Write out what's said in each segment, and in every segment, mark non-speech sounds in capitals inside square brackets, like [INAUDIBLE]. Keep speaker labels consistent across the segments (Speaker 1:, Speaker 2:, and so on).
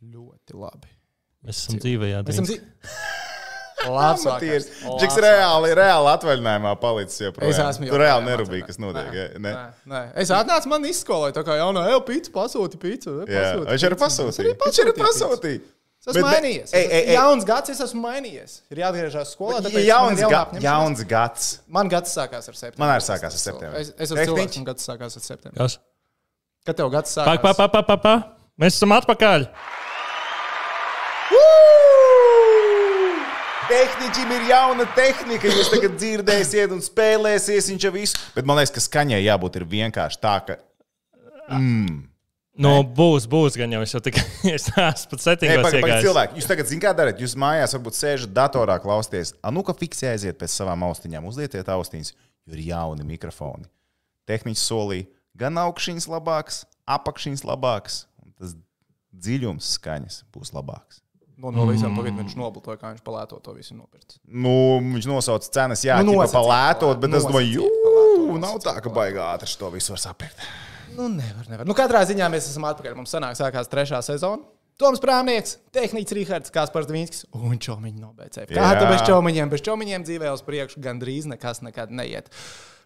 Speaker 1: Ļoti labi.
Speaker 2: Mēs esam dzīvē, jā,
Speaker 1: Mēs esam zi...
Speaker 3: [LAUGHS] Labs
Speaker 1: Amatieris.
Speaker 3: vakars.
Speaker 1: Džiks
Speaker 3: Džiks reāli, reāli atvaļinājumā palicis joprojām.
Speaker 1: Es esmu
Speaker 3: Tu reāli
Speaker 1: joprojām
Speaker 3: nerūpīgi, kas
Speaker 1: Nē,
Speaker 3: notiek. jā,
Speaker 1: nē,
Speaker 3: Ne?
Speaker 1: nē. Es atnācu, man izskolēja tā kā jaunu, ej, pīci, pasūti pīci. ej,
Speaker 3: Jā,
Speaker 1: pasūti
Speaker 3: viņš arī
Speaker 1: pīci." Es
Speaker 3: pasūtīja. Viņš arī
Speaker 1: pasūtīju pīci.
Speaker 3: pasūtīja.
Speaker 1: Es
Speaker 3: Bet-
Speaker 1: esmu
Speaker 3: bet-
Speaker 1: mainījies.
Speaker 3: Ei,
Speaker 1: Es
Speaker 3: ei,
Speaker 1: esmu
Speaker 3: ei.
Speaker 1: jauns gads, es esmu mainījies. Ir jāatgriežas skolā.
Speaker 3: Bet
Speaker 1: tāpēc man
Speaker 3: Jauns,
Speaker 1: ir
Speaker 3: ga
Speaker 1: jāapņemšanās.
Speaker 3: jauns gads.
Speaker 1: Man gads sākās ar septembrī.
Speaker 3: Man arī sākās ar septembrī.
Speaker 1: Es, es esmu
Speaker 3: Tehniķi?
Speaker 1: cilvēks, un gads sākās ar septembrī.
Speaker 2: Kas?
Speaker 1: Kad tev gads sākās?
Speaker 2: Pak, pak, pak, pak, pak, pak. Mēs esam atpakaļ.
Speaker 3: Tehniķim ir jauna tehnika. Jūs tagad dzirdēsiet, un spēlēsiet viņa visu. Bet man liekas, ka skaņai jābūt ir vienkārši tā, ka.
Speaker 2: Nu, būs, būs gan jau. Es jau tikai [LAUGHS] es esmu pat
Speaker 3: Nē,
Speaker 2: setīgos
Speaker 3: pagaidi, pagaidi,
Speaker 2: iegājis.
Speaker 3: cilvēki, jūs tagad zināt, kā darāt. Jūs mājās varbūt sēžat datorā, klausties. Anu, ka fiksē aiziet pēc savām austiņām. Uzlieciet austiņas, jo ir jauni mikrofoni. Tehniķis solīja, gan augšņas labāks, apakšņas labāks, un tas dziļums skaņas būs labāks.
Speaker 1: Nu, no visām pagaidām viņš noblūkoja, kā viņš palēto to visu nopirkt.
Speaker 3: Nu, viņš nosauca cenas, jā,
Speaker 1: Nu,
Speaker 3: nu,
Speaker 1: nosacīt,
Speaker 3: tā palētot, bet es
Speaker 1: nosacīt,
Speaker 3: domāju,
Speaker 1: palētot,
Speaker 3: jū, nav
Speaker 1: nosacīt,
Speaker 3: tā, ka baigā ātri to visu var sapirkt.
Speaker 1: Nu, nevar, nevar. Nu, katrā ziņā mēs esam atpakaļ. Mums sanāk, sākās trešā sezona. Toms Prāmnieks, tehnicis Rīgards, Kaspars Dvīnskis un Čaumiņš no BCF. Kā
Speaker 3: Jā.
Speaker 1: tu bez Čaumiņiem? Bez Čaumiņiem dzīvē uz priekšu gandrīz nekas nekad neiet.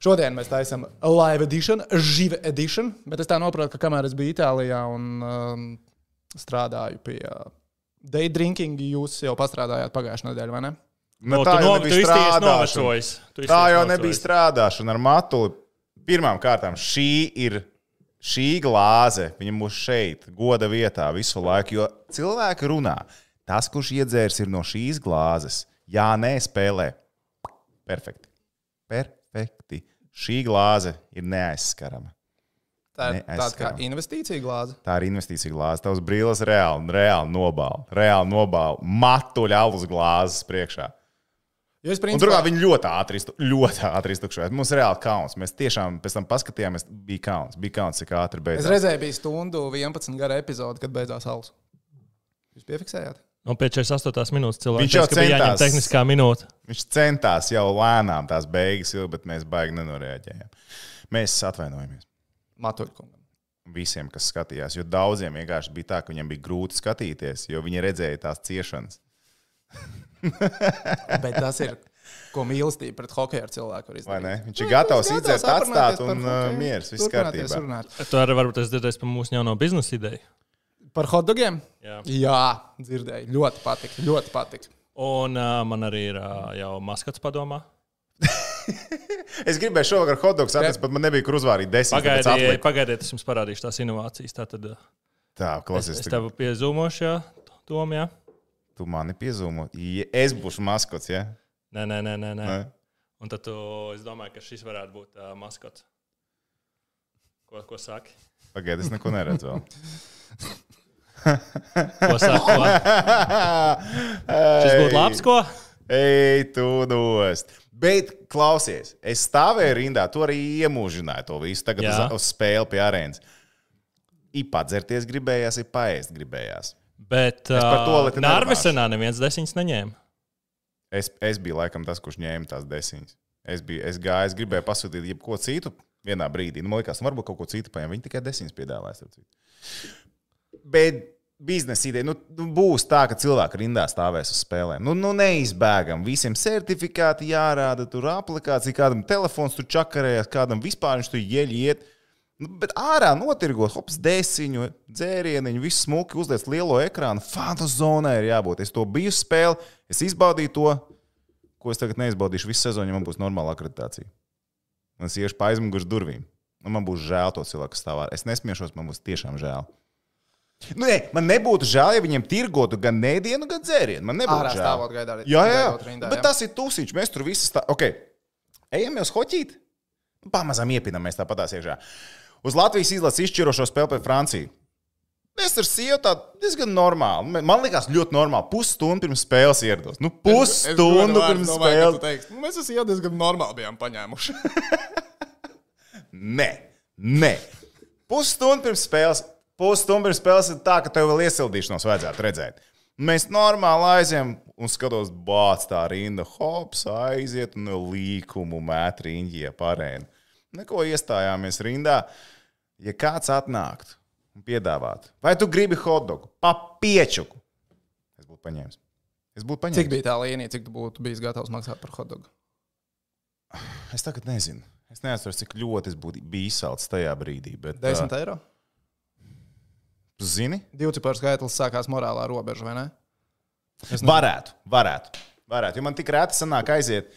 Speaker 1: Šodien mēs taisām live edition, žive edition, bet es tā saprotu, ka kamēr es biju Itālijā un um, strādāju pie uh, day drinking, jūs jau pastrādājāt pagājušajā nedēļā, vai ne?
Speaker 3: Nu,
Speaker 2: Nu,
Speaker 3: tā
Speaker 2: tu
Speaker 3: jau
Speaker 2: no- tu
Speaker 3: nebija
Speaker 2: izties
Speaker 3: strādāšana.
Speaker 2: novecojis. Tu
Speaker 3: Tā
Speaker 2: izties
Speaker 3: jau
Speaker 2: novecojis.
Speaker 3: nebija strādāšana ar matuli. Pirmkārt, šī ir šī glāze. Viņa mums šeit, goda vietā, visu laiku. Jo cilvēki runā, tas, kurš iedzērs ir no šīs glāzes, jā, nē, spēlē. Perfekti. Perfekti. Šī glāze ir neaizskarama.
Speaker 1: Tā ir tāda kā
Speaker 3: Neaizskarama.
Speaker 1: investīcija glāze.
Speaker 3: Tā ir investīcija glāze. Tavs brīlis reāli, reāli nobāla. Reāli nobāla matuļa alus glāzes priekšā.
Speaker 1: Jo es
Speaker 3: Un
Speaker 1: principā
Speaker 3: turklāt viņi ļoti ātri, iztu- ļoti ātri iztukšojās. Mums ir reāli kauns. Mēs tiešām pēc tam paskatījāmies, bija kauns. Bija kauns, cik ātri
Speaker 1: Es
Speaker 3: beidzās.
Speaker 1: reizē biju stundu 11 gara epizode, kad beidzās alus. Jūs piefiksējāt?
Speaker 2: Un pēc 48 minūtes cilvēks
Speaker 3: Viņš jau
Speaker 2: teica, ka bija jāņem
Speaker 3: centās.
Speaker 2: tehniskā minūte.
Speaker 3: Viņš centās jau lēnām tās beigas, jau, bet mēs baigi nenoreaģējām. Mēs atvainojamies
Speaker 1: Matuļkungam.
Speaker 3: visiem, kas skatījās, jo daudziem vienkārši bija tā, ka viņiem bija grūti skatīties, jo viņi redzēja tās ciešanas.
Speaker 1: Bet tas ir, ko mīlestība pret hokeju ar cilvēku var
Speaker 3: Vai
Speaker 1: izdarīt.
Speaker 3: ne? Viņš ir gatavs
Speaker 1: gatavs
Speaker 3: izdzert, atstāt
Speaker 1: aprunāties
Speaker 3: un
Speaker 1: par
Speaker 3: uh,
Speaker 1: hokeju,
Speaker 3: mieras. Viss
Speaker 1: turpināties
Speaker 3: kārtībā.
Speaker 1: runāt.
Speaker 2: Tu arī varbūt es dzirdēju par mūsu jauno biznesa ideju.
Speaker 1: Par hotdogiem?
Speaker 2: Jā.
Speaker 1: Jā, dzirdēju. Ļoti patīk. Ļoti patīk.
Speaker 2: Un uh, man arī ir uh, jau maskats padomā.
Speaker 3: Es gribēju šovakar hotdogs atrast, bet man nebija kur uzvārīt desmit. tāpēc
Speaker 2: Pagaidiet,
Speaker 3: atliku.
Speaker 2: pagaidiet, es jums parādīšu tās inovācijas. Tātad uh,
Speaker 3: Tā,
Speaker 2: es,
Speaker 3: klausies.
Speaker 2: es
Speaker 3: tu-
Speaker 2: tevu piezīmošu, jā, domā.
Speaker 3: Tu mani piezīmo. Ja es būšu maskots, ja?
Speaker 2: Nē, nē, nē, nē. nē.
Speaker 3: Nē.
Speaker 2: Un tad tu, es domāju, ka šis varētu būt uh, maskots. Ko, ko saki?
Speaker 3: Pagaidiet, es neko neredzu.
Speaker 2: [LAUGHS]
Speaker 3: vēl. [LAUGHS]
Speaker 2: Ko saki? Ko? Tas
Speaker 3: Tas
Speaker 2: būtu labs, ko?
Speaker 3: Ej, tu nost. Bet, klausies, es stāvēju rindā, tu arī iemūžināji to visu. Tagad
Speaker 2: Jā.
Speaker 3: uz, uz spēli pie arēnas. Ir padzerties gribējās, ir paēst gribējās.
Speaker 2: Bet
Speaker 3: par to
Speaker 2: uh,
Speaker 3: lietu
Speaker 2: Nārvesenā neviens desiņas neņēma.
Speaker 3: Es, es biju laikam tas, kurš ņēma tās desiņas. Es, biju, es gāju, es gribēju pasūtīt jebko citu vienā brīdī. Nu, man liekas, nu, varbūt kaut ko citu paņēmu. Viņi tikai desiņas piedāvāja. starp citu. Bet biznesa ideja nu, nu, būs tā, ka cilvēki rindā stāvēs uz spēlēm. Nu, nu neizbēgam. Visiem certifikāti jārāda, tur aplikācija, kādam telefons tur čakarējas, kādam vispār viņš tur ieļiet. Nu, bet ārā notirgos, hops, desiņu, dzērieniņu, visu smuki uzliek lielo ekrānu. Fantazonai ir jābūt. Es to biju spēlē, es izbaudīju to, ko es tagad neizbaudīšu visu sezonu, ja man būs normāla akreditācija. Un es iešu pa aizmuguršu durvīm. Un man būs žēl to cilvēku, kas stāv ārā. Es nesmiešos, man būs tiešām žēl. Nu, nē, man nebūtu žēl, ja viņiem tirgotu gan nēdienu, gan dzērienu. Man nebūtu
Speaker 1: Ārā
Speaker 3: žēl.
Speaker 1: stāvot gaidā.
Speaker 3: Jā, jā,
Speaker 1: gaidot
Speaker 3: jā.
Speaker 1: rindā,
Speaker 3: bet tas ir tūsiņš. Mēs tur visi stāvam. Okay. Ejam uz hoķīt. Pamazām iepinamies tāpat tās iekšā. Uz Latvijas izlases izšķirošo spēli pret Franciju. Es ar sievu tādu diezgan normālu. Man liekas, ļoti normāli. Pusstundu pirms spēles ierados. Nu, pusstundu pirms spēles.
Speaker 1: spēles. "Nu, Mēs esam jau diezgan normāli bijām
Speaker 3: [LAUGHS]
Speaker 1: paņēmuši.
Speaker 3: Nē, nē. Pusstundu pirms spēles. Pusstundu pirms spēles ir tā, ka tev vēl iesildīšanos vajadzētu redzēt. Mēs normāli aizējām un skatos, bāc tā rinda, hops, aiziet un līkumu mēt rindie parēnu. Neko iestājāmies rindā. Ja kāds atnāktu un piedāvātu, vai tu gribi hotdogu, papieķuku? Es būtu paņēmis. Es būtu paņēmis.
Speaker 1: Cik bija tā līnija, cik tu būtu bijis gatavs maksāt par hotdogu?
Speaker 3: Es tagad nezinu. Es neatceros, cik ļoti es būtu biju izsalcis tajā brīdī. Bet,
Speaker 1: 10
Speaker 3: ā,
Speaker 1: eiro.
Speaker 3: tu zini,
Speaker 1: Divu ciparu skaitlis sākās morālā robeža, vai ne?
Speaker 3: es varētu, varētu, varētu. Jo man tik rēti sanāk aiziet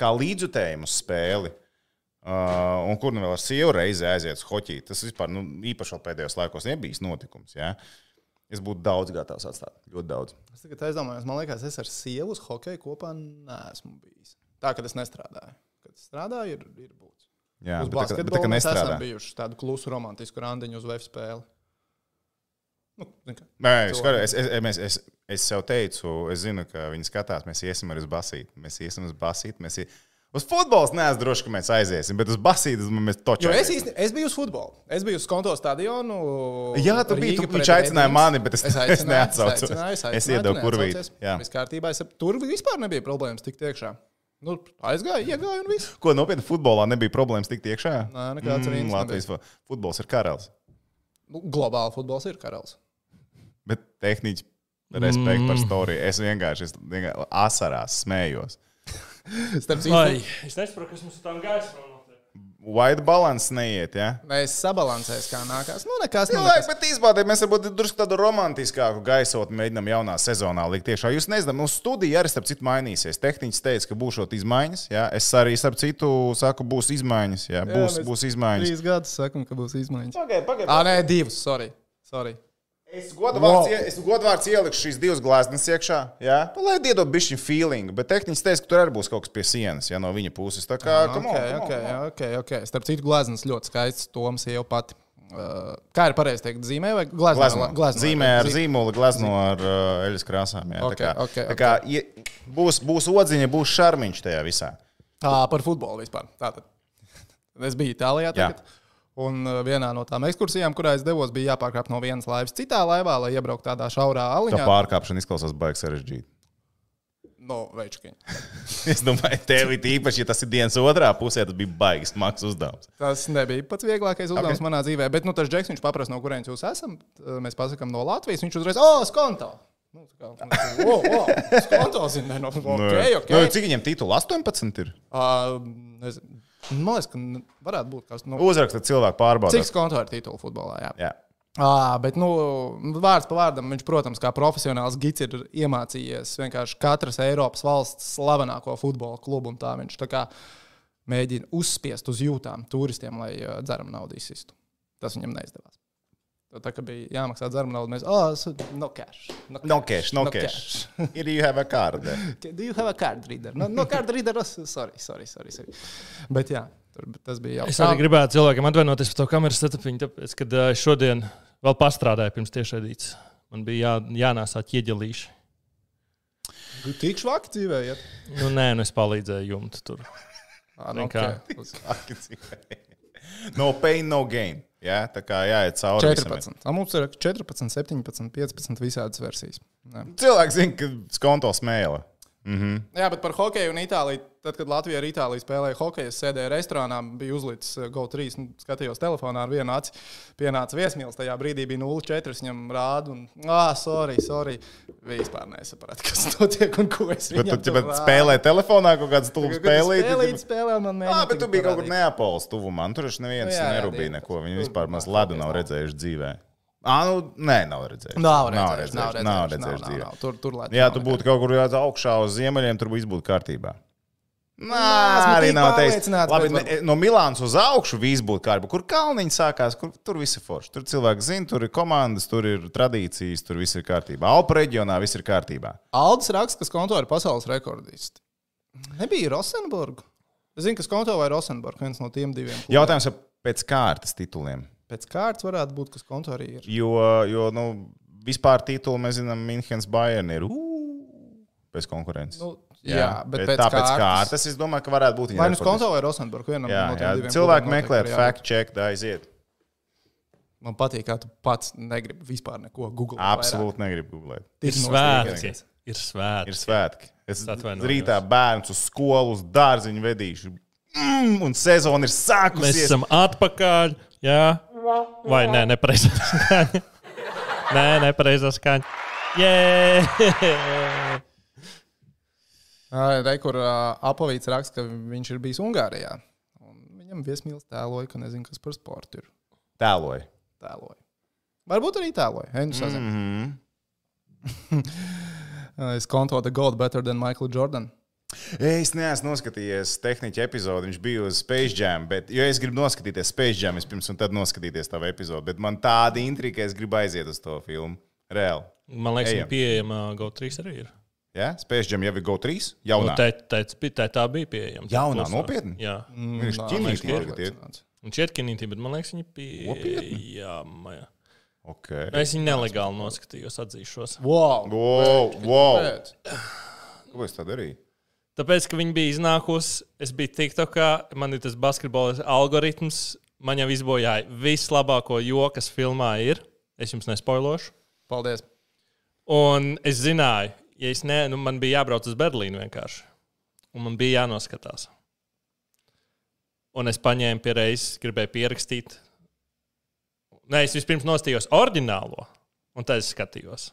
Speaker 3: kā līdzjutējumu uz spēli. Uh, un kur nu vēl ar sievu reizi aiziet uz hoķi. Tas vispār nu, īpaši vēl pēdējos laikos nebija notikums. Ja? Es būtu daudz gatavs atstāt. Ļoti daudz.
Speaker 1: Es tikai aizdomājos, man liekas, es ar sievu uz hokeju kopā neesmu bijis. Tā, kad es nestrādāju. Kad es strādāju, ir, ir būtis.
Speaker 3: Jā,
Speaker 1: Uz
Speaker 3: bet tā, kā- bet
Speaker 1: basketbolu
Speaker 3: tā kā
Speaker 1: mēs esam
Speaker 3: nestrādā.
Speaker 1: bijuši tādu klusu romantisku randiņu uz VF spēli. Nu, zini kā,
Speaker 3: Nē, es, skatos, es, es, es, es, es sev teicu, es zinu, ka viņi skatās, mēs iesim arī uz basīti. Mēs iesim uz basīti. Mēs ie... Uz futbolu neesmu drošs, ka mēs aiziesim, bet uz basīti mēs točā.
Speaker 1: Jo es īstenībā, es biju uz futbola. Es biju uz konto stadionu.
Speaker 3: Jā, tu biji, tu- viņš aicināja mani, bet [LAUGHS] es- es neatsaucos. Es iedevu kurvīti, jā.
Speaker 1: Viss kārtībā. Es, ap- tur vispār nebija problēmas tikt iekšā. Nu, aizgāju, iegāju un viss.
Speaker 3: Ko nopietni futbolā nebija problēmas tikt iekšā?
Speaker 1: Nē, nekāds arī nebija.
Speaker 3: Mm, Latvijas fu- futbols ir karalis.
Speaker 1: Nu, globāli futbols ir karalis.
Speaker 3: Bet tehniķi respektu par storiju. Es vienkārši, es vienkārši asarās smējos.
Speaker 1: Starp citu,
Speaker 2: Vai. Es nesaprotu, kas mums ar tām gaismām notiek.
Speaker 3: White balance neiet, jā? Ja?
Speaker 1: mēs sabalansēsim, kā nākās. Nu, nekas nav.
Speaker 3: Cilvēki, bet īstenībā mēs varbūt drusku tādu romantiskāku gaisotni mēģinām jaunā sezonā likt tiešā. Jūs nezināt, nu, studija arī starp citu mainīsies. Tehniķis teica, ka būs šādi izmaiņas. Jā. Es arī starp citu saku, būs izmaiņas. Jā, būs, jā,
Speaker 1: mēs
Speaker 3: būs izmaiņas.
Speaker 1: Trīs gadus sakam, ka būs izmaiņas.
Speaker 3: Pagaidiet, pagaidiet.
Speaker 1: Ah, nē, divas, sorry. sorry.
Speaker 3: Es godvārds,
Speaker 1: Wow.
Speaker 3: wow. es godvārds ielikšu šīs divas glāzes iekšā. Jā, Pa, lai iedod bišķiņu feelingu, bet tehniķis teica, ka tur arī būs kaut kas pie sienas, ja no viņa puses. Tā kā,
Speaker 1: Ok,
Speaker 3: come on, come on,
Speaker 1: ok,
Speaker 3: come on.
Speaker 1: ok, ok. Starp citu, glazūras ļoti skaists. Toms jau pati. Uh, kā ir pareizi teikt, zīmē vai glazūra?
Speaker 3: Glazno. Zīmē ar zīmolu, glazno ar uh, eļļas krāsām. Jā,
Speaker 1: Ok,
Speaker 3: tā kā,
Speaker 1: ok,
Speaker 3: tā kā ie, būs, būs odziņa, būs šarmiņš tajā visā.
Speaker 1: Tā par futbolu vispār. Tātad. Es biju Itālijā.
Speaker 3: Jā.
Speaker 1: Tagad, un uh, vienā no tām ekskursijām, kurā es devos, bija jāpārkāp no vienas laivas citā laivā, lai iebrauktu tādā šaurā
Speaker 3: Tā
Speaker 1: aliņā.
Speaker 3: pārkāpšana izklausās baigi sarežģīti. [LAUGHS]
Speaker 1: No večkiņa.
Speaker 3: Es domāju, tev ir īpaši, ja tas ir dienas otrā pusē, tad bija baigts smags uzdevums.
Speaker 1: Tas nebija pats vieglākais uzdevums okay. manā dzīvē. Bet nu, tas džeks, viņš paprasa, no kurienes jūs esat. Uh, Mēs pasakām, no Latvijas. Viņš uzreiz, o, skonto! Nu, tā kā, nu, o, o, skonto zina, no, okay, okay.
Speaker 3: Nu, cik viņam titula 18 ir?
Speaker 1: Ā, nezinu. Ah, Man liekas, ka n- varētu būt kas no.
Speaker 3: Uzraksta cilvēku pārbaudīt.
Speaker 1: Cik skonto ar titulu futbolā? Jā.
Speaker 3: Jā.
Speaker 1: À, bet, nu, vārds pa vārdam, viņš, protams, kā profesionāls gids ir iemācījies vienkārši katras Eiropas valsts slavenāko futbola klubu. un Tā viņš tā kā mēģina uzspiest uz jūtām turistiem, lai uh, dzeram naudu izsistu. Tas viņam neizdevās. Tā kā bija jāmaksā dzeram naudu, mēs, ah, oh, no cash. No cash.
Speaker 3: No cash, no cash. [LAUGHS] Ir you have a card.
Speaker 1: Okay, Do you have a card reader? No, no card reader, oh, sorry, sorry, sorry, sorry. Bet jā, tur, tas bija jau.
Speaker 2: Es arī gribētu cilvēkiem atvainoties par to kameras setupiņu, tāpēc, kad ā, es šodien vēl pastrādāju pirms tiešraidītes. Man bija jā, jānāsā ķieģelīši.
Speaker 1: Tikšu vakar dzīvē, ja?
Speaker 2: Nu, nē, nu es palīdzēju jumtu tur.
Speaker 1: Ah, nu,
Speaker 2: Kā?
Speaker 1: okay.
Speaker 3: No pain, no gain. Jā, tā kā jāiet cauri. visam.
Speaker 1: 14. A, mums ir 14, 17, 15 visādas versijas. Jā,
Speaker 3: Cilvēks zina, ka skonto smēla.
Speaker 1: Jā bet par hokeju un Itāliju. Tad, kad Latvija ar Itāliju spēlēja hokeju, es sēdēju restorānā, biju uzlicis eh, GO3, un nu, skatījos telefonā ar vienu aci. Pienāca viesmīlis, tajā brīdī bija 0,4. Viņam rāda, un, ah, sorry, sorry. Vispār nesapratu, kas [LAUGHS] notiek un ko es
Speaker 3: Bet
Speaker 1: viņam
Speaker 3: tu
Speaker 1: tur
Speaker 3: bet
Speaker 1: rādu.
Speaker 3: spēlē telefonā kaut
Speaker 1: Kad
Speaker 3: kāds stulbs
Speaker 1: es
Speaker 3: spēlīt.
Speaker 1: Spēlīt, spēlē, un man mēģina.
Speaker 3: Jā, Ah, bet tu
Speaker 1: tikai
Speaker 3: biji
Speaker 1: parādīt.
Speaker 3: kaut kur Neapolis tuvumā. un Tur taču
Speaker 1: Nu
Speaker 3: neviens
Speaker 1: jā, jā,
Speaker 3: nerūpīja
Speaker 1: dievs.
Speaker 3: neko. Viņi vispār maz ledu nav redzējuši dzīvē. Ā, nu, nē, nav redzējuši.
Speaker 1: Nav redzējuši,
Speaker 3: Nav redzējuši, nav redzējuši dzīvē.
Speaker 1: nav. Tur, tur, laikam
Speaker 3: Jā,
Speaker 1: nav
Speaker 3: tu
Speaker 1: nekā.
Speaker 3: būtu kaut kur jāiet augšā uz ziemeļiem, tur viss būtu kārtībā. Nā,
Speaker 1: Nāsmu
Speaker 3: arī
Speaker 1: tik
Speaker 3: nav teiks.
Speaker 1: pārliecināts,
Speaker 3: Labi,
Speaker 1: bet
Speaker 3: ne, no Milānas uz augšu viss būtu kārtībā. Kur kalniņš sākās, kur tur viss ir forši. Tur cilvēki zina, tur ir komandas, tur ir tradīcijas, tur viss ir kārtībā. Alpu reģionā viss ir kārtībā.
Speaker 1: Aldis raksta, ka skonto ir pasaules rekordists. Nebija Rosenburga. Es zinu, ka skonto vai Rosenburga viens no tiem diviem.
Speaker 3: Jautājums ir pēc kārtas tituliem.
Speaker 1: Pēc kārtas varētu būt, ka skonto arī ir.
Speaker 3: Jo, jo nu, vispār titulu mēs zinām, Minhenes Bayern ir ū, bez konkurences.
Speaker 1: Nu, jā, jā, bet, bet pēc
Speaker 3: tāpēc
Speaker 1: kārtas. kārtas.
Speaker 3: kārtas es domāju, ka varētu būt viņa
Speaker 1: Vai nu
Speaker 3: rekords.
Speaker 1: skonto vai Rosenburga vienam
Speaker 3: Jā,
Speaker 1: no
Speaker 3: jā.
Speaker 1: tiem diviem.
Speaker 3: Cilvēki
Speaker 1: klubiem
Speaker 3: meklē
Speaker 1: noteikti arī jābūt.
Speaker 3: fact check, tā aiziet.
Speaker 1: Man patīk, kā tu pats negribi vispār neko googlēt.
Speaker 3: Absolūti negribu googlēt.
Speaker 2: Ir svētki. Ir svētki.
Speaker 3: Ir svētki. Es
Speaker 2: Atvainojos.
Speaker 3: rītā bērnu uz skolu, uz dārziņu vedīšu. Mm, un sezona ir
Speaker 2: Mēs
Speaker 3: sākusies.
Speaker 2: esam atpakaļ. Jā, Vai nē, nepareizā skaņa. nē, nepareizā skaņa. Jē!
Speaker 1: Ai, Re, kur uh, apavīts raksta, ka viņš ir bijis Ungārijā. Un viņam viesmīlis tēloja, ka nezinu, kas par sportu ir
Speaker 3: Tēloju.
Speaker 1: tēloja. Varbūt arī nu, tēloja. Henrijs sazina.
Speaker 3: Mhm.
Speaker 1: Mhm. [LAUGHS] Es kontoju The Gold Better than Michael Jordan.
Speaker 3: Es neesmu noskatījies tehniķa epizodi, viņš bija uz Space Jam, bet jo es gribu noskatīties Space Jam vispirms un tad noskatīties tavu epizodi. Bet man tāda intriga, ka es gribu aiziet uz to filmu. Reāli.
Speaker 2: Man liekas,
Speaker 3: Ejam.
Speaker 2: viņa pieejama GO3 arī ir.
Speaker 3: Ja? Space Jam jau ir GO3?
Speaker 2: Nu,
Speaker 3: Jaunā.
Speaker 2: tā, tā, tā, tā bija pieejama. tā
Speaker 3: Jaunā,
Speaker 2: plusā.
Speaker 3: nopietni? Nu,
Speaker 2: Jā.
Speaker 3: Viņš
Speaker 1: Nā,
Speaker 3: ķinīti
Speaker 1: es neesmu
Speaker 3: tagad ir.
Speaker 1: pārliecināts.
Speaker 2: Un četkinītī, bet man liekas, viņa
Speaker 3: Nopietni?
Speaker 2: pieejama. jā.
Speaker 3: Okay.
Speaker 2: Nu, Es viņu nelegāli noskatījos, atzīšos.
Speaker 1: Wow!
Speaker 3: Wow, wow.
Speaker 1: Pēc.
Speaker 3: Ko es tā darīju?
Speaker 2: Tāpēc, ka viņi bija iznākusi, es biju TikTokā, man ir tas basketbola algoritms, man jau izbojāja vislabāko joku, kas filmā ir. Es jums nespoilošu.
Speaker 1: Paldies!
Speaker 2: Un es zināju, ja es ne, nu, man bija jābrauc uz Berlīnu vienkārši. Un man bija jānoskatās. Un es paņēmu pie reizes, gribēju pierakstīt. Nē, es vispirms nostājos oriģinālo, un tad es skatījos.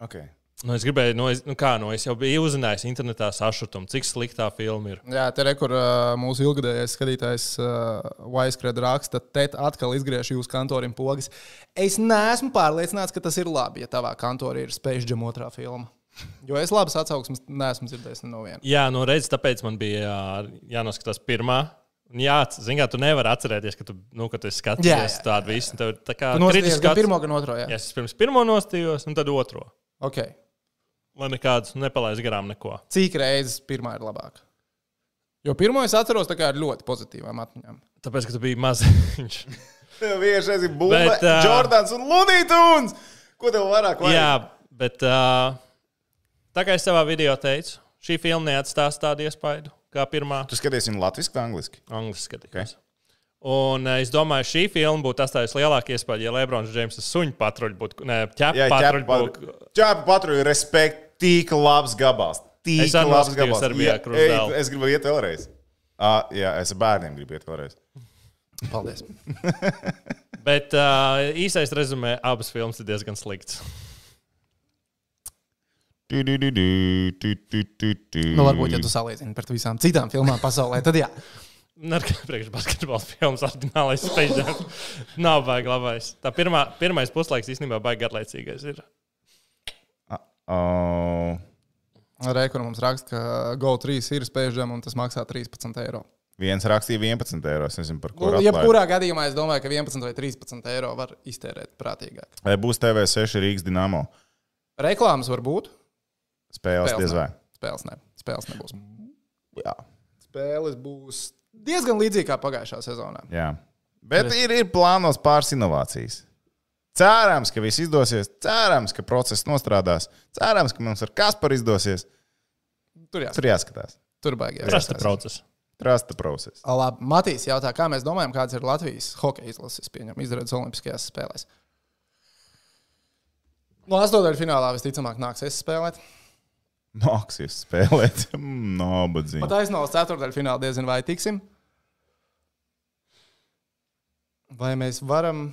Speaker 3: Okay.
Speaker 2: Nu, es gribēju, nu, es, nu kā, nu, es jau biju uzzinājis internetā sašutumu, cik sliktā filma ir.
Speaker 1: Jā, te rekur uh, mūsu ilgadējais skatītājs Vaiskrēda raksta, te atkal izgriež jūsu kantorim pogas. Es neesmu pārliecināts, ka tas ir labi, ja tavā kantorī ir spēļģiem otrā filma. Jo es labas atsauksmes neesmu dzirdējis no viena.
Speaker 2: Jā, nu redz, tāpēc man bija jā, jānoskatās pirmā. Un Jā, zināmā mērā, tu nevari atcerēties, ka tu, nu, ka tu esi
Speaker 1: Jā,
Speaker 2: skatījies
Speaker 1: jā,
Speaker 2: tādu visu. Tev, ir tā kā
Speaker 1: Noskaties,
Speaker 2: kritisks
Speaker 1: gan
Speaker 2: skats.
Speaker 1: pirmo, gan otro. Jā,
Speaker 2: Jā, es pirms pirmo nostājos, un tad otro.
Speaker 1: ok.
Speaker 2: Lai nekādas nepalaist garām neko.
Speaker 1: Cik reizes pirmā ir labāka? Jo pirmo es atceros tā kā ar ļoti pozitīvām atmiņām.
Speaker 2: Tāpēc, ka tu biji [LAUGHS] maziņš.
Speaker 3: Vienkārši ir bumba,
Speaker 2: Bet, ā,
Speaker 3: Jordans un Lunītuns! Ko tev vairāk vajag?
Speaker 2: Jā, bet uh, tā kā es savā video teicu, šī filma neatstās tādu iespaidu kā pirmā.
Speaker 3: Tu skaties viņu latviešu vai angliski?
Speaker 2: Angliski skatījos. Okay. Un eh, es domāju, šī filma būtu atstājusi lielāku iespēju, ja Lebrons Džeims suņu patruļu būtu. Nē, ķēpa
Speaker 3: Jā,
Speaker 2: patruļu būtu.
Speaker 3: ķēpa patruļu, respekt, tik labs gabals. Tik
Speaker 2: Es arī
Speaker 3: labs
Speaker 2: noskatījos
Speaker 3: gabals.
Speaker 2: Serbijā
Speaker 3: Jā,
Speaker 2: Krusdēlu.
Speaker 3: ej, Es gribu iet vēlreiz. Ah, jā, es ar bērniem gribu iet vēlreiz.
Speaker 1: Paldies.
Speaker 2: Bet uh, īsais rezumē abas filmas ir diezgan slikts.
Speaker 1: Nu, varbūt, ja tu salīdzini par visām citām filmām pasaulē, tad jā.
Speaker 2: Nē, kā priekšbasketbola filmas ordinālais spēļņš. Nav baigi labais. Tā pirmā, pirmais puslaiks īstenībā baigi garlaicīgais ir.
Speaker 3: Oh,
Speaker 1: Rekur mums raksta, ka GO3 ir spēļģiem un tas maksā 13 eiro.
Speaker 3: viens rakstīja 11 eiro. Es nezinu, par ko.
Speaker 1: Nu,
Speaker 3: Nu,
Speaker 1: jebkurā gadījumā es domāju, ka 11 vai 13 eiro var iztērēt prātīgāk.
Speaker 3: Vai būs TV6 Rīgas Dienāmo?
Speaker 1: Reklāmas var būt.
Speaker 3: Spēles
Speaker 1: Spēles
Speaker 3: diez vai.
Speaker 1: Spēles, ne. Spēles nebūs.
Speaker 3: Jā.
Speaker 1: Spēles būs diezgan līdzīga kā pagājušā sezonā.
Speaker 3: jā. Bet ir, ir plānos pāris inovācijas. Cerams, ka viss izdosies. Cerams, ka process nostrādās. Cerams, ka mums ar Kasparu izdosies.
Speaker 1: Tur jā,
Speaker 3: Tur jāskatās.
Speaker 1: tur baigās.
Speaker 2: Prasta process.
Speaker 3: Trust the process.
Speaker 1: Labi, Matīs jautā, kā mēs domājam, kāds ir Latvijas hokeja izlases pieņemts izredzes Olimpiskajās spēlēs. No astotdaļu finālā visticamāk nāksies spēlēt.
Speaker 3: Nāksies spēlēt. [LAUGHS] Hmm, Nobadzīgi.
Speaker 1: Pat aiznāks ceturtdaļu finālā, diezgan vai tiksim. Vai mēs varam.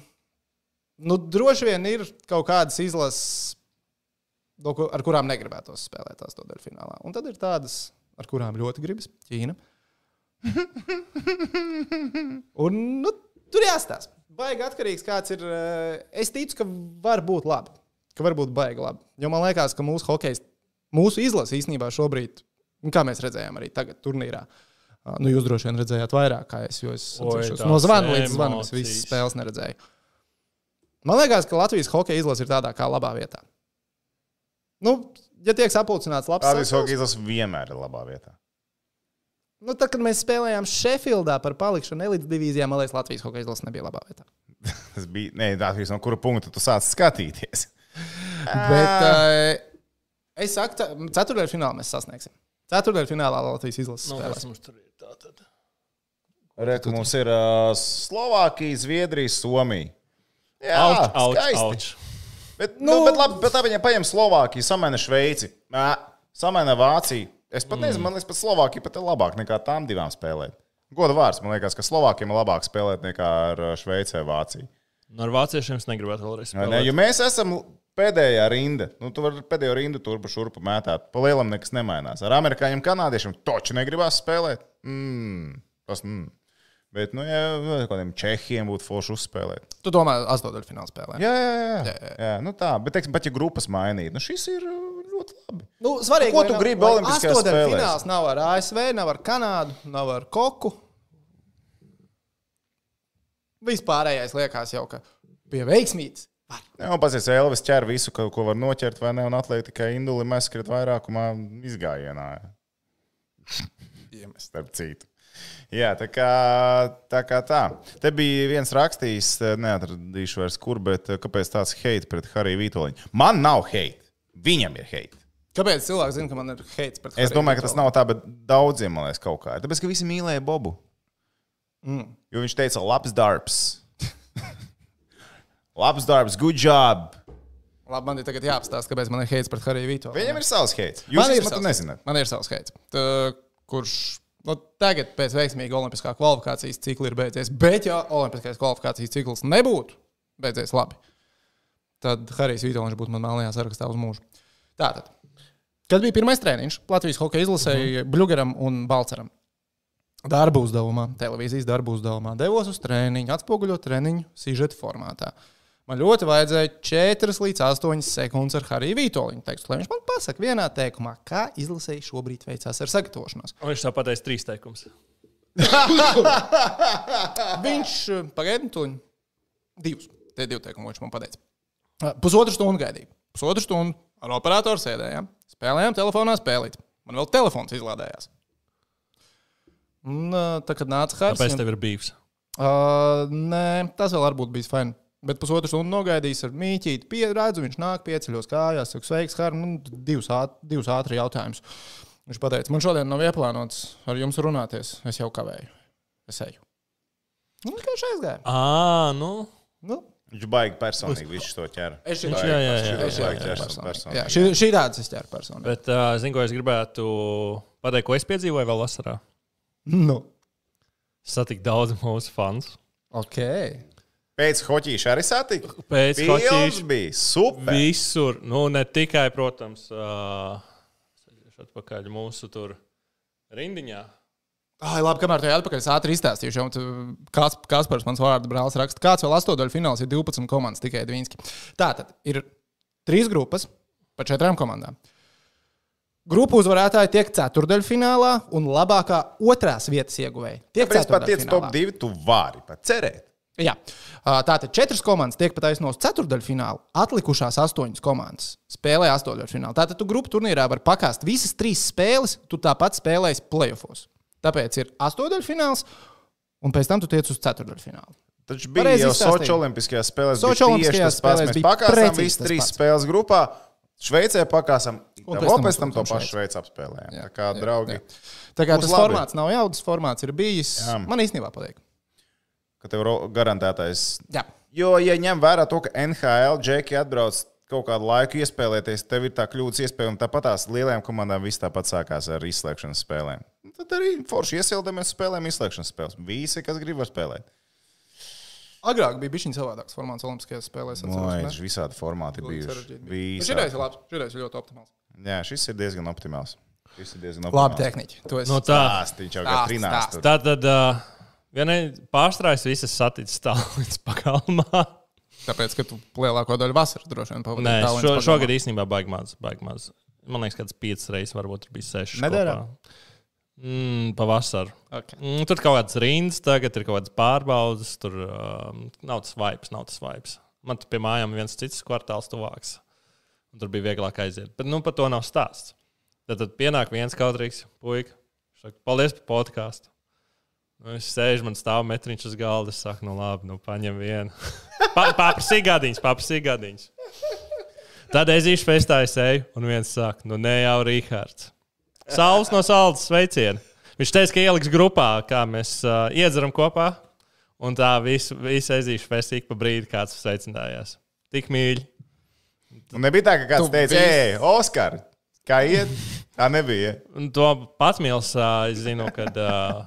Speaker 1: Nu, droši vien ir kaut kādas izlases, no ku- ar kurām negribētos spēlēt astotdaļu finālā. Un tad ir tādas, ar kurām ļoti gribas - Ķīna. Un nu, tur jāstāsta. Baigi atkarīgs, kāds ir. eh, Es ticu, ka var būt labi. Ka var būt baigi labi. Jo man liekas, ka mūsu hokeja, mūsu izlase īstenībā šobrīd, un kā mēs redzējām arī tagad, turnīrā, ah, nu, jūs droši vien redzējāt vairāk, kā es. Jo es
Speaker 2: Oi,
Speaker 1: atceršos
Speaker 2: tās
Speaker 1: no zvana līdz zvanam, es
Speaker 2: emocijas.
Speaker 1: visas spēles neredzēju. Man liekas, ka Latvijas hokeja izlase ir tādā kā labā vietā. Nu, ja tiek sapulcināts labs
Speaker 3: Latvijas
Speaker 1: saturs,
Speaker 3: hokeja izlase vienmēr ir labā vietā.
Speaker 1: nu, tad, kad mēs spēlējām Šefildā par palikšanu elites divīzijā, man liekas, Latvijas hokeja izlase nebija labā vietā.
Speaker 3: Tas bija. Nē, Latvijas no kura punkta tu sāc [LAUGHS] skatīties?
Speaker 1: Bet
Speaker 3: Ah.
Speaker 1: uh, es saku, tā- ceturtajā finālā mēs sasniegsim. Ceturtajā finālā Latvijas izlases
Speaker 2: Nu,
Speaker 1: spēlēs.
Speaker 2: kas mums tur ir? Tātad.
Speaker 3: Reku mums ir uh, Slovākija, Zviedrija, Somija. Jā,
Speaker 2: Auč, auč,
Speaker 3: skaisti.
Speaker 2: auč.
Speaker 3: Bet, nu, bet, labi, bet tā viņa paņem Slovākiju, samaina Šveici, ā, samaina Vāciju. Es pat nezinu, man liekas, pat Slovākija pat ir labāk nekā tām divām spēlēm. Goda vārds, man liekas, ka Slovākiem ir labāk spēlēt nekā ar uh, Šveicē, Vāciju.
Speaker 2: No Nu, ar vāciešiem es negribētu vēlreiz
Speaker 3: Vai Ne,
Speaker 2: spēlēt.
Speaker 3: jo mēs esam pēdējā rinda. Nu, tu vari pēdējo rindu turpu šurpu mētāt. Pa lielam nekas nemainās. Ar amerikāņiem, kanādiešiem toču negribās spēlēt. Mm, tas, mm. Bet, nu, ja vēl kādiem čehiem būtu forši uzspēlēt.
Speaker 1: Tu domā, astotdaļfināla spēlē.
Speaker 3: Jā, jā, jā. jā, jā. jā nu tā, bet, teiksim, pat ja grupas mainītu, nu šis ir uh, ļoti labi.
Speaker 1: Nu, svarīgi,
Speaker 3: Ko
Speaker 1: lai
Speaker 3: tu
Speaker 1: nav-
Speaker 3: gribi
Speaker 1: lai
Speaker 3: olimpiskajās spēlēs?
Speaker 1: Astotdaļfināls nav ar ASV, nav ar Kanādu, nav ar Koku. Vispārējais liekas jau, ka bija veiksmīgs.
Speaker 3: Jā, un pats Elvis ķer visu, ko, ko var noķert, vai ne? Un atliek tikai induli, mēs skriet vairākumā izgājienā. Iemest starp citu. Jā, tā kā tā. Kā tā. Te bija viens rakstījis, eh, neatradīšu vairs kur, bet eh, kāpēc tāds hate pret Hariju Vitoļņu? Man nav hate, viņam ir hate.
Speaker 1: Kāpēc cilvēki zina, ka man ir heits pret
Speaker 3: Es domāju, ka tas nav tā, bet daudziem man liekas kaut kā. Tāpēc, ka visi mīlēja Bobu. Mm. Jo viņš teica, labs darbs. [LAUGHS] labs darbs, good job.
Speaker 1: Labi, man ir tagad jāapstāsta, kāpēc man ir heits pret Hariju Vītu.
Speaker 3: Viņam ir savs hate.
Speaker 1: Man
Speaker 3: Jūs
Speaker 1: ir
Speaker 3: īstenībā
Speaker 1: savs.
Speaker 3: to nezināt.
Speaker 1: Man ir savs heits, tā, kurš nu, tagad pēc veiksmīga olimpiskā kvalifikācijas cikla ir beidzies. Bet, ja olimpiskais kvalifikācijas cikls nebūtu beidzies labi, tad Harijs Vitoņš būtu man melnajā sarakstā uz mūžu. Tātad, kad bija pirmais treniņš Latvijas hokeja izlasēji Blugaram un Balceram. Darba uzdevumā, televīzijas darba uzdevumā devos uz treniņu, atspoguļot treniņu sižeta formātā. Man ļoti vajadzēja 4 līdz 8 sekundes ar Hariju Vitoļu. Tekstu, lai viņš man pasakā vienā teikumā, kā izlasēji šobrīd veicās ar sagatavošanos.
Speaker 2: Un viņš tā pateica trīs teikumus.
Speaker 1: Viņš eh, pagaidīja to divus. Tie divi teikumi, ko viņš man pateica. Uh, Pusotru stundu gaidīju. Pusotru stundu ar operatoru sēdējām, spēlējām telefonā spēlīt. Man vēl telefons izlādējās. Un, uh, tā, kad nāca
Speaker 2: Tāpēc
Speaker 1: Hārstas,
Speaker 2: tev ir bijis.
Speaker 1: Uh, nē, tas vēl varbūt bijis fajn. Bet pusotru stundu nogaidījis ar mītīti. Pierādzu, viņš nāk, pieceļos kājās, saka, sveiks, Harm, un divus, āt, divus ātri jautājumus. Viņš pateica, man šodien nav ieplānots ar jums runāties. Es jau kavēju. Es eju. Nu, kā šeit gāja?
Speaker 2: Ā, nu.
Speaker 1: Nu,
Speaker 3: Viņš baigi personīgi visu to ķer.
Speaker 1: es
Speaker 2: Viņš,
Speaker 1: šeit
Speaker 2: jā, jā, jā,
Speaker 3: Viņš
Speaker 2: jā,
Speaker 3: baigi
Speaker 2: jā,
Speaker 3: ķer
Speaker 2: jā.
Speaker 3: personīgi.
Speaker 1: Jā, šī, šī tāda es ķēru personu.
Speaker 2: Bet uh, zinu, ko es gribētu pateikt, ko es piedzīvoju vēl vasarā.
Speaker 1: Nu,
Speaker 2: Es satiku daudz mūsu fans.
Speaker 1: ok.
Speaker 3: Pēc hoķīša arī satika.
Speaker 2: Pēc
Speaker 3: Pilns
Speaker 2: hoķīša
Speaker 3: bija super.
Speaker 2: visur, nu ne tikai, protams, uh, atpakaļ mūsu tur rindiņā.
Speaker 1: Ai, labi, kamēr tajā atpakaļ es ātri izstāstīšu, jau tu- Kas- Kaspars mans vārdu brālis raksta, kāds vēl astotdaļu fināls ir 12 komandas tikai Dvīnski. Tātad ir trīs grupas pa četrām komandām. Grupu uzvarētāji tiek ceturdaļfinālā un labākā otrās vietas ieguvēja. Tiek
Speaker 3: Tāpēc pat tiec top
Speaker 1: ceturdaļfinālā.
Speaker 3: 2, tu vari pat cerēt.
Speaker 1: Jā. Ā, Tātad četras komandas tiek pataisnotas ceturdaļfinālā, atlikušās astoņas komandas spēlē astoņdaļfinālā. Tātad tu grupu turnīrā vari pakāst visas trīs spēles, tu tāpat spēlēsi playoffs. Tāpēc ir astoņdaļfināls, un pēc tam tu tiec uz ceturdaļfinālu.
Speaker 3: Taču bija
Speaker 1: Pareizi
Speaker 3: jau
Speaker 1: izstāstīji.
Speaker 3: Sochi Olimpiskajās spēlēs.
Speaker 1: Soči
Speaker 3: Sochi
Speaker 1: olimpiskajās
Speaker 3: Olimpiskajās
Speaker 1: spēlēs
Speaker 3: spēlēs mēs
Speaker 1: bija
Speaker 3: pakāpām
Speaker 1: precīzi
Speaker 3: visas
Speaker 1: tas
Speaker 3: trīs
Speaker 1: pats.
Speaker 3: spēles grupā. Šveicē pakāpām,
Speaker 1: Un pēc
Speaker 3: un
Speaker 1: tam
Speaker 3: pēc tam to
Speaker 1: uzvarējām
Speaker 3: pašu Šveici apspēlējām. Tā kā, draugi,
Speaker 1: Tā kā
Speaker 3: Būs
Speaker 1: tas
Speaker 3: labi.
Speaker 1: formāts nav jaudas, formāts ir bijis. Jā.
Speaker 3: Jā.
Speaker 1: Man īstenībā patīk.
Speaker 3: ka tev ro- garantētais
Speaker 1: Jā.
Speaker 3: Jo, ja ņem vērā to, ka NHL džeki atbrauc kaut kādu laiku iespēlēties, tev ir tā kļūdas iespēja, un tāpat tās lielajām komandām viss tāpat sākās ar izslēgšanas spēlēm. Un Tad arī forši iesildamies spēlēm, izslēgšanas spēles. Visi, kas grib, var spēlēt.
Speaker 1: Agrāk bija bijis viņa savādāks formāts Olimpiskajās spēlēs.
Speaker 3: Noiž, visādi formāti bijuši.
Speaker 1: Šis ir
Speaker 3: Visādi.
Speaker 1: labs, šis ir ļoti optimāls.
Speaker 3: Jā, šis ir diezgan optimāls. Šis ir diezgan
Speaker 1: Labi,
Speaker 3: optimāls.
Speaker 1: tehniķi. Tu esi no,
Speaker 2: No Nu, tā,
Speaker 3: Stāst, viņš jau kā
Speaker 1: Stāst,
Speaker 3: trinās.
Speaker 1: stāst.
Speaker 3: tur.
Speaker 2: tā tad uh, vienai pārstrājas visas saticis tālu līdz pakalmā.
Speaker 1: tāpēc, ka tu lielāko daļu vasaras droši vien
Speaker 2: Nē,
Speaker 1: pavadīji.
Speaker 2: šo,
Speaker 1: Tallinas
Speaker 2: šogad īstenībā baigi maz, baigi maz. Man liekas, kāds piecas reizes, varbūt tur bija seši.
Speaker 1: Nedēļā?
Speaker 2: kopā. Mm, pavasarī.
Speaker 1: pagalmā. Ok.
Speaker 2: Mm, tur kaut kādas rindas, tagad ir kaut kādas pārbaudas, tur um, nav tas vibes, nav tas vibes. Man tur pie mājām ir viens cits kvartāls tuvāks. Un tur bija vieglāk aiziet. Bet nu, par to nav stāsts. Tad, tad pienāk viens kautrīgs puika. Viņš saka, paldies par podkāstu. Nu, es sēžu, man stāv metriņš uz galda. Es saku, nu labi, nu paņem vienu. [LAUGHS] pa, paprasīja gadiņas, paprasīja gadiņas. Tad es īšu festā aizēju, un viens saka, nu ne jau Rīgārds. Saules no saldas sveicienu. Viņš teica, ka ieliks grupā, kā mēs uh, iedzeram kopā. Un tā visu, visu aizīšu festīku pa brīdi, kāds sveicinājās. Tik mīļi.
Speaker 3: Un Nu, nebija tā, ka kāds
Speaker 1: Tu
Speaker 3: teica,
Speaker 1: viss-
Speaker 3: ej, Oskar, kā iet? Tā nebija.
Speaker 2: Un to pats mīls, uh, es zinu, kad uh,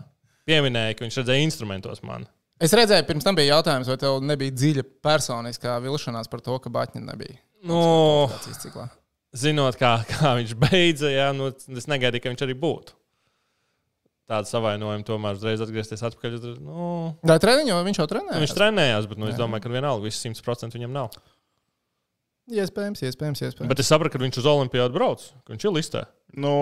Speaker 2: pieminēja, ka viņš redzēja instrumentos man.
Speaker 1: Es redzēju, pirms tam bija jautājums, vai tev nebija dziļa personiskā vilšanās par to, ka Batņa nebija
Speaker 2: Nu,
Speaker 1: tāds izciklā.
Speaker 2: zinot, kā, kā viņš beidza, jā, nu, es negaidīju, ka viņš arī būtu. Tāda savainojuma tomēr uzreiz atgriezties atpakaļ. uzreiz, Nu,
Speaker 1: Vai treniņo, viņš jau
Speaker 2: nu,
Speaker 1: trenē?
Speaker 2: viņš trenējās, bet nu, es domāju, ka vienalga viss 100% viņam nav.
Speaker 1: Iespējams, iespējams, iespējams.
Speaker 2: Bet es sapratu, ka viņš uz Olimpijādu brauc, ka viņš ir listē.
Speaker 3: Nu,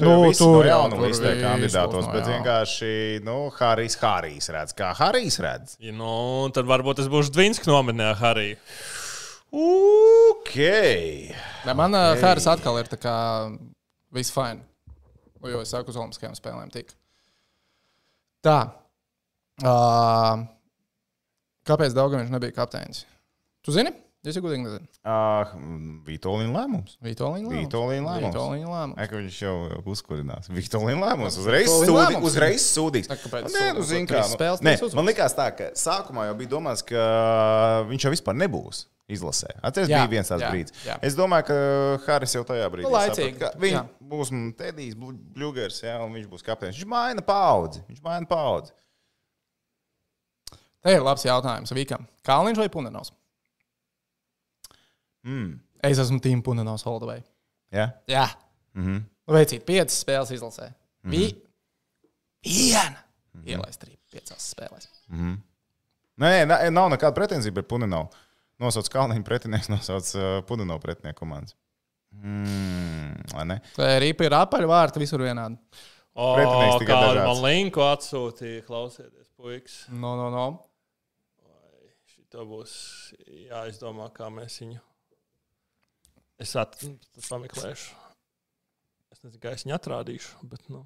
Speaker 3: tur
Speaker 1: Nu,
Speaker 3: nu, visi
Speaker 1: tur
Speaker 3: tur
Speaker 1: jā,
Speaker 3: jau nav
Speaker 1: tur
Speaker 3: listē
Speaker 1: viss
Speaker 3: kandidātos,
Speaker 1: būs no
Speaker 3: bet
Speaker 1: jā.
Speaker 3: vienkārši, nu, Harijs, Harijs redz, kā Harijs redz.
Speaker 2: Ja, nu, tad varbūt es būšu Dvīnska nominējā arī.
Speaker 3: Ok.
Speaker 1: Bet manā hērā atkal ir tā kā viss fine. Nu, Jo es sāku uz Olimpiskajām spēlēm. Tik. Tā. Uh, kāpēc Dāngam viņš nebija kapteinis? Tu zini? Es jau gudīgi nezinu.
Speaker 3: Uh, Vitolīna lēmums.
Speaker 1: Vitoļiņa lēmums.
Speaker 3: Vitolīna lēmums.
Speaker 1: Vitoļiņa lēmums.
Speaker 3: Ai, ka viņš jau uzkurinās. Vitolīna lēmums. Uzreiz
Speaker 1: Vitolīna
Speaker 3: sūdīgs.
Speaker 1: lēmums.
Speaker 3: Uzreiz sūdīgs.
Speaker 1: Nē, kāpēc
Speaker 3: Nē, nu,
Speaker 1: sūdīgs?
Speaker 3: zini,
Speaker 1: Tur
Speaker 3: kā.
Speaker 1: trīs spēles,
Speaker 3: nu, Nē,
Speaker 1: trīs uzvaras.
Speaker 3: man likās tā, ka sākumā jau bija domāts, ka viņš jau vispār nebūs. Izlasē. Atcerieties,
Speaker 1: Jā,
Speaker 3: bija viens tāds
Speaker 1: jā,
Speaker 3: brīdis.
Speaker 1: jā.
Speaker 3: Es domāju, ka Haris jau tajā brīdī
Speaker 1: Nu, laicīgi,
Speaker 3: saprata, ka
Speaker 1: jā.
Speaker 3: viņš būs mm, Tedijs, Blu- Bļūgers, jā, un viņš būs kapteinis. Viņš maina paudzi. Viņš maina paudzi.
Speaker 1: Te ir labs jautājums Vikam. Kalniņš vai Punenovs?
Speaker 3: Mm.
Speaker 1: Es esmu Tim Punenovs Holdovai.
Speaker 3: Jā,
Speaker 1: Jā.
Speaker 3: Mhm.
Speaker 1: Veicīt piecas spēles izlasē. Bija viena. Ielaist arī piecās spēlēs.
Speaker 3: Nu, nē, nē, nā- nav nekāda pretenzija, bet Punino. Nosauc Kalniņa pretinieks, [LAUGHS] nosauc uh, Punino pretinieku komandas. Mm, vai ne?
Speaker 1: Tā arī ir apaļvārta visur vienādi.
Speaker 2: O,
Speaker 3: Pretinieks tikai
Speaker 2: kādu
Speaker 3: dažāds.
Speaker 2: man linku atsūtīja, klausieties, puikas.
Speaker 1: No, no, no.
Speaker 2: Šito būs jāizdomā, kā mēs viņu. Es atkal pameklēšu. Es nezinu, kā es viņu atrādīšu, bet nu.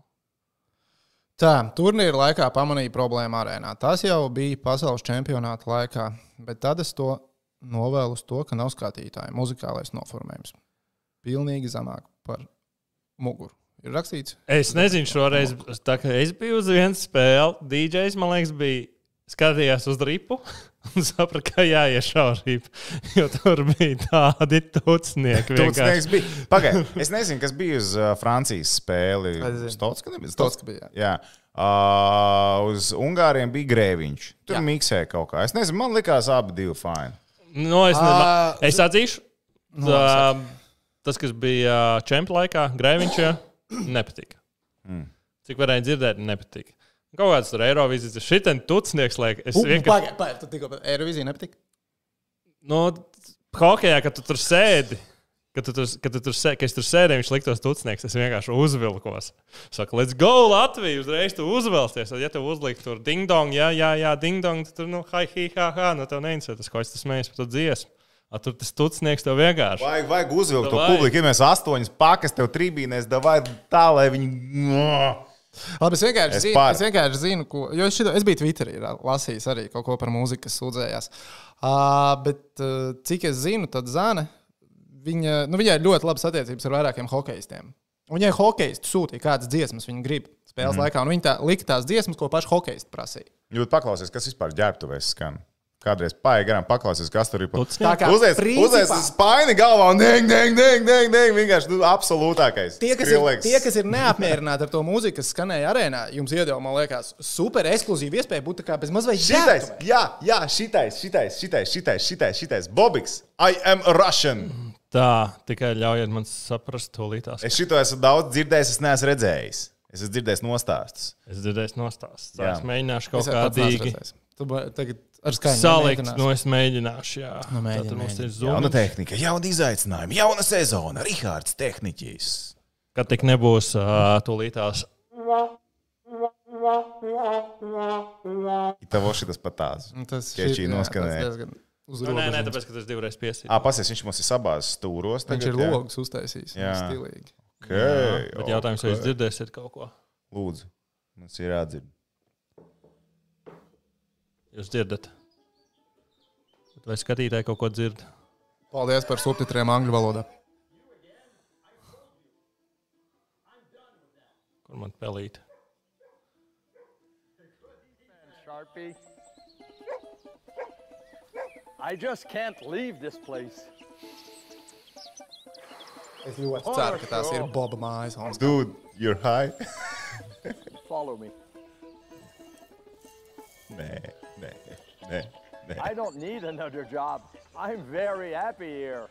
Speaker 1: Tā, turnīra laikā pamanīju problēmu arēnā. Tas jau bija pasaules čempionāta laikā, bet tad es to novēlu uz to, ka nav skatītāju. Muzikālais noformējums. Pilnīgi zemāk par muguru. Ir rakstīts,
Speaker 2: Es nezinu, šoreiz tā kā es biju uz vienas spēles. DJs man liekas, bija skatījās uz ripu [LAUGHS] un saprata, ka jāiet šaurība. Jo tur bija tādi tucnieki.
Speaker 3: Tūtsnieks
Speaker 2: vienkārši.
Speaker 3: bija. Pagaid, es nezinu, kas bija uz uh, Francijas spēli.
Speaker 1: Es zinu.
Speaker 3: Stots, ka nebija.
Speaker 1: Stots, ka bija,
Speaker 3: Jā. Uh, uz Ungāriem bija grēviņš. Tur
Speaker 1: Jā.
Speaker 3: miksēja kaut kā. Es nezinu, man likās abi divi fini.
Speaker 2: Nu, es,
Speaker 1: Ā,
Speaker 2: uh, es atzīšu, tā, tas, kas bija čempionā laikā, Grēviņšā, nepatika. Cik varēja dzirdēt, nepatika. Kaut kāds tur Eirovizijas šitien tucnieks, liekas, es vienkārši.
Speaker 1: Pagaidiet, pagaidiet, tikko pat Eirovizija nepatika.
Speaker 2: nu, hokeja, kad tu tur sēdi. Kad tu tur, kad tu tur, sē, kad es tur sēdēju, viņš liktos tucnieks. Es vienkārši uzvilkos. Saka, let's go, Latvija! Uzreiz tu uzvelsies. Tad, ja tev uzliek tur ding-dong, jā, jā, jā ding-dong, tad tur, nu, hai, hi, ha, ha, no tev neinteresē tas, ko es tas mēģinu par to dziesmu. A, tur tas tucnieks tev vienkārši.
Speaker 3: Vajag, vajag uzvilkt to
Speaker 2: Davai.
Speaker 3: publiku. Ja mēs astoņas pakas tev trībīnēs, davai tā, lai viņi.
Speaker 1: Labi, es vienkārši,
Speaker 3: Es
Speaker 1: es, zinu,
Speaker 3: pār-
Speaker 1: es vienkārši zinu, ko. Jo es, šito, es biju Twitterī ra- lasījis arī kaut ko par mūziku, kas sūdzējās. Uh, bet, uh, cik es zinu, tad Zana, viņa, nu, viņai ir ļoti labas attiecības ar vairākiem hokeistiem. Un Viņai hokeisti sūtīja, kādas dziesmas viņa grib spēles
Speaker 3: Mhm.
Speaker 1: mm. laikā, un viņa tā, lika tās dziesmas, ko paši hokeisti prasīja.
Speaker 3: Jūs paklausieties, kas vispār ģērbtuvēs skan. Kādreiz paiet garām, paklausies, kas tur ir pa
Speaker 2: Tucnieks? Tā
Speaker 1: kā
Speaker 3: Uzliec,
Speaker 1: principā-
Speaker 3: uzliec spaini galvā, un nē, nē, nē, nē, nē, vienkārši nu, absolūtākais.
Speaker 1: Tie kas, ir, tie, kas ir neapmierināti ar to mūziku, kas skanēja arēnā, jums iedeva, man liekas, super ekskluzīva iespēja būt tādā bez mazliet
Speaker 3: Šitais,
Speaker 1: žēlastības.
Speaker 3: jā, jā, šitais, šitais, šitais, šitais, šitais, šitais. Bobiks, I am a Russian.
Speaker 2: Tā, tikai ļaujiet man saprast, to līdzās.
Speaker 3: Es šito esmu daudz dzirdējis, es neesmu redzējis. Es esmu dzirdējis nostāstus.
Speaker 2: Es dzirdēju, nostāsts. Tā,
Speaker 3: Jā.
Speaker 2: Es mēģināšu kaut kādīgi
Speaker 1: Tu ba- tagad ar skaņu
Speaker 2: salikt.
Speaker 1: nemēģināsi.
Speaker 2: Nu, es mēģināšu, jā.
Speaker 1: Nu, mēģini,
Speaker 2: Tātad mums
Speaker 1: mēģini.
Speaker 2: ir
Speaker 3: Jauna
Speaker 2: zūna.
Speaker 3: tehnika, jauna izaicinājuma, jauna sezona. Rihards, tehniķis.
Speaker 2: Kad tik nebūs uh, tūlītās
Speaker 3: Tev šis pat tāds.
Speaker 1: Tas
Speaker 3: Sketčī
Speaker 1: šī- jā,
Speaker 3: noskanēja.
Speaker 1: tas diezgan uz
Speaker 2: Nu, nē, nē,
Speaker 1: robežas.
Speaker 2: tāpēc, ka tas divreiz piesprādzis.
Speaker 3: Ah, pasies, viņš mums ir sabāzis stūros.
Speaker 1: Viņš
Speaker 3: Tagad,
Speaker 1: ir
Speaker 3: jā?
Speaker 1: logs uztaisījis.
Speaker 3: Jā.
Speaker 1: Stilīgi.
Speaker 3: Okay,
Speaker 2: Bet jautājums, vai jūs dzirdēsiet kaut ko?
Speaker 3: Lūdzu, mums ir jādzird.
Speaker 2: Jūs dzirdat. Bet Vai skatītāji kaut ko dzird?
Speaker 1: Paldies par subtitriem angļu valodā.
Speaker 2: Kur man pelīt?
Speaker 4: Sharpie. I just can't leave this place.
Speaker 1: Es ļoti ceru, ka tās ir Boba mājas. Holmes.
Speaker 3: Dude, you're high.
Speaker 4: Follow me.
Speaker 3: [LAUGHS] Nē, nē, nē. nē.
Speaker 4: I don't need another job. I'm very happy here.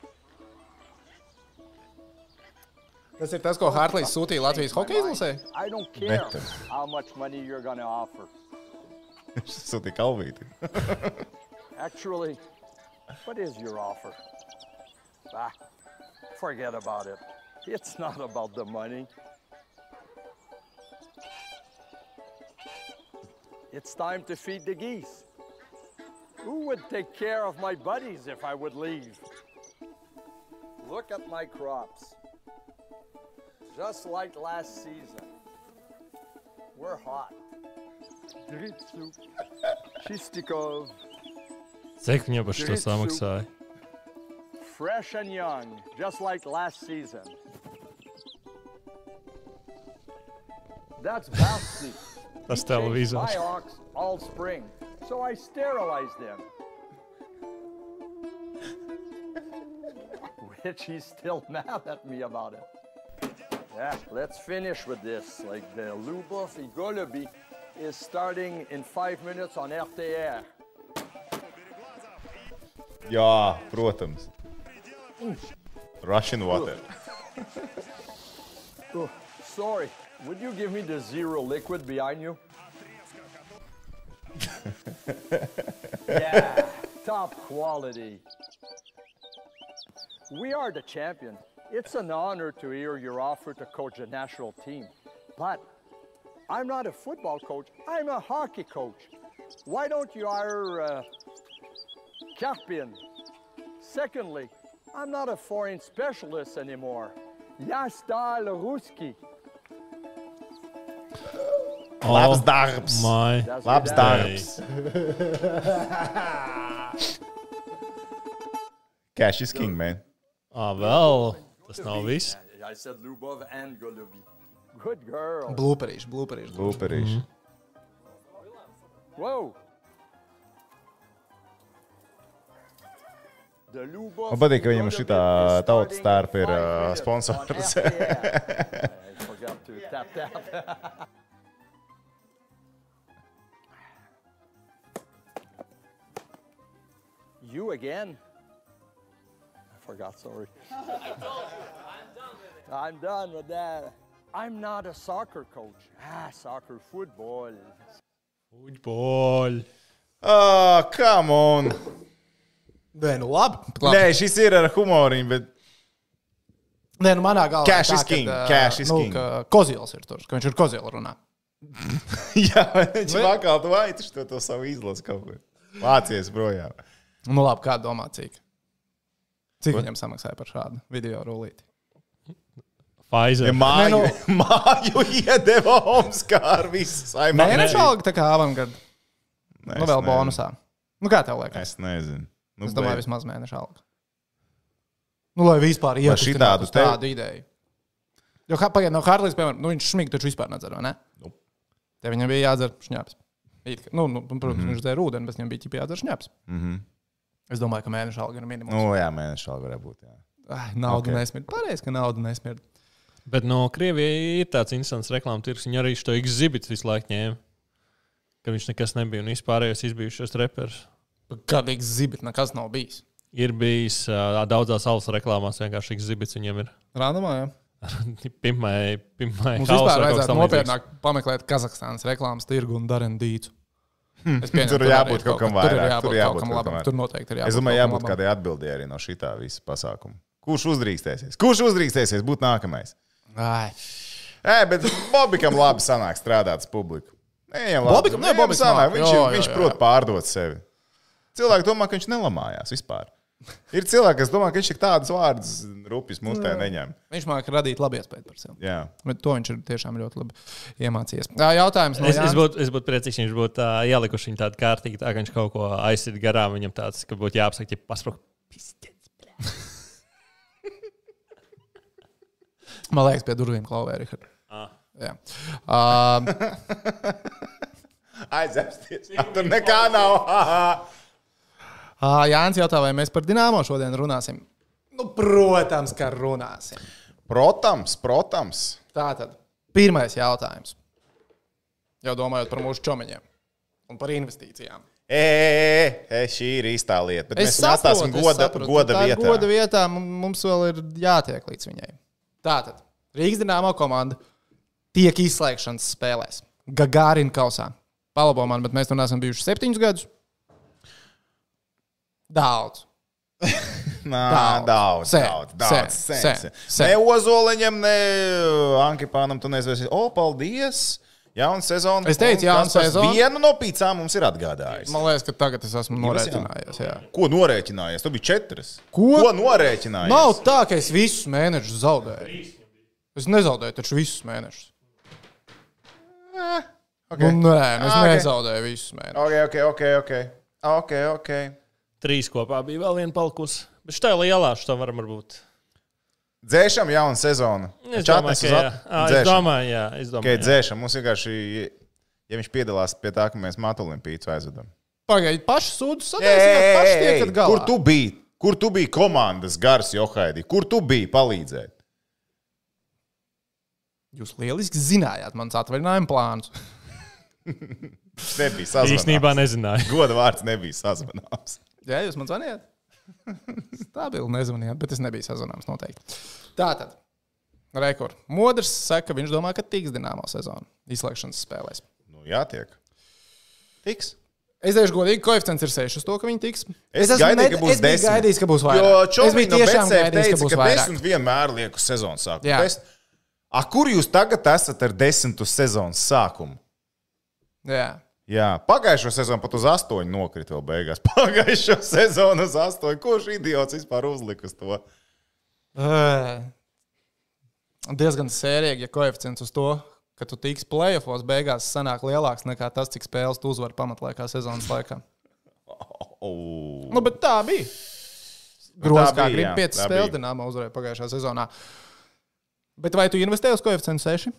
Speaker 1: Tas ir tas, ko Hartlīs sūtīja Latvijas hokeja izlasē.
Speaker 4: I don't care
Speaker 3: Better.
Speaker 4: how much money you're going to offer.
Speaker 3: Viņš sūtīja kalvīti.
Speaker 4: Actually, what is your offer? Ah, forget about it. It's not about the money. It's time to feed the geese. Who would take care of my buddies if I would leave? Look at my crops. Just like last season. We're hot. Dritsu, Chistikov,
Speaker 2: Cik viņam par šo
Speaker 4: Drīz
Speaker 2: samaksāja?
Speaker 4: fresh and young, just like last season. That's Basti.
Speaker 2: Tas
Speaker 4: Changed My
Speaker 2: televizors.
Speaker 4: ox all spring, so I sterilized them. Which he's still mad at me about it. Yeah, let's finish with this. Like the Lubov and Golubi is starting in five minutes on RTR.
Speaker 3: Jā, protams. Russian water.
Speaker 4: Oh, sorry, would you give me the zero liquid behind you? yeah, top quality. We are the champion. It's an honor to hear your offer to coach a national team. But I'm not a football coach, I'm a hockey coach. Why don't you hire uh, Karpin? Secondly, I'm not a foreign specialist anymore. Я стал русский.
Speaker 3: Labs darbs.
Speaker 2: Mai.
Speaker 4: That's what
Speaker 3: Labs
Speaker 4: that
Speaker 3: darbs. Cash is king, man.
Speaker 2: Ā, vēl. Tas nav viss.
Speaker 4: Yeah, I said Lubov and Golubi. Good girl.
Speaker 1: Blūperīši, blūperīši.
Speaker 3: Lūperīši.
Speaker 4: Whoa. The Lubov
Speaker 3: Man patīk, ka
Speaker 4: and
Speaker 3: viņam
Speaker 4: Golubi
Speaker 3: šitā
Speaker 4: is
Speaker 3: tautas
Speaker 4: starting
Speaker 3: tērpa ir,
Speaker 4: five
Speaker 3: uh,
Speaker 4: minutes
Speaker 3: sponsors.
Speaker 4: on RTL. I forgot to tap tap. [LAUGHS] You again? I forgot, sorry. I'm done with that. I'm not a soccer coach. Ah, soccer, football.
Speaker 2: Uģboļ.
Speaker 3: Ah, come on!
Speaker 1: Nē, nu labi. Pat labi.
Speaker 3: Nē, šis ir ar humoriņu, bet [LAUGHS]
Speaker 1: Nē, nu manā galvā.
Speaker 3: Cash
Speaker 1: ir
Speaker 3: is
Speaker 1: kad,
Speaker 3: king,
Speaker 1: ā,
Speaker 3: cash is
Speaker 1: nu,
Speaker 3: king.
Speaker 1: ka Kozils ir tur, ka viņš ir Kozils runā.
Speaker 3: jā, viņš
Speaker 1: Bet-
Speaker 3: vakar tu aici to, to savu izlasu kaut kur. Vācies projām.
Speaker 1: Nu labi, kā domā, cik? Cik viņam samaksāja par šādu video rulīti?
Speaker 2: Pfizer. nu,
Speaker 3: Ja māju,
Speaker 1: nu-
Speaker 3: [LAUGHS] māju iedeva Omskā ar visu saimē.
Speaker 1: Mēneša alga tā kā avangard, nu vēl bonusā. Nu kā tev liekas?
Speaker 3: Es nezinu. Nu,
Speaker 1: Es domāju,
Speaker 3: bet-
Speaker 1: vismaz mēneša alga. Nu, lai vispār ietu tādu,
Speaker 3: šitādu te-
Speaker 1: tādu ideju. Jo, kā pagaidām, no Harlīs, piemēram, nu, viņš šmīgi taču vispār nedzer, vai ne?
Speaker 3: Nu.
Speaker 1: Te viņam bija jādzer šņāps. It kā- Nu, nu, protams, mm -hmm. viņš dzēra ūdeni, bet viņam bija ķip jādzer šņāps. Mm -hmm. Es domāju, ka mēneša alga ir minimums.
Speaker 3: Nu, jā, mēneša alga varētu būt. Jā.
Speaker 1: Ai, nauda
Speaker 3: Ok.
Speaker 1: okay. nesmird. Pareizi, ka nauda nesmird.
Speaker 2: Bet no Krievijas ir tāds instants reklāmas tirgus. Viņi arī šo exhibit visu laiku ņēma. Ka viņš nekas nebija un vispārējais izbijušais reperis.
Speaker 1: Kādīgi zibit, nekas nav bijis.
Speaker 2: Ir bijis uh, daudzās alus reklāmās, vienkārši exhibits viņam ir.
Speaker 1: Randumā, jā.
Speaker 2: Pirmā
Speaker 1: Mums vispār
Speaker 2: gada
Speaker 1: vajadzētu nopietnāk pameklēt Kazahstānas reklāmas tirgu un Darendītu. Es pieņemu,
Speaker 3: Hm. tur
Speaker 1: arī
Speaker 3: jābūt
Speaker 1: ir
Speaker 3: kaut kam
Speaker 1: kas-
Speaker 3: vairāk,
Speaker 1: Tur ir jābūt kaut kam labam.
Speaker 3: vairāk.
Speaker 1: Tur noteikti ir jābūt.
Speaker 3: Es domāju,
Speaker 1: kaut kam
Speaker 3: jābūt
Speaker 1: labam.
Speaker 3: kādai atbildēji arī no šitā visa pasākuma. Kurš uzdrīkstēsies? Kurš uzdrīkstēsies būt nākamais?
Speaker 1: Ai.
Speaker 3: Ē, bet Bobikam labi sanāk strādāt ar publiku. Nē, viņam labi
Speaker 1: Bobikam? Nē,
Speaker 3: viņam
Speaker 1: Bobiks
Speaker 3: sanāk.
Speaker 1: nāk.
Speaker 3: Viņš,
Speaker 1: Jā, jā,
Speaker 3: viņš
Speaker 1: jā,
Speaker 3: prot
Speaker 1: jā.
Speaker 3: pārdot sevi. Cilvēki domā, ka viņš nelamājās vispār. Ir cilvēki, kas domā, ka viņš ir tāds vārds, rupjas mutē neņem.
Speaker 1: Viņš māca radīt labu iespēju par sevi.
Speaker 3: Jā,
Speaker 1: Bet to viņš ir tiešām ļoti labi iemācījies. Jā, jautājums no
Speaker 2: Es, es
Speaker 1: Jānis.
Speaker 2: būtu es būtu priecīgs, ja viņš būtu tā, ielikuši viņu tādu kārtīgu, tā, ka viņš kaut ko aizsit garām. Viņam tāds, ka būtu jāapsaka, ja pasprūk.
Speaker 1: Man liekas, pie durvīm klauvē arī.
Speaker 2: Ah.
Speaker 1: Jā. Um,
Speaker 3: aizēsties. Tur nekā nav. [LAUGHS] Ha, ha.
Speaker 1: ā, Jānis jautā, vai mēs par dināmo šodien runāsim? Nu, protams, ka runāsim.
Speaker 3: Protams, protams.
Speaker 1: Tātad, pirmais jautājums. Jau domājot par mūsu čomiņiem. un par investīcijām.
Speaker 3: Ē, ē, ē, šī ir īstā lieta. Bet
Speaker 1: Es
Speaker 3: mēs atstāsim
Speaker 1: saprotu, es
Speaker 3: goda,
Speaker 1: saprotu,
Speaker 3: goda
Speaker 1: tā ir
Speaker 3: vietā.
Speaker 1: Goda vietā mu- mums vēl ir jātiek līdz viņai. Tātad Rīgas dīnāmā komanda tiek izslēgšanas spēlēs. Gagārina kausā. Palabo man, bet mēs tur neesam bijuši septiņus gadus. Daudz.
Speaker 3: Nā, daudz,
Speaker 1: Sen,
Speaker 3: daudz,
Speaker 1: sen,
Speaker 3: daudz. sen,
Speaker 1: sen,
Speaker 3: sen.
Speaker 1: sen.
Speaker 3: Ne Ozoliņam, ne Ankipānam, tu nezvesi. O, paldies! Jauna sezona.
Speaker 1: Es teicu,
Speaker 3: Un
Speaker 1: jauna
Speaker 3: Kaspars
Speaker 1: sezona.
Speaker 3: Vienu no pīcām mums ir atgādājis.
Speaker 1: Man liekas, ka tagad es esmu
Speaker 3: Divas, jā.
Speaker 1: norēķinājies. Jā.
Speaker 3: Ko norēķinājies? Tu biji četras.
Speaker 1: Ko?
Speaker 3: Ko norēķinājies?
Speaker 1: Nav tā, ka es visus mēnešus zaudēju. Es nezaudēju taču visus mēnešus. Okay. Nu, nē, nu, es okay.
Speaker 3: Eh, Ah, okay.
Speaker 1: nezaudēju visus mēnešus.
Speaker 3: Ok, ok, ok. ok. Ok, ok.
Speaker 2: Trīs kopā bija vēl viena palikusi. Bet šitā lielā šitā varam varbūt.
Speaker 3: Dzēšam jaunu sezonu.
Speaker 2: Es domāju,
Speaker 3: Čatnes
Speaker 2: ka
Speaker 3: uz
Speaker 2: jā.
Speaker 3: at-
Speaker 2: Ā,
Speaker 3: dzēšam.
Speaker 2: Es domāju, jā. Es
Speaker 3: Tikai
Speaker 2: domāju, jā.
Speaker 3: dzēšam. Mums vienkārši, ja viņš piedalās pie tā, ka mēs matulim pīcu aizvedam.
Speaker 1: Pagaidiet, paši sūdu
Speaker 3: Ei,
Speaker 1: sadalīsimies, paši
Speaker 3: ei, ei,
Speaker 1: tiekat galā.
Speaker 3: Kur tu biji? Kur tu biji komandas gars, Johaidī? Kur tu biji palīdzēt?
Speaker 1: Jūs lieliski zinājāt mans atvaļinājuma plānus.
Speaker 3: Tas Nebija sazvanāms.
Speaker 2: Īstenībā nezināju.
Speaker 3: Goda vārds nebija sazvanāms.
Speaker 1: Jā, jūs man zvanījāt? [LAUGHS] Stabili nezvanījāt, bet es nebiju sazināms noteikti. Tātad, rekord. Modrs saka, ka viņš domā, ka tiks dināmo sezonu izslēgšanas spēlēs.
Speaker 3: Nu, jātiek. Tiks.
Speaker 1: Es teikšu, godīgi, koeficients ir 6 uz to, ka viņi tiks.
Speaker 3: Es gaidīju, ka būs
Speaker 1: es biju
Speaker 3: 10.
Speaker 1: gaidījis, ka būs
Speaker 3: Jo
Speaker 1: vairāk. es biju
Speaker 3: Čovīns no
Speaker 1: tiešām
Speaker 3: BCF
Speaker 1: gaidījis, ka
Speaker 3: teica,
Speaker 1: būs
Speaker 3: ka
Speaker 1: vairāk.
Speaker 3: desmit vienmēr liek uz sezonas sākumu.
Speaker 1: Jā.
Speaker 3: Desmit. A, kur jūs tagad esat ar desmitu sezonas sākumu?
Speaker 1: Jā.
Speaker 3: Jā, pagājušo sezonu pat uz astoņu nokrita vēl beigās. [LAUGHS] Pagājušo sezonu uz astoņu. Kurš idiots vispār uzlika uz to?
Speaker 1: Ē, Diezgan sērīgi, ja koeficients uz to, ka tu tiks playoffs beigās, sanāk lielāks nekā tas, cik spēles tu uzvari pamatlaikā sezonas laikā.
Speaker 3: Oh.
Speaker 1: Nu, bet tā bija. Grozs,
Speaker 3: Nu, tā
Speaker 1: kā
Speaker 3: bija,
Speaker 1: gribi
Speaker 3: jā,
Speaker 1: 5
Speaker 3: tā
Speaker 1: spēles
Speaker 3: bija.
Speaker 1: dināmā uzvarēja pagājušā sezonā. Bet vai tu investēji uz koeficientu 6?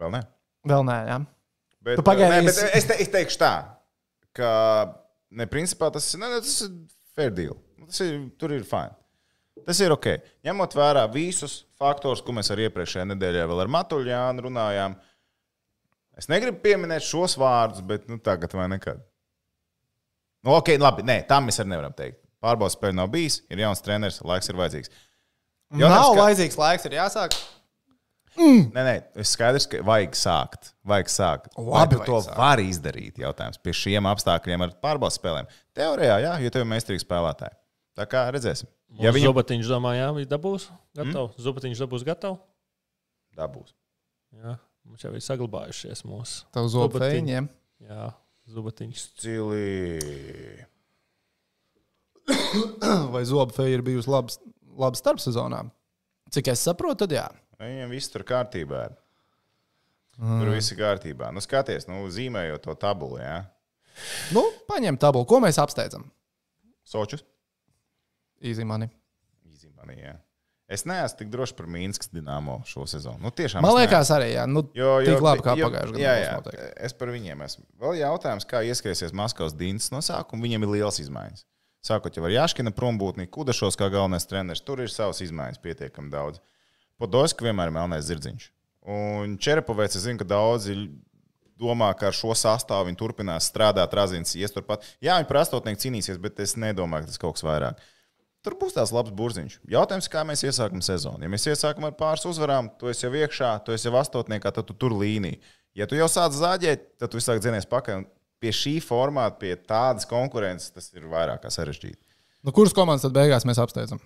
Speaker 3: Vēl ne.
Speaker 1: Vēl nē, jā.
Speaker 3: Bet,
Speaker 1: Tu pagaidi,
Speaker 3: nē, bet eh,
Speaker 1: es-
Speaker 3: es, te, es teikšu tā, ka ne, principā tas, ne, ne, tas ir fair deal. Tas ir, tur ir fine. Tas ir ok. Ņemot vērā visus faktorus, ko mēs arī iepriekšējā nedēļā vēl ar Matuļānu runājām. Es negribu pieminēt šos vārdus, bet nu, tagad vai nekad. Nu, ok, labi, nē, tam mēs arī nevaram teikt. Pārbaudas spēle nav bijis, ir jauns treneris, laiks ir vajadzīgs.
Speaker 1: Jau
Speaker 3: Jautājums,
Speaker 1: nav
Speaker 3: ka-
Speaker 1: vajadzīgs laiks, ir jāsāk.
Speaker 3: Nē, nē, es skaidrs, ka vajag sākt. Vajag sākt.
Speaker 1: Labi,
Speaker 3: Vai
Speaker 1: vajag
Speaker 3: tu to
Speaker 1: sākt.
Speaker 3: sākt. var izdarīt. Jautājums pie šiem apstākļiem ar pārbaudas spēlēm. Teorijā, jā, jo tev ir meistarīgi spēlētāji. Tā kā redzēsim.
Speaker 2: Ja
Speaker 3: Ja viņi
Speaker 2: Zobatiņš domā, jā, viņš dabūs
Speaker 1: Hmm?
Speaker 2: gatavu. Mm? Zobatiņš dabūs gatavu.
Speaker 3: dabūs.
Speaker 2: Jā, mums jau ir saglabājušies mūsu.
Speaker 1: Tev zobfēņiem.
Speaker 2: Jā, Zobatiņš.
Speaker 3: Cili.
Speaker 1: Vai zobfēji ir bijusi labs, labs starp sezonā? Cik es saprotu, tad jā.
Speaker 3: Viņiem viss tur kārtībā ir. Tur viss ir kārtībā. Nu, skaties, nu, zīmējot to tabulu, jā.
Speaker 1: Nu, paņem tabulu. Ko mēs apsteidzam?
Speaker 3: Sočus.
Speaker 1: Īzīmani.
Speaker 3: Izmanī, jā. Es neesmu tik drošs par Mīnskas dīnāmo šo sezonu. Nu, tiešām,
Speaker 1: Man
Speaker 3: es neesmu.
Speaker 1: liekas, arī jā. Nu,
Speaker 3: Jo, jo,
Speaker 1: tik labi kā
Speaker 3: jo-
Speaker 1: pagājušajā gadā.
Speaker 3: Jā,
Speaker 1: būs
Speaker 3: jā,
Speaker 1: noteikti.
Speaker 3: es par viņiem esmu. Vēl jautājums, kā ieskriesies Maskavas dienas no sākuma. Viņam ir liels izmaiņas. Sākot jau ar Jāškina prombūtni, Kudašos kā galvenais treneris, tur ir savas izmaiņas pietiekami daudz. Podolskas vienmēr ir melnais zirdziņš. Un Čerepovēts, es zinu, ka daudzi domā, ka ar šo sastāvu viņi turpinās strādāt, razins ies turpat. Jā, viņi par astotnieku cīnīsies, bet es nedomāju, ka tas kaut kas vairāk. Tur būs tāds labs burziņš. Jautājums, kā mēs iesākam sezonu. Ja mēs iesākam ar pāris uzvarām, tu esi jau iekšā, tu esi jau astotniekā, tad tu tur līnija. Ja tu jau sāc zāģēt, tad tu vispār dzinies pakaļ. Un Pie šī formāta, pie tādas konkurences, tas ir vairāk kā sarežģīti.
Speaker 1: Nu, kuras komandas tad beigās mēs apsteidzam?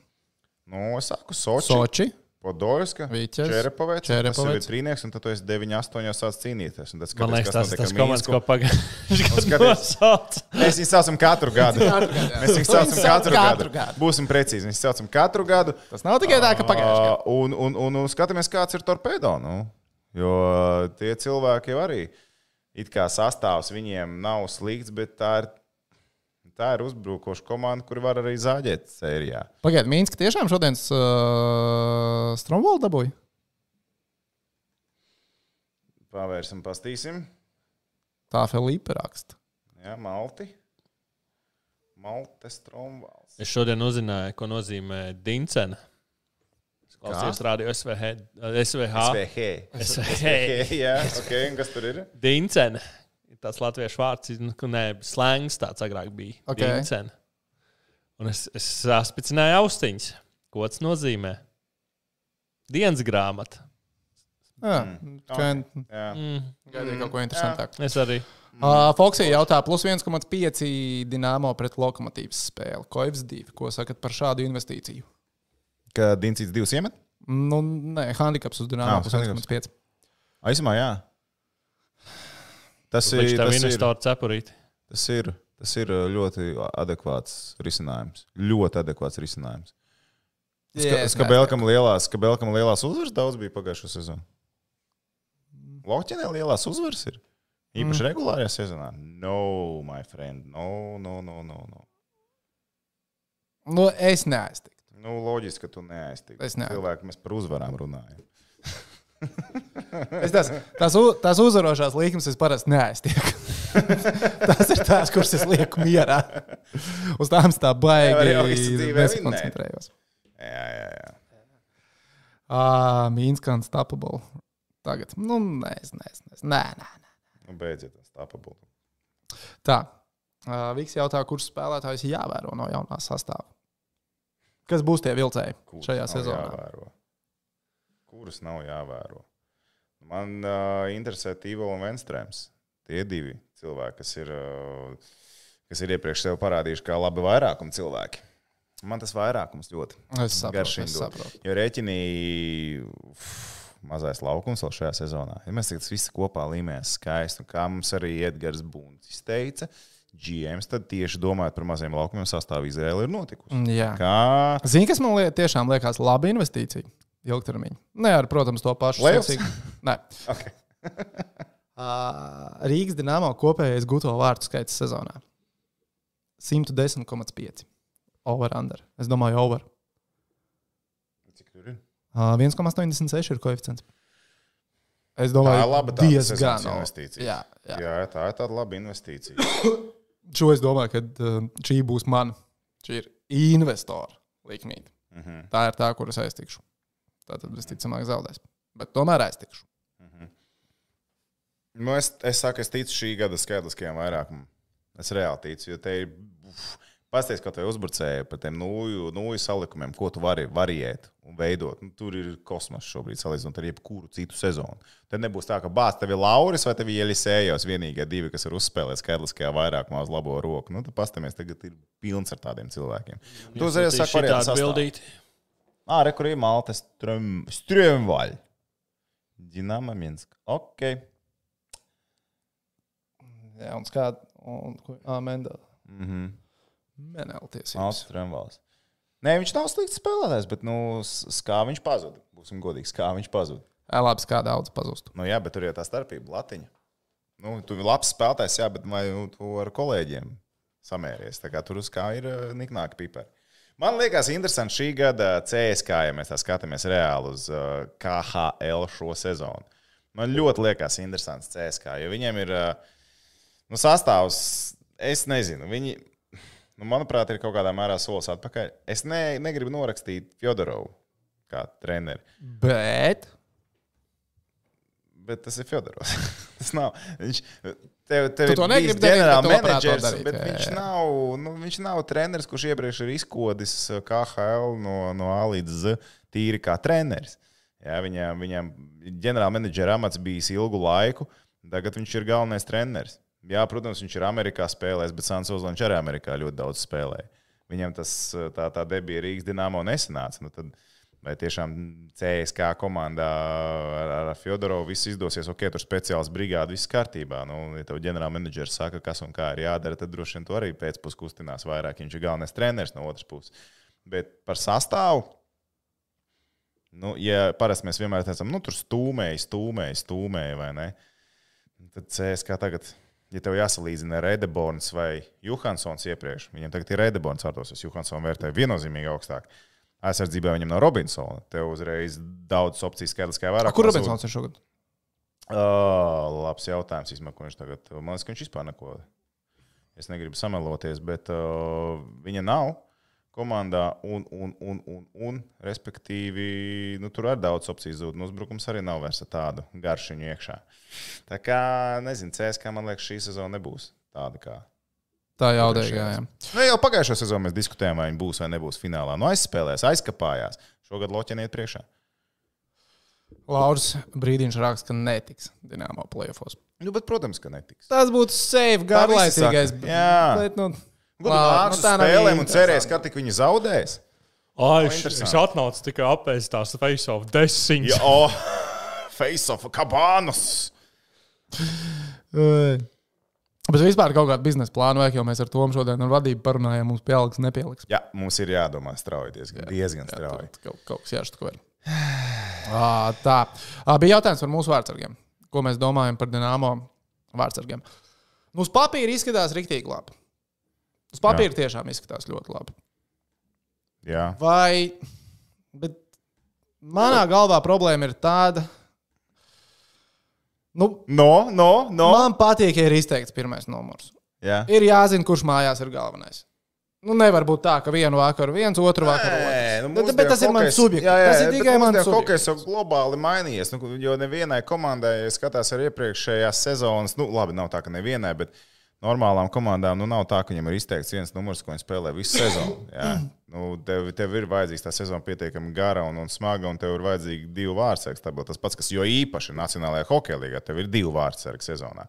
Speaker 3: Nu, es saku, Soči,
Speaker 1: Soči.
Speaker 3: Podolska,
Speaker 1: Viķes,
Speaker 3: Čerepovēts, Čerepovēts. Tas jau
Speaker 1: Čerepovets.
Speaker 3: ir trīnieks, un tad tu esi 9-8 sāc cīnīties. Un tad
Speaker 2: Man
Speaker 3: skaties,
Speaker 2: liekas,
Speaker 3: kas
Speaker 2: tas
Speaker 3: notiek
Speaker 2: tas
Speaker 3: ar
Speaker 2: komandas,
Speaker 3: Mīnsku.
Speaker 2: ko pagājušajā gadā
Speaker 3: skaties.
Speaker 2: nosauc.
Speaker 3: Mēs viņus saucam katru gadu.
Speaker 2: [LAUGHS]
Speaker 1: [LAUGHS]
Speaker 3: Mēs viņus saucam
Speaker 1: Viņus sauc
Speaker 3: katru
Speaker 1: katru
Speaker 3: gadu.
Speaker 1: gadu.
Speaker 3: Būsim precīzi. Mēs viņus saucam katru gadu.
Speaker 1: Tas nav tikai tā,
Speaker 3: Ah.
Speaker 1: ka pagājušajā gadā.
Speaker 3: Ā, Un, un, un, un skatāmies, kāds ir torpedo. Nu? Jo tie cilvēki jau arī it kā sastāvs viņiem nav slikts, bet tā ir, tā ir uzbrukoša komanda, kur var arī zāģēt sērijā.
Speaker 1: Pagaidiet, Mīnska tiešām šodien uh, Strombola dabūja.
Speaker 3: Pavērsim, pastīsim.
Speaker 1: Tā Filipa raksta.
Speaker 3: Jā, Malti. Malte Stromvāls.
Speaker 2: Es šodien uzzināju, ko nozīmē Dincena. Es klausījos radio SVH. SVH.
Speaker 3: SVH.
Speaker 2: SVH.
Speaker 3: Jā, ok, un kas tur ir?
Speaker 2: Dincena ir tāds latviešu vārds, nu, ka nē, slēgts tāds agrāk bija.
Speaker 1: Ok.
Speaker 2: Dīncen. Un es, es saspicināju austiņas. Ko tas nozīmē? Dienas grāmata.
Speaker 1: Jā,
Speaker 3: Hmm.
Speaker 1: kā
Speaker 3: Jā.
Speaker 1: gaidīju kaut ko interesantāku.
Speaker 2: Es arī.
Speaker 3: Hmm.
Speaker 1: Uh, Foksija jautā, plus 1,5 dīnāmo pret lokomotīvas spēli. Koivs 2. Ko sakat par šādu investīciju?
Speaker 3: Ka Dienas divas iemet?
Speaker 1: Nu, nē, handikaps uz
Speaker 3: Ah,
Speaker 1: dīnāmo plus
Speaker 3: handikaps.
Speaker 1: 1,5.
Speaker 3: Aizmā, jā. Tas ir,
Speaker 2: Viņš tam
Speaker 3: tas, ir,
Speaker 2: investoru cepurīti.
Speaker 3: tas, ir, tas ir ļoti adekvāts risinājums. Ļoti adekvāts risinājums.
Speaker 1: Yes,
Speaker 3: Yes, Skabelkam lielās, Skabelkam lielās uzvaras daudz bija pagājušā sezonā. Lokķinē lielās uzvaras ir. Īpaši mm. regulārajā sezonā. No, my friend. No, no, no, no. no.
Speaker 1: Nu, es neaiztiktu.
Speaker 3: Nu, loģiski, ka tu neaiztīvi.
Speaker 1: Es neaiztiku.
Speaker 3: Cilvēki, mēs par uzvarām runājam.
Speaker 1: Es tās, tās, u- tās uzvarošās līnijas es parasti neaiztieku. tās ir tās, kuras es lieku mierā. Uz tām es tā
Speaker 3: Nevar
Speaker 1: baigi
Speaker 3: jau visu dzīvi
Speaker 1: nesakoncentrējos.
Speaker 3: Jā, jā, jā.
Speaker 1: Ah, Mīns kā unstoppable. Tagad, nu, nē, es nezinu. Nē, nē, nē.
Speaker 3: Nu, beidziet, tas tā pabūtu.
Speaker 1: Tā. Uh, Viks jautā, kurš spēlētājs jāvēro no jaunā sastāvā. Kas būs tie vilcēji šajā sezonā?
Speaker 3: Jāvēro? Kuras nav jāvēro? Man uh, interesē Tīva un Venstrēms. Tie divi cilvēki, kas ir, uh, kas ir iepriekš sev parādījuši, kā labi vairākuma cilvēki. Man tas vairākums ļoti
Speaker 1: Es saprotu,
Speaker 3: garšīgi
Speaker 1: es
Speaker 3: dod.
Speaker 1: saprotu.
Speaker 3: Jo rēķinī uf, mazais laukums vēl šajā sezonā. Ja mēs tagad visi kopā līmējamies skaisti, un kā mums arī Edgars Buntis teica, GMs tad tieši domājot par maziem laukumiem sastāvā Izraela ir notikusi.
Speaker 1: Mm, Jā.
Speaker 3: Kā
Speaker 1: Zini, kas man liek, tiešām liekas laba investīcija ilgtermiņā? Nē, ar, protams, to pašu
Speaker 3: Playoffs? [LAUGHS]
Speaker 1: secīgu- Nē.
Speaker 3: okay.
Speaker 1: [LAUGHS] Ā, Rīgas dīnāmā kopējais gūto vārtu skaits sezonā - 110,5. Over under. Es domāju, over.
Speaker 3: Cik tur ir?
Speaker 1: Ā, 1,86 ir koeficients. Es
Speaker 3: Tā
Speaker 1: domāju,
Speaker 3: ir laba tāda
Speaker 1: diezgan
Speaker 3: sezonas
Speaker 1: o-
Speaker 3: investīcija.
Speaker 1: Jā, jā.
Speaker 3: Jā, tā ir tāda laba investīcija.
Speaker 1: Šo es domāju, ka um, šī būs mana. Šī ir investora likmīte.
Speaker 3: Mm -hmm.
Speaker 1: Tā ir tā, kuras aiztikšu. Tā tad visticamāk zaudēs. Bet tomēr aiztikšu.
Speaker 3: nu, es, es saku, es ticu šī gada skaitliskajam vairākumam. Es reāli ticu, jo te ir. uf, Pastāstiet, kā tev uzbrucēji par tiem nūju, nūju salikumiem, ko tu vari variēt un veidot. Nu, tur ir kosmos šobrīd, salīdzinot ar jebkuru citu sezonu. Tad nebūs tā, ka bāz tev ir Lauris vai tev ir Ielisējos vienīgie divi, kas ir uzspēlējuši skaitliskajā vairākumā uz labo roku. Nu, tad pastāmies, tagad ir pilns ar tādiem cilvēkiem. Tu uzreiz saki,
Speaker 2: ir
Speaker 3: variantu
Speaker 2: tāds
Speaker 3: sastāvu.
Speaker 2: bildīt.
Speaker 3: А, рекури Малта Стрем... Стрёмваль. Динамо Минск. Окей.
Speaker 1: Jā, un skatās, kā Mendela.
Speaker 3: Mhm.
Speaker 1: Menelties.
Speaker 3: Malta Strēmvals. Nē, viņš nav slikts spēlētājs, bet, nu, s- s- kā viņš pazuda. Būsim godīgi, kā viņš pazuda.
Speaker 1: Labi, kā daudz pazustu.
Speaker 3: Nu, jā, bet tur ir tā starpība, latiņa. Nu, tu esi labs spēlētājs, jā, bet vai nu, tu ar kolēģiem samēries? Tā kā tur uz kā ir eh, niknāka pipera. Man liekas, interesanti šī gada CSK, ja mēs tā skatāmies reāli uz eh, KHL šo sezonu. Man ļoti liekas, interesants CSK, jo viņiem ir eh, nu, sastāvs, es nezinu, viņi, nu, manuprāt, ir kaut kādā mērā solis atpakaļ. Es ne, negribu norakstīt Fjodorovu kā treneri.
Speaker 1: Bet
Speaker 3: Bet tas ir Fjodorovs. [LAUGHS] tas nav. Viņš tev, tev
Speaker 1: Tu
Speaker 3: ir
Speaker 1: to
Speaker 3: bijis
Speaker 1: negribi darīt,
Speaker 3: ģenerāla
Speaker 1: bet tu labprāt to
Speaker 3: menedžers,
Speaker 1: darītu,
Speaker 3: bet
Speaker 1: jā,
Speaker 3: viņš
Speaker 1: jā.
Speaker 3: nav, nu, viņš nav treneris, kurš iepriekš ir izkodis uh, KHL no, no A līdz Z tīri kā treneris. Jā, viņam, viņam ģenerāla menedžera amats bijis ilgu laiku, tagad viņš ir galvenais treneris. Jā, protams, viņš ir Amerikā spēlējis, bet Sans Ozlans arī Amerikā ļoti daudz spēlēja. Viņam tas uh, tā, tā debija Rīgas dīnāmo nesanāca. Nu, tad, vai tiešām CSK komandā ar, ar Fjodorovu viss izdosies, ok, tur speciāls brigāde, viss kārtībā. Nu, ja tev ģenerālmenedžers saka, kas un kā ir jādara, tad droši vien tu arī pēcpusē kustinās vairāk. Viņš ir galvenais treneris no otras puses. Bet par sastāvu. Nu, ja parasti mēs vienmēr teicām, nu, tur stūmēji, stūmēji, stūmēji, vai ne? Tad CSK tagad, ja tev jāsalīdzina Redeborns vai Johansons iepriekš, viņam tagad ir Redeborns vārdos, es Johansonu vērtēju viennozīmīgi augstāk. Aizsardzībā viņam nav Robinsona. Tev uzreiz daudz opciju skaidrs, kā vairāk.
Speaker 1: kur Robinsons ir šogad?
Speaker 3: Uh, labs jautājums, īstenībā, ko viņš tagad. Man liekas, ka viņš vispār neko. Es negribu sameloties, bet uh, viņa nav. komandā, un, un, un, un, un respektīvi, nu, tur arī daudz opciju zūd. Un uzbrukums arī nav vairs ar tādu garšiņu iekšā. Tā kā, nezinu, CSK, man liekas, šī sezona nebūs tāda kā.
Speaker 1: Tā jaudīgā. jā.
Speaker 3: Nu, jau pagājušā sezonā mēs diskutējām, vai viņi būs vai nebūs finālā. Nu, aizspēlēs, aizkapājās. Šogad loķeniet priekšā.
Speaker 1: Lauris brīdīņš raksta, ka netiks Dienāmo plēfos.
Speaker 3: Nu, bet, protams, ka netiks.
Speaker 1: Tas būtu safe, garlaicīgais.
Speaker 3: saka. Jā.
Speaker 1: bet, nu,
Speaker 3: Gudri
Speaker 1: labi,
Speaker 3: nāks uz
Speaker 1: nu, tā nav
Speaker 3: spēlēm un
Speaker 1: interesanti.
Speaker 3: cerēs, ka tik viņi zaudēs.
Speaker 2: Ai,
Speaker 3: interesanti.
Speaker 2: šis atnāca tikai apēst tās face of desmit.
Speaker 3: Jā, oh, [LAUGHS] face of kabānus!
Speaker 1: Ei. Bet vispār kaut kāda biznesa plāna vajag, jo mēs ar Tomu šodien ar vadību parunājām, mums pieliks, nepieliks.
Speaker 3: Jā, mums ir jādomā strauji, diezgan, diezgan strauji.
Speaker 1: Kaut, kaut, kaut kas jāšķiet, ko ir. À, tā. À, bija jautājums par mūsu vārdsargiem. Ko mēs domājam par Dienāmo vārdsargiem? Nu, uz papīra izskatās rīktīgi labi. Uz papīra Jā. tiešām izskatās ļoti labi.
Speaker 3: Jā,
Speaker 1: Vai, bet manā galvā problēma ir tāda, nu,
Speaker 3: no, no, no.
Speaker 1: man patīk, ja ir izteikts pirmais numurs.
Speaker 3: Jā.
Speaker 1: ir jāzina, kurš mājās ir galvenais. Nu, nevar būt tā, ka vienu vakaru viens, otru vakaru otrs. Nu,
Speaker 3: nu, mūsdienu
Speaker 1: bet tas ir mans
Speaker 3: hokejs-
Speaker 1: subjekts.
Speaker 3: Jā, jā,
Speaker 1: Tas ir
Speaker 3: bet
Speaker 1: tikai mans
Speaker 3: mūsdienu Hokejs
Speaker 1: subjekts.
Speaker 3: jau globāli mainījies. Nu, jo nevienai komandai, ja skatās ar iepriekšējās sezonas, nu, labi, nav tā, ka nevienai, bet normālām komandām nu, nav tā, ka viņam ir izteikts viens numurs, ko viņš spēlē visu sezonu. jā. Nu, tev, tev ir vajadzīgs tā sezona pietiekami gara un, un smaga, un tev ir vajadzīgi divi vārdsargi. Tas būtu tas pats, kas jo īpaši Nacionālajā hokeja līgā, tev ir divi vārdsargi sezonā.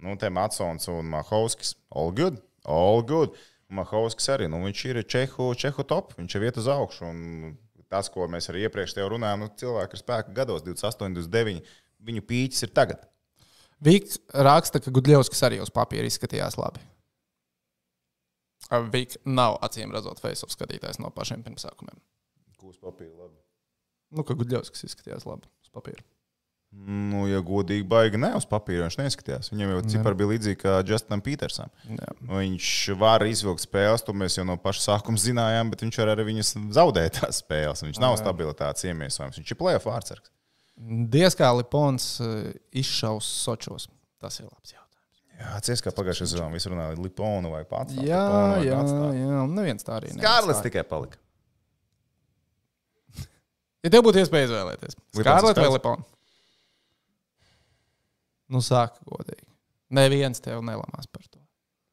Speaker 3: Nu, te Matsons un Mahovskis. All good. All good. Mahovskis arī. Nu, viņš ir Čehu, Čehu top. Viņš ir vieta uz augšu. Un tas, ko mēs arī iepriekš te jau runājām, nu, cilvēki ar spēku gados 28, 29. Viņu pīķis ir tagad.
Speaker 1: Viks raksta, ka Gudļevskis arī uz papīra izskatījās labi. Viks nav acīm redzot Facebook skatītājs no pašiem pirmsākumiem.
Speaker 3: Kūs papīra labi.
Speaker 1: Nu, ka Gudļevskis izskatījās labi uz papīra.
Speaker 3: Nu, ja godīgi, baigi ne uz papīra viņš neizskatījās. Viņam jau cipari bija līdzīgi kā Justinam Petersam. Nu,
Speaker 1: Jā.
Speaker 3: Viņš var izvilkt spēles, to mēs jau no paša sākuma zinājām, bet viņš var arī viņas zaudēt tās spēles. Viņš nav stabilitātes iemiesojums. Viņš ir plēsoņa vārdsargs.
Speaker 1: Diez kā Lipons eh, izšaus Sočos. Tas ir labs jautājums.
Speaker 3: Jā, atcerieties, kā pagājušajā sezonā viss runāja par Liponu vai Pātru.
Speaker 1: Jā, jā, jā. un Neviens tā arī nevar.
Speaker 3: Skārlis tikai palika.
Speaker 1: Ja tev būtu iespēja izvēlēties,
Speaker 3: Lipons
Speaker 1: Skarlets vai
Speaker 3: vai Skarlets?
Speaker 1: Lipons? Nu, sāk godīgi. Neviens tev nelamās par to.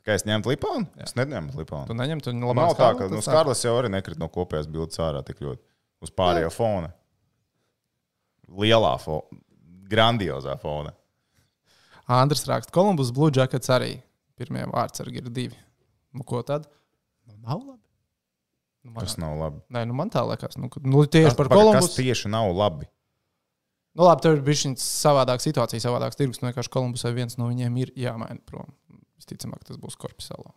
Speaker 3: Kā es ņemtu Liponu? Es neņemu
Speaker 1: Tu
Speaker 3: Liponu.
Speaker 1: neņem, tu
Speaker 3: Nav
Speaker 1: labāk
Speaker 3: tā, ka nu, Skārlis jau arī nekrit no kopējās bildes ārā tik ļoti uz pārējo
Speaker 1: Nu.
Speaker 3: fona. Lielā fona, grandiozā fona.
Speaker 1: Andrs raksta, Kolumbus Blue Jackets arī pirmie vārdsargi ir divi. Nu, ko tad? Nu, nav labi. Nu, man,
Speaker 3: Tas nav labi.
Speaker 1: nē, nu, man tā liekas, nu, ka- nu tieši
Speaker 3: Tas,
Speaker 1: tas, par
Speaker 3: paga,
Speaker 1: Kolumbus.
Speaker 3: kas tieši nav labi?
Speaker 1: Nu, labi, tev ir bijis šis savādāk situācija, savādāk tirgus. Nu, vienkārši Kolumbusai viens no viņiem ir jāmaina prom. Visticamāk, tas būs Korpusālā.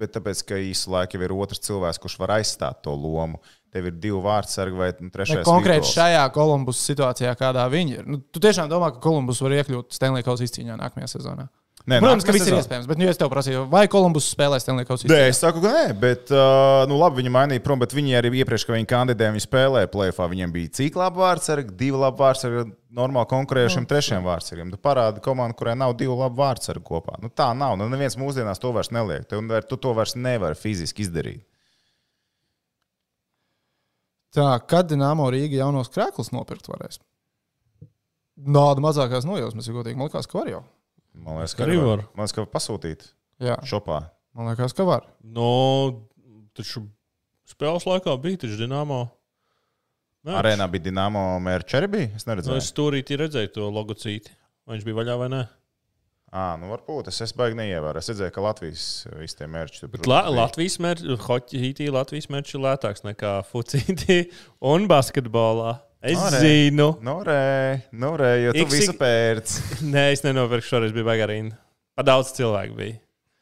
Speaker 3: Bet tāpēc, ka īsu laiku jau ir otrs cilvēks, kurš var aizstāt to lomu. Tev ir divi vārdsargi vai nu,
Speaker 1: Ne
Speaker 3: trešais.
Speaker 1: konkrēti
Speaker 3: Vidols.
Speaker 1: šajā Kolumbus situācijā, kādā viņi ir. Nu, tu tiešām domā, ka Kolumbus var iekļūt Stanley Kausa izcīņā nākamajā sezonā?
Speaker 3: Nē,
Speaker 1: Protams, ka
Speaker 3: nākamajā
Speaker 1: viss ir
Speaker 3: sezonā.
Speaker 1: iespējams, bet nu, ja es tev prasīju, vai Kolumbus spēlē Stanley Kausa
Speaker 3: Nē,
Speaker 1: izcīņā?
Speaker 3: es saku, ka nē, bet uh, nu, labi, viņi mainīja prom, bet viņi arī iepriekš, kad viņi kandidēja, viņi spēlēja plēfā. Viņiem bija cik labi vārdsargi, divi labi vārdsargi, normāli
Speaker 2: Nu.
Speaker 3: konkurējušiem trešiem vārdsargiem. Tu parādi komandu, kurai nav divu labu vārdsargu kopā. Nu, tā nav. Nu, neviens mūsdienās to vairs neliek. Tev, var- tu to vairs nevari fiziski izdarīt.
Speaker 1: Tā, kad Dienāmo Rīga jaunos krēklus nopirkt varēs? Nāda mazākās nojausmas, ja godīgi. Man liekas, ka var jau.
Speaker 3: Man liekas, ka
Speaker 2: Arī var.
Speaker 3: Man liekas, ka pasūtīt
Speaker 1: Jā,
Speaker 3: šopā.
Speaker 1: man liekas, ka var.
Speaker 2: No, taču spēles laikā bija taču Dienāmo. mērķis.
Speaker 3: Arēnā bija Dienāmo mērķis arī bija. Es
Speaker 2: Nu,
Speaker 3: neredzēju.
Speaker 2: es tur īsti redzēju to logocīti. Vai viņš bija vaļā vai nē?
Speaker 3: À, nu varbūt es, es baigi neievēru. Es redzēju, ka Latvijas visi tie mērķi tur
Speaker 2: Bet la, Latvijas mērķis, hoķītī, Latvijas mērķis ir lētāks nekā fucītī un basketbolā. Es
Speaker 3: Arē.
Speaker 2: Arē. zinu, [LAUGHS]
Speaker 3: Nu, Norē, norē, jo tu
Speaker 2: Iksik-
Speaker 3: visu pērci.
Speaker 2: nē, es nenopirku šoreiz, bija bagarīna. Pa daudz cilvēku bija.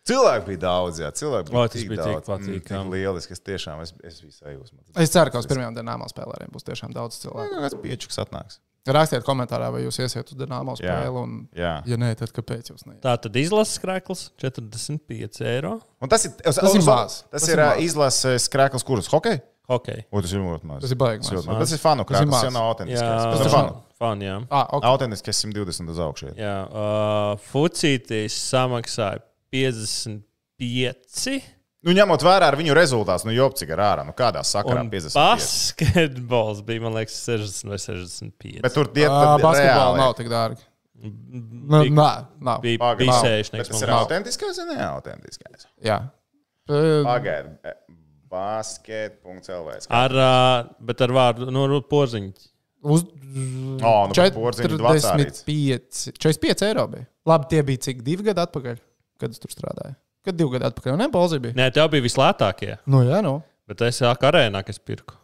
Speaker 3: Cilvēku bija daudz, jā, cilvēku bija
Speaker 2: Oi, tas
Speaker 3: tik
Speaker 2: bija tik
Speaker 3: daudz.
Speaker 2: patīkami.
Speaker 3: Mm, tik lieliski, es tiešām es, es visu sajūsmu.
Speaker 1: Es ceru, ka uz pirmajām Dienāmo spēlēm būs tiešām daudz cilvēku.
Speaker 3: Kāds piečuks atnāks?
Speaker 1: Rakstiet komentārā, vai jūs iesiet uz Dienāmo
Speaker 3: Jā.
Speaker 1: spēli. Un...
Speaker 3: Jā.
Speaker 1: Ja nē, tad kāpēc jūs neiet?
Speaker 2: Tā tad izlases krēkls 45 eiro.
Speaker 3: Un tas ir, es,
Speaker 1: Tas ir
Speaker 3: uz-
Speaker 1: maz.
Speaker 3: Tas,
Speaker 1: Tas
Speaker 3: tas
Speaker 1: ir
Speaker 3: ir, ir
Speaker 1: maz.
Speaker 3: izlases krēkls, kurus hokeja?
Speaker 2: Hokej.
Speaker 3: O, tas ir ļoti maz.
Speaker 1: Tas ir baigi
Speaker 3: Tas, ir
Speaker 1: maz.
Speaker 3: ļoti maz. tas ir fanu
Speaker 1: Tas ir
Speaker 3: krēkls, tas
Speaker 1: maz.
Speaker 3: jau nav
Speaker 2: Jā,
Speaker 3: autentisks. Tas
Speaker 1: ir
Speaker 3: ir fanu.
Speaker 2: fan, jā.
Speaker 1: Ah, okay.
Speaker 3: Autentisks 120 uz augšu. iet.
Speaker 2: jā uh, fucītīs samaksāja 55
Speaker 3: Nu, ņemot vērā ar viņu rezultātus, nu, jau cik ir ārā, nu, kādā sakarā
Speaker 2: Un
Speaker 3: 50.
Speaker 2: basketbols bija, man liekas, 60 vai 65.
Speaker 3: Bet tur tie tad
Speaker 1: Basketbolā Ah,
Speaker 3: reāli.
Speaker 1: nav tik dārgi. Nu,
Speaker 2: Big-
Speaker 1: nē, nav.
Speaker 2: bija
Speaker 3: Pagaid, nav. Bet
Speaker 2: bisēšnieks.
Speaker 3: Tas ir autentiskais vai neautentiskais?
Speaker 1: Jā. Uh,
Speaker 3: Pagaidiet, e, basket.lv.
Speaker 2: Ar, ā, bet ar vārdu, nu, ar poziņu.
Speaker 1: Uz
Speaker 3: Oh, nu, par porziņu dvacā rīts.
Speaker 1: 45, 45 eiro bija. Labi, tie bija cik divi gadi atpakaļ, kad es tur strādāju. Kad divi gadi atpakaļ, un Empolzi bija.
Speaker 2: Nē, tev bija vislētākie,
Speaker 1: Nu, jā, nu.
Speaker 2: bet es jau arēnā, kas pirku.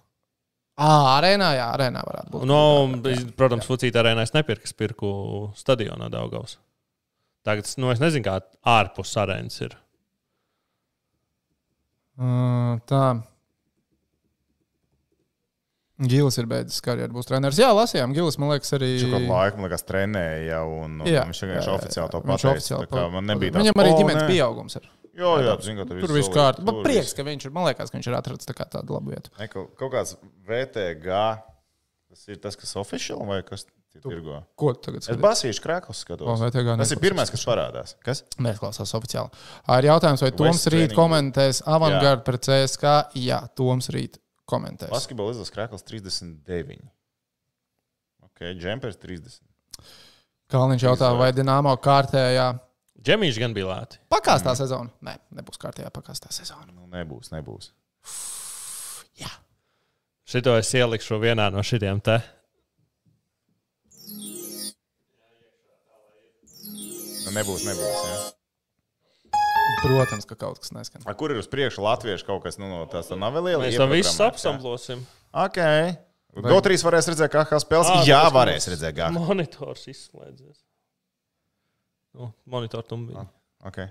Speaker 1: À, arēnā, jā, arēnā varētu būt.
Speaker 2: No, Nu, protams, Fucīta arēnā es nepirku, es pirku stadionā Daugaus. Tagad, nu, es nezinu, kā ārpus arēnas ir.
Speaker 1: Mm, tā. Gilis ir beidzis karjeru, būs treneris. Jā, lasījām. Gilis, man liekas, arī.
Speaker 3: Viņš jau kādu laiku, man liekas, trenēja jau, un, un
Speaker 1: Jā.
Speaker 3: viņš vienkārši
Speaker 1: Jā,
Speaker 3: oficiāli to
Speaker 1: Viņš
Speaker 3: pateica.
Speaker 1: oficiāli
Speaker 3: tā kā
Speaker 1: pa-
Speaker 3: Man nebija
Speaker 1: Viņam
Speaker 3: tāds,
Speaker 1: arī
Speaker 3: "O,
Speaker 1: ģimenes
Speaker 3: nē."
Speaker 1: pieaugums ir.
Speaker 3: Jā, jā, zinu, ka tur,
Speaker 1: Tur
Speaker 3: viss
Speaker 1: viss
Speaker 3: solīts,
Speaker 1: kārtībā.
Speaker 3: tur
Speaker 1: Man prieks,
Speaker 3: viss.
Speaker 1: ka viņš ir. Man liekas, ka viņš ir atradzis tā kā tādu labu vietu.
Speaker 3: Ne, kaut, kaut kāds VTG, tas ir tas, kas oficiāli vai kas ir tirgo?
Speaker 1: Ko tu tagad
Speaker 3: Es
Speaker 1: skaties?
Speaker 3: basīšu krāklus skatos.
Speaker 1: O, VTG
Speaker 3: tas ir
Speaker 1: neklausās.
Speaker 3: pirmais, kas parādās. Kas?
Speaker 1: Neklausās oficiāli. Ir jautājums, vai Toms rīt
Speaker 3: training.
Speaker 1: komentēs avangardu pret CSK? Jā, Toms rīt komentēs.
Speaker 3: Basketbola izlases krāklis 39. Ok, džempers 30.
Speaker 1: Kalniņš jautā, vai Dienāmo kārtējā
Speaker 2: Džemīši gan bija lēti.
Speaker 1: pakāstā sezona? Nē, nebūs kārtējā pakāstā sezona.
Speaker 3: Nu, nebūs, nebūs.
Speaker 2: Šito es ielikšu vienā no šitiem te.
Speaker 3: Nu, nebūs, nebūs. Ja?
Speaker 1: Protams, ka kaut kas neskan.
Speaker 3: A, kur ir uz priekšu latviešu kaut kas nu, no tās tā nav vēl liela?
Speaker 2: Mēs to visu
Speaker 3: ieprogrammēts, jā?
Speaker 2: apsamblosim.
Speaker 3: Ok. Gotrīs varēs redzēt, kā HL spēles.
Speaker 2: Ā,
Speaker 3: Jā,
Speaker 2: tas, ka
Speaker 3: varēs
Speaker 2: mums
Speaker 3: redzēt, kā.
Speaker 2: Monitors izslēdzies. Nu, monitors
Speaker 3: Ah,
Speaker 2: tam bija.
Speaker 3: Okay.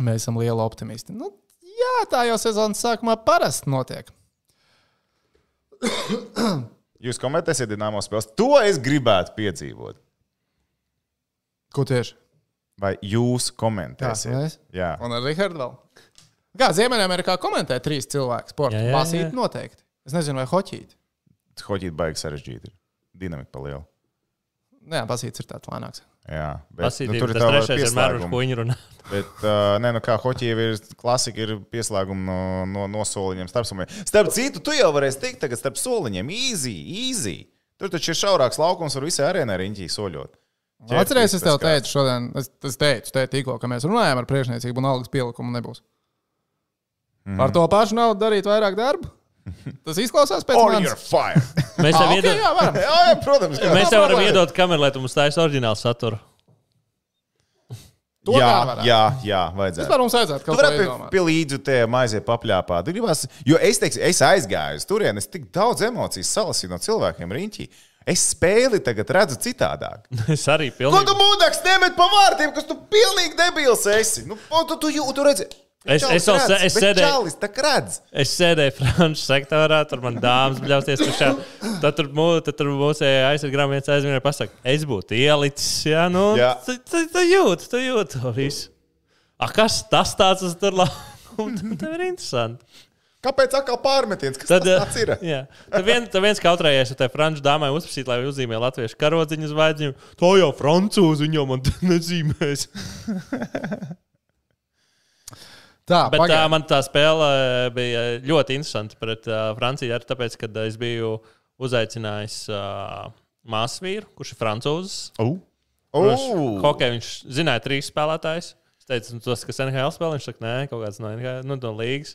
Speaker 1: Mēs esam lieli optimisti. Nu, jā, tā jau sezonas sākumā parasti notiek.
Speaker 3: Jūs komentēsiet dināmo spēles. To es gribētu piedzīvot.
Speaker 1: Ko tieši?
Speaker 3: Vai jūs komentēsiet?
Speaker 1: Jā, mēs?
Speaker 3: jā.
Speaker 1: Un ar Rihardu vēl. Kā Ziemeļamerikā komentē trīs cilvēki sporta?
Speaker 2: Jā, jā, jā.
Speaker 1: Basīt noteikti. Es nezinu, vai hoķīt.
Speaker 3: Hoķīt baigi sarežģīti. ir. Dinamika paliela.
Speaker 1: Jā, basīts ir tāds lēnāks.
Speaker 3: Jā, bet
Speaker 2: Tas ir
Speaker 3: nu, tur ir
Speaker 2: tas
Speaker 3: tā
Speaker 2: trešais, ar mēru,
Speaker 3: līnija.
Speaker 2: ko viņi
Speaker 3: [LAUGHS]
Speaker 2: runā.
Speaker 3: Bet, uh, nē, nu kā hoķija ir klasika, ir pieslēguma no, no, no soliņiem starp soliņiem. Starp citu, tu jau varēsi tikt tagad starp soliņiem. Easy, easy. Tur taču ir šaurāks laukums, var visai arēnai riņķī soļot. Ķerties
Speaker 1: Atcerieties, es tev
Speaker 3: tas
Speaker 1: teicu šodien, es, es teicu, te tikko, ka mēs runājam ar priekšniecību un algas pielikumu nebūs.
Speaker 3: Mhm.
Speaker 1: Mm -hmm. Ar to pašu naudu darīt vairāk darbu?
Speaker 3: [LAUGHS]
Speaker 1: Tas izklausās pēc
Speaker 3: kā- Or
Speaker 1: manis.
Speaker 3: you're fired.
Speaker 2: Mēs
Speaker 1: Ah,
Speaker 2: tev
Speaker 1: okay,
Speaker 2: iedod-
Speaker 1: jā, varam.
Speaker 3: jā, jā, protams. Jā,
Speaker 2: mēs tev varam
Speaker 1: problēma.
Speaker 2: iedot kameru, lai tu mums taisītu oriģinālu
Speaker 3: [LAUGHS]
Speaker 2: saturu.
Speaker 1: To
Speaker 3: jā,
Speaker 1: gan varētu.
Speaker 3: jā, jā vajadzētu.
Speaker 1: Vispār mums vajadzētu
Speaker 3: Tu
Speaker 1: kaut ko
Speaker 3: varētu pie,
Speaker 1: izdomāt.
Speaker 3: pie līdzi tam aiziet, papļāpāt. Tu Gribas, jo es, teiksim, es aizgāju uz turieni, es tik daudz emociju salasīju no cilvēkiem riņķī. Es spēli tagad redzu citādāk.
Speaker 2: Es arī
Speaker 3: Ko tu
Speaker 2: pilnīgi.
Speaker 3: mūdaks nemet pa vārtiem, kas tu pilnīgi debils esi? Nu, po- tu, tu, tu, tu redzi.
Speaker 2: Es- es vēl se- es sēdēju-
Speaker 3: Čalis, tā kā redz.
Speaker 2: Es sēdēju franču sektorā, tur man dāmas bļausties tukšā. Tad tur, mū- tad tur mūsu aizsargām viens aizmirst, pasakot, es būtu ielicis. Jā, nu,
Speaker 3: Jā.
Speaker 2: tu, tu, tu jūti, tu jūti to visu. A, kas tas tāds uz [LAUGHS] tur laukums? Tas ir interesanti.
Speaker 3: Kāpēc atkal pārmetiens? Kas
Speaker 2: Tad, eh,
Speaker 3: tad, tas tāds ir?
Speaker 2: jā, tad, vien, tad viens kautrējies ar tai franču dāmai uzprasīt, lai uzzīmē latviešu karodziņu uz vaidziņu. To jau francūzi viņam man
Speaker 3: [LAUGHS]
Speaker 2: nezīmēs.
Speaker 1: Tā,
Speaker 2: Bet tā,
Speaker 1: pagaid.
Speaker 2: man tā spēle bija ļoti interesanta pret uh, Franciju. Arī tāpēc, ka es biju uzaicinājis uh, māsu vīru, kurš ir francūzis.
Speaker 3: Ugh!
Speaker 2: Hokejā viņš zināja trīs spēlētājus. Es teicu, nu, tas, kas NHL spēlē, viņš saka, nē, kaut kāds no, NHL, nu, no līgas.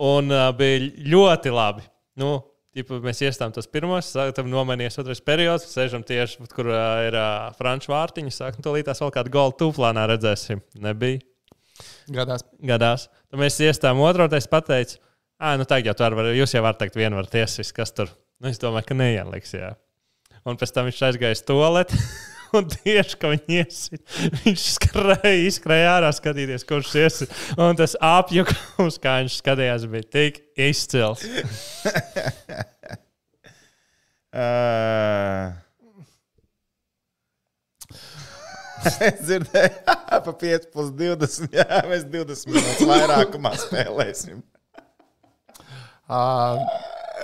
Speaker 2: Un uh, bija ļoti labi. Nu, Tipa, mēs iestājām tos pirmos, sākām nomainīties otrais periods, sēžam tieši, kur uh, ir uh, franču vārtiņa. Sākām, "Nu, tūlīt tās vēl kādu golu tūplānā redzēsim. Nebija
Speaker 1: Gadās.
Speaker 2: gadās. Tad mēs iestājām otru, un es pateicu, ah, nu tagad jau tur var, jūs jau varat teikt, viena var tiesas, kas tur. Nu, es domāju, ka neieliks. Jā. Un pēc tam viņš aizgāja uz toaleti. [LAUGHS] Un tieši kad viņi iesit, [LAUGHS] viņš skrēja, izskrēja ārā, skatīties, kurš iesit. Un tas apjukums, kā viņš skatījās, bija tik izcils.
Speaker 3: Es [LAUGHS] dzirdēju, [LAUGHS] pa 5 plus 20. Jā, mēs 20 minūtes vairākumā spēlēsim.
Speaker 1: Ā,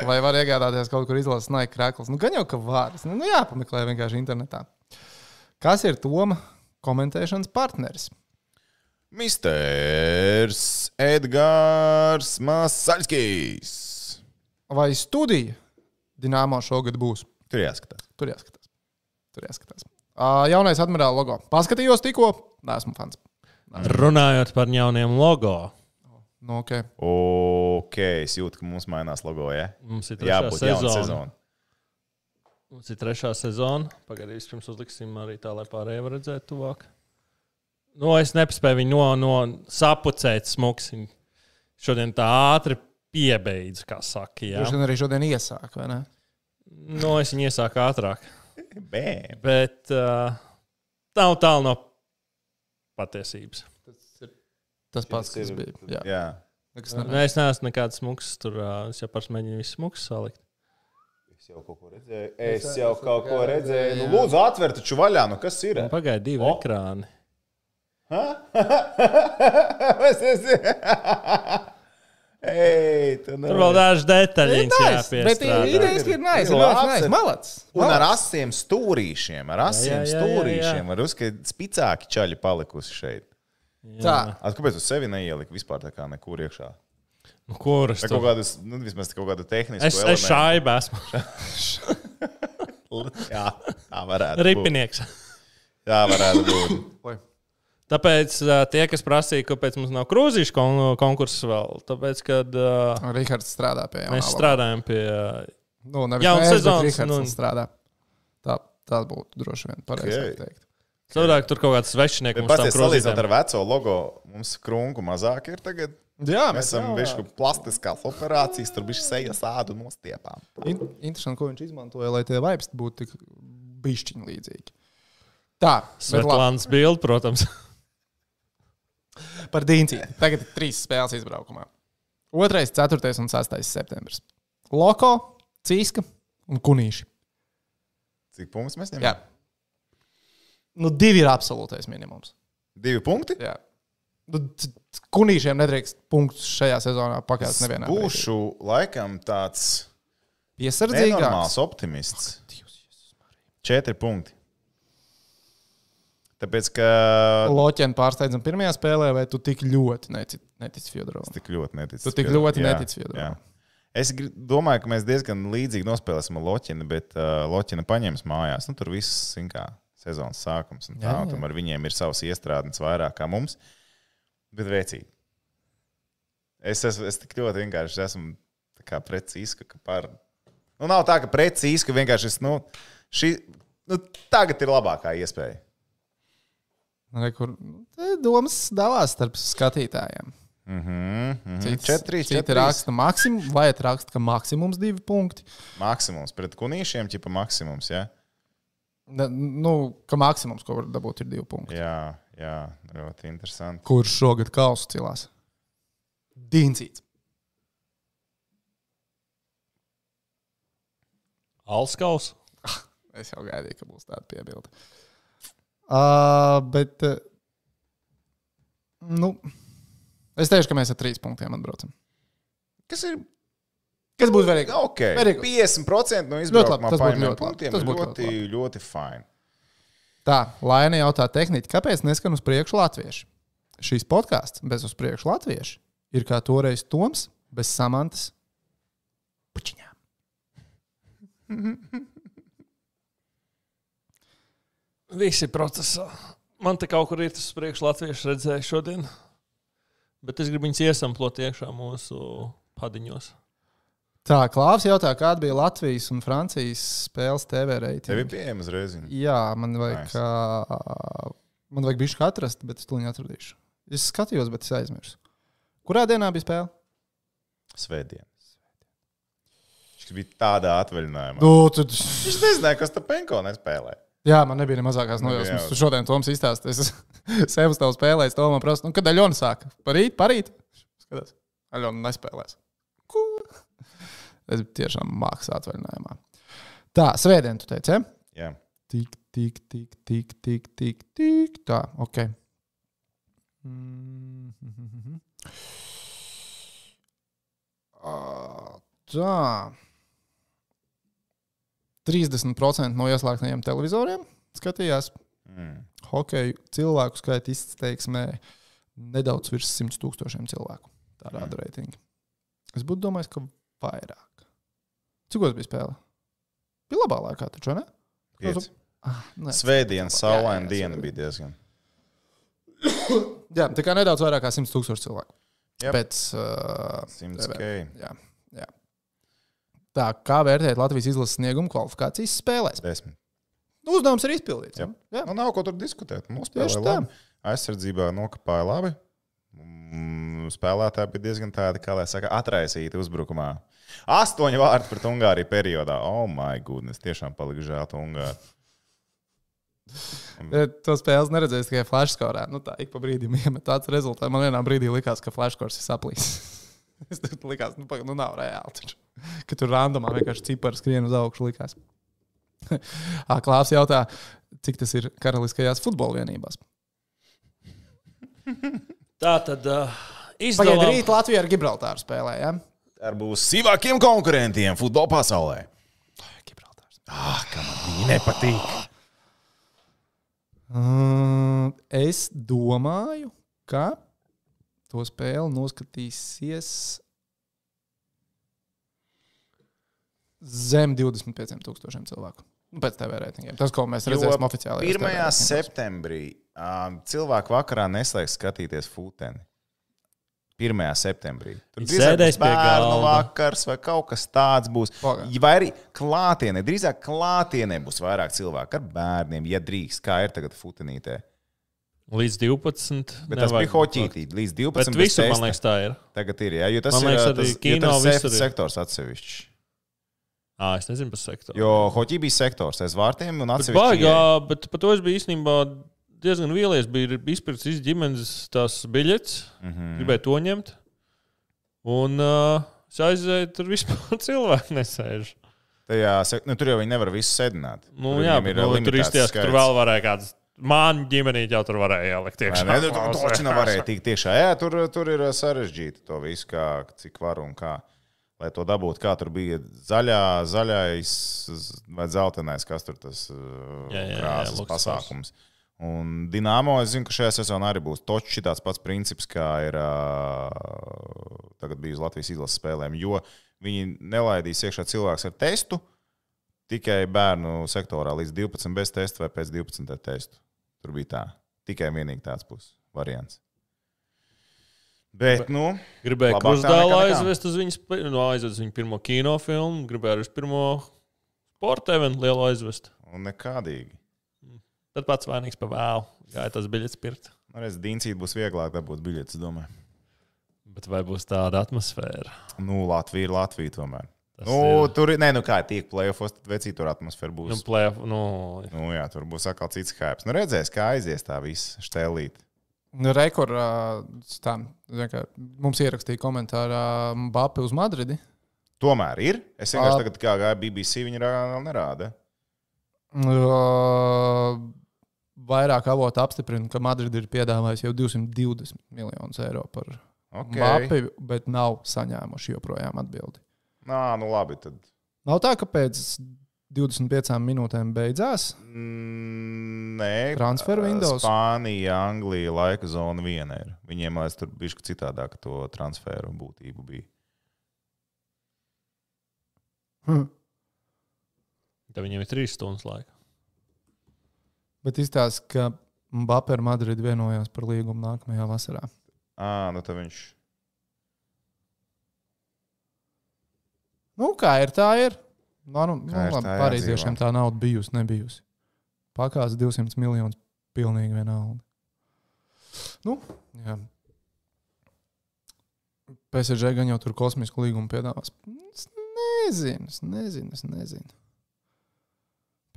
Speaker 1: Vai var iegādāties kaut kur izlases naik krāklis? Nu, gan jau, ka vārds. Nu, nu, jāpameklē vienkārši internetā. Kas ir Toma komentēšanas partneris?
Speaker 3: Misters Edgars Masaļskis.
Speaker 1: Vai studija Dienāmo šogad būs?
Speaker 3: Tur jāskatās.
Speaker 1: Tur jāskatās. Tur jāskatās. Ā, Jaunais admirāla logo. Paskatījos tikko, neesmu fans.
Speaker 2: Runājot par jauniem logo,
Speaker 1: Nu, okay.
Speaker 3: Ok, es jūtu, ka mums mainās logo. Ja?
Speaker 2: mums ir trešā
Speaker 3: Jābūt jaunam
Speaker 2: sezona.
Speaker 3: sezonam.
Speaker 2: Mums ir trešā sezona. Pagaidīsim, pirms uzliksim arī tā, lai pārējie var redzēt tuvāk. Nu, es nespēju viņu no, no sapucēt smūksiņu. Šodien tā ātri piebeidz, kā saka. Jā.
Speaker 1: Viņš gan arī šodien iesāk, vai ne?
Speaker 2: Nu, es viņu iesāku ātrāk.
Speaker 3: Bēm.
Speaker 2: Bet uh, tā nav tālu no patiesības.
Speaker 1: Tas pats, kas bija. Jā,
Speaker 3: Jā.
Speaker 1: nekas
Speaker 2: Nē,
Speaker 1: nav.
Speaker 2: Nu, es neesmu nekāds smūgs. Tur uh, es jau pats mēģināju visu smūgu salikt.
Speaker 3: Es jau kaut ko redzēju. Es jau kaut ko redzēju. Nu, lūdzu, atver taču vaļā. Nu, kas ir?
Speaker 2: Pagaidā, divi
Speaker 3: O!
Speaker 2: oh. ekrāni.
Speaker 3: Es esmu. Ei, tu
Speaker 2: Tur vēl dažas detaļas
Speaker 1: bet
Speaker 2: jāpiestrādā.
Speaker 1: idejas ir nice,
Speaker 3: Ir
Speaker 1: ir ļoti
Speaker 3: labs,
Speaker 1: nice.
Speaker 3: ir-
Speaker 1: Malac.
Speaker 3: Un ar asiem stūrīšiem, ar asiem
Speaker 2: jā, jā, jā,
Speaker 3: stūrīšiem. Var uzskatīt, ka spicāki čaļi palikusi šeit.
Speaker 1: Tā,
Speaker 3: At, kāpēc tu sevi neieliki vispār tā kā nekur iekšā?
Speaker 2: Nu, Kuras?
Speaker 3: Tā
Speaker 2: tu?
Speaker 3: kaut kādas, nu, vismaz kaut kāda tehniska.
Speaker 2: Es, es šaibu
Speaker 3: [LAUGHS]
Speaker 2: esmu.
Speaker 3: Jā, tā varētu būt.
Speaker 2: Ripinieks.
Speaker 3: Tā varētu būt.
Speaker 1: Oi.
Speaker 2: Tāpēc uh, tie, kas prasīja, kāpēc mums nav krūzīšu kon konkursu vēl, tāpēc, kad uh,
Speaker 1: Rihards strādā pie jaunā
Speaker 2: mēs
Speaker 1: logo.
Speaker 2: strādājam pie. Uh,
Speaker 1: Nu, nevis
Speaker 2: Jauns
Speaker 1: mēs, bet
Speaker 2: sezonas,
Speaker 1: Rihards
Speaker 2: nu.
Speaker 1: un strādā. Tā, tā būtu droši vien pareizāk
Speaker 3: Ok.
Speaker 1: teikt.
Speaker 2: Savādāk tur kaut kāds svešinieks mums
Speaker 3: Pats,
Speaker 2: tam
Speaker 3: ja salīdzinām
Speaker 2: krūzītēm.
Speaker 3: ar veco logo, mums krunku mazāk ir tagad.
Speaker 1: Jā,
Speaker 3: Mēs esam bijuši plastiskās operācijas, tur bija sejas ādu nostiepām.
Speaker 1: In, interesanti, ko viņš izmantoja, lai tie vibes būtu tik bišķiņi līdzīgi. Tā, bet labi.
Speaker 2: Svetlāns Bilds, protams. [LAUGHS]
Speaker 1: Par Dīnci. Tagad ir trīs spēles izbraukumā. 2, 4 un 6 septembris. Loko, Cīska un Kunīši.
Speaker 3: Cik punktus mēs
Speaker 1: Jā.
Speaker 3: ņemam?
Speaker 1: Nu, divi ir absolūtais minimums.
Speaker 3: Divi punkti.
Speaker 1: Jā. Nu, t- t- Kunīšiem nedrīkst punktus šajā sezonā pakāpties nevienā. brīdī.
Speaker 3: Būšu laikam tāds
Speaker 1: piesardzīgāks.
Speaker 3: nenormāls optimists. Četri punkti. Tāpēc, ka
Speaker 1: Loķēnu pārsteidzam pirmajā spēlē, vai tu tik ļoti netici, netici Fjodoram?
Speaker 3: tik ļoti neticu.
Speaker 1: Tu tik
Speaker 3: Fjodoram.
Speaker 1: ļoti
Speaker 3: Jā,
Speaker 1: netici Fjodoram.
Speaker 3: jā. Es gri- domāju, ka mēs diezgan līdzīgi nospēlēsim ar Loķinu, bet uh, Loķina paņems mājās. Nu, tur viss zin kā sezonas sākums. un
Speaker 1: Jā,
Speaker 3: Tā, jā,
Speaker 1: jā.
Speaker 3: jā. Tomēr viņiem ir savas iestrādes vairāk kā mums. Bet veicīgi. Es, es, es tik ļoti vienkārši esmu tā kā precīzi, ka par. Nu, nav tā, ka precīzi, ka vienkārši es. Nu, šī, nu, tagad ir labākā iespēja.
Speaker 1: Nu, Re, Kur te domas dalās starp skatītājiem?
Speaker 3: Mhm, mhm.
Speaker 1: Cits,
Speaker 3: Četri,
Speaker 1: citi
Speaker 3: četri.
Speaker 1: raksta, maksim, vai raksta, ka maksimums divi punkti.
Speaker 3: Maksimums pret kunīšiem, ķipa maksimums. Ja?
Speaker 1: Ne, Nu, ka maksimums, ko var dabūt, ir divi punkti. Jā.
Speaker 3: Jā, jā, ļoti interesanti.
Speaker 1: Kurš šogad kausu cilās? Dīncīts.
Speaker 2: Alskaus.
Speaker 1: Es jau gaidīju, ka būs tāda piebilde. Uh, bet, uh, nu, es teikšu, ka mēs ar trīs punktiem atbraucam.
Speaker 3: Kas ir?
Speaker 1: Kas būtu vērīgi?
Speaker 3: Ok,
Speaker 1: Very good.
Speaker 3: 50% no
Speaker 1: labi,
Speaker 3: izbraukumā
Speaker 1: tas būtu
Speaker 3: paņemtiem
Speaker 1: ļoti labi,
Speaker 3: punktiem
Speaker 1: tas
Speaker 3: ir
Speaker 1: būtu
Speaker 3: ļoti,
Speaker 1: ļoti
Speaker 3: ļoti, ļoti fini.
Speaker 1: Tā, Laina jautā, tehniķi, kāpēc neskan uz priekšu latvieši? Šīs podkāsts bez uz priekšu latviešu ir kā toreiz Toms bez samantas puķiņām.
Speaker 2: Visi procesā. Man te kaut kur ir tas priekš latviešu redzējis šodien. Bet es gribu viņus iesamplot iekšā mūsu padiņos.
Speaker 1: Tā, Klaus jautā, kāda bija Latvijas un Francijas spēles TV
Speaker 3: Tev ir
Speaker 1: reitinga?
Speaker 3: pieejama uzreiz. viņa?
Speaker 1: Jā, man vajag,
Speaker 3: Nice.
Speaker 1: nice. man vajag bišķi atrast, bet es to neatradīšu. Es skatījos, bet es aizmirsu. Kurā dienā bija spēle?
Speaker 3: Svētdien. Viņš bija tādā atvaļinājumā.
Speaker 1: Nu, tad...
Speaker 3: Viņš nezināja, kas tam penko nespēlē.
Speaker 1: Jā, man nebija ne mazākās
Speaker 3: Nebija
Speaker 1: nojausmas.
Speaker 3: jau.
Speaker 1: Tu šodien Toms izstāstīji, es [LAUGHS] sev uz tevi spēlēju, to man prasa, nu, kad Aļona sāka. Parīt, parīt. Skatās, Aļona nespēlēs. Ko? Es biju tiešām mākslas atvaļinājumā. Tā, svētdien, tu teici, ja?
Speaker 3: Jā.
Speaker 1: Tik, tik, tik, tik, tik, tik, tik. Tā, ok. Mm, mhm, mhm. Ā, Ah, Tā. 30% no ieslēgtajiem televizoriem skatījās
Speaker 3: Mm.
Speaker 1: hokeju cilvēku skaita izteiksmē nedaudz virs 100 tūkstošiem cilvēku. Tā rāda reitingi. Es būtu domājis, ka vairāk. Cikos bija spēle? Bija labā laikā, taču, vai ne?
Speaker 3: Pieci.
Speaker 1: Ah, nē.
Speaker 3: Svētdiena,
Speaker 1: jā,
Speaker 3: saulaina diena
Speaker 1: svētdien.
Speaker 3: bija diezgan.
Speaker 1: Jā, tā kā nedaudz vairāk kā 100 tūkstoši cilvēku.
Speaker 3: Jep.
Speaker 1: Pēc, uh,
Speaker 3: 100
Speaker 1: TV.
Speaker 3: k.
Speaker 1: jā, jā. Tā kā vērtēt Latvijas izlases sniegumu kvalifikācijas spēlēs?
Speaker 3: 10.
Speaker 1: Nu, Uzdevums ir izpildīts.
Speaker 3: Jep.
Speaker 1: Jā.
Speaker 3: Nu, nav ko tur diskutēt. Mums
Speaker 1: Tieši
Speaker 3: spēlēja
Speaker 1: tā.
Speaker 3: labi. Aizsardzībā nokāpāja labi. Mm, Spēlētāji bija diezgan tādi, kā lai saka, atraisīti uzbrukumā. Astoņi vārdi pret Ungāriju periodā. Oh, my goodness, tiešām palika žēl to Ungāru.
Speaker 1: E, To spēles neredzēju tikai flashskorā. Nu, tā ik pa brīdim [LAUGHS] iemet tāds rezultāts. Man vienā brīdī likās, ka flashskors ir saplīs. [LAUGHS] es tur likās, nu, paga- nu nav reāli. Taču. [LAUGHS] Ka tur randomā vienkārši cipars skrien uz augšu likās. [LAUGHS] Ā, Klāvs jautā, cik tas ir karaliskajās futbola vienībās.
Speaker 2: Tā tad uh,
Speaker 1: Pagaidā
Speaker 2: izdevām.
Speaker 1: rīt Latvijā ar Gibraltāru spēlē, jā?
Speaker 3: Ar būs sīvākiem konkurentiem futbola pasaulē.
Speaker 1: Gibraltārs.
Speaker 3: Viņi nepatīk.
Speaker 1: Ah. Mm, Es domāju, ka to spēli noskatīsies zem 25,000 cilvēku. Nu, Pēc tam vērtējumiem. Tas, ko mēs redzēsim oficiāli.
Speaker 3: 1. septembrī um, cilvēku vakarā neslēgs skatīties futeni. 1. septembrī. Tur
Speaker 2: Viņš sēdēs pie
Speaker 3: bērnu
Speaker 2: galda.
Speaker 3: vakars vai kaut kas tāds būs.
Speaker 1: Pagaid.
Speaker 3: Vai arī klātienē, drīzāk klātienē būs vairāk cilvēku ar bērniem, ja drīkst, kā ir tagad futenītē.
Speaker 2: Līdz 12.
Speaker 3: Bet tas
Speaker 2: nevajag
Speaker 3: bija hoķītī līdz 12.
Speaker 2: Bet
Speaker 3: bez
Speaker 2: visur, man
Speaker 3: testa.
Speaker 2: liekas, tā ir.
Speaker 3: Tagad ir, jā, jo tas
Speaker 2: Man
Speaker 3: man
Speaker 2: liekas,
Speaker 3: liekas, ir
Speaker 2: arī
Speaker 3: tas, jo
Speaker 2: kino
Speaker 3: tas
Speaker 2: visur
Speaker 3: safety
Speaker 2: ir.
Speaker 3: sektors atsevišķi.
Speaker 2: Ā, es nezinu par sektoru.
Speaker 3: Jo hoķī bija sektors aiz vārtiem un
Speaker 2: Bet
Speaker 3: atsevišķi.
Speaker 2: Baigā, bet par to es biju īstenībā diezgan vīlies. Bija izpirkts ģimenes tās biļetes,
Speaker 3: Mm -hmm.
Speaker 2: gribēju to ieņemt. Un uh, es aizēju, tur vispār [LAUGHS] cilvēki nesēž.
Speaker 3: Tajā, sek- nu, tur jau viņi nevar visu sēdināt.
Speaker 2: Nu,
Speaker 3: Tur
Speaker 2: jā,
Speaker 3: viņiem
Speaker 2: bet, nu, tur
Speaker 3: limitēts
Speaker 2: izties, ka tur
Speaker 3: skaits.
Speaker 2: vēl varēja kāds. Māna ģimenī jau tur varēja ielikt. [LAUGHS]
Speaker 3: Nē,
Speaker 2: iekšā.
Speaker 3: nē, tur tur Nu, taču nevarēja tikt iekšā. Jā, tur, tur ir uh, sarežģīti to visu, kā, cik var un kā. Lai to dabūtu, kā tur bija zaļā, zaļais z- vai zeltainais, kas tur tas uh,
Speaker 2: Jā, jā, jā,
Speaker 3: krāsas
Speaker 2: Luksors.
Speaker 3: pasākums. Un Dienāmo es zinu, ka šajā sezonā arī būs točs tāds pats princips, kā ir uh, tagad bijis Latvijas izlases spēlēm, jo viņi nelaidīs iekšā cilvēks ar testu tikai bērnu sektorā līdz 12 bez testa vai pēc 12 ar testu. Tur bija tā. Tikai un vienīgi tāds būs variants. Bet, nu,
Speaker 2: Gribēju
Speaker 3: Labāk tā
Speaker 2: krustdēlā
Speaker 3: nekā nekā.
Speaker 2: aizvest uz viņas, nu, aizvest uz viņu pirmo kinofilmu, gribēju arī uz pirmo sporta eventu lielu aizvest.
Speaker 3: un nekādīgi.
Speaker 2: Tad pats vainīgs par vēlu. Gāja tas biļets pirkt.
Speaker 3: Nu, redz, Dīncīt būs vieglāk dabūt biļetes, domāju.
Speaker 2: Bet vai būs tāda atmosfēra?
Speaker 3: Nu, Latvija ir Latvija tomēr.
Speaker 2: Tas
Speaker 3: Nu,
Speaker 2: ir-
Speaker 3: tur ir, nē, nu kā tiek plēsofos, tad vecī tur atmosfēra
Speaker 2: Nu,
Speaker 3: būs. Nu,
Speaker 2: plēf, nu,
Speaker 3: nu, jā, tur būs atkal cits hype. Nu, redzēs, kā aizies tā visa štēlīte.
Speaker 1: Nu, Rekords tam. Mums ierakstīja komentārā Bapi uz Madridi.
Speaker 3: Tomēr ir. Es vienkārši
Speaker 1: Ā.
Speaker 3: tagad, kā gāja BBC, viņa rā- nerāda.
Speaker 1: Uh, Vairāk avotu apstiprina, ka Madridi ir piedāvājusi jau 220 miljonus eiro par
Speaker 3: Okay.
Speaker 1: Bapi, bet nav saņēmuši joprojām atbildi.
Speaker 3: Nā, nu labi, tad
Speaker 1: Nav tā, ka pēc 25 minūtēm beidzās.
Speaker 3: Mm, Nē,
Speaker 1: Transfer windows?
Speaker 3: Spānija, Anglija, laika zona viena ir. Viņiem liekas, tur bija citādāk to transferu būtību. Bija.
Speaker 2: tad viņiem ir trīs stundas laika.
Speaker 1: Bet izstāsta, ka Mbappé ar Madridu vienojās par līgumu nākamajā vasarā.
Speaker 3: À, nu tad viņš
Speaker 1: Nu, kā ir, tā ir. Nu, nu, nu,
Speaker 3: Kā ir,
Speaker 1: labi,
Speaker 3: tā
Speaker 1: Parīziešiem
Speaker 3: jādzīvo.
Speaker 1: tā nauda bijusi, nebijusi. Pakāpst 200 miljonus pilnīgi vienalga. Nu, jā. PSG gan jau tur kosmisku līgumu piedāvās. Es nezinu, es nezinu, es nezinu.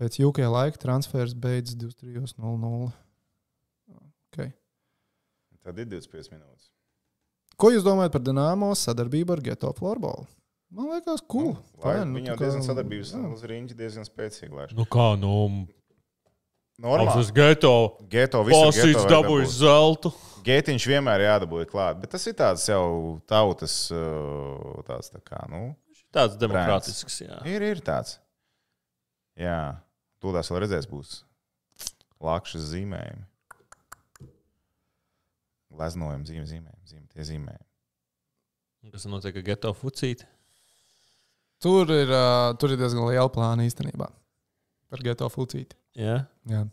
Speaker 1: Pēc UK laika transfers beidzas 23.00. Okay.
Speaker 3: tad ir 25 minūtes.
Speaker 1: Ko jūs domājat par Dienāmo sadarbību ar Geto Floorballu? Man liekas, cool.
Speaker 3: Lai,
Speaker 1: Fine, nu,
Speaker 3: viņa jau
Speaker 1: tā kā-
Speaker 3: diezgan sadarbības
Speaker 1: jā.
Speaker 3: uz rīņķi diezgan spēcīgi. laiž.
Speaker 2: Nu, kā nu,
Speaker 3: Normāli.
Speaker 2: tas geto.
Speaker 3: Geto visur
Speaker 2: Pasīts
Speaker 3: Nu, geto vajag
Speaker 2: dabūjis
Speaker 3: dabūt.
Speaker 2: zeltu.
Speaker 3: Gētiņš vienmēr jādabūja klāt, bet tas ir tāds jau tautas, uh, tāds tā kā, nu,
Speaker 2: Tāds demokrātisks, jā.
Speaker 3: ir, ir tāds. Jā, tūlīt vēl redzēs, būs lakšas zīmējumi. Gleznojam, zīmē, zīmē, zīmē, tie zīmē.
Speaker 2: Un Kas notiek ar geto fucīti?
Speaker 1: Tur ir, uh, tur ir diezgan liela plāna īstenībā. Par geto fulcīti.
Speaker 2: Jā,
Speaker 1: Jā.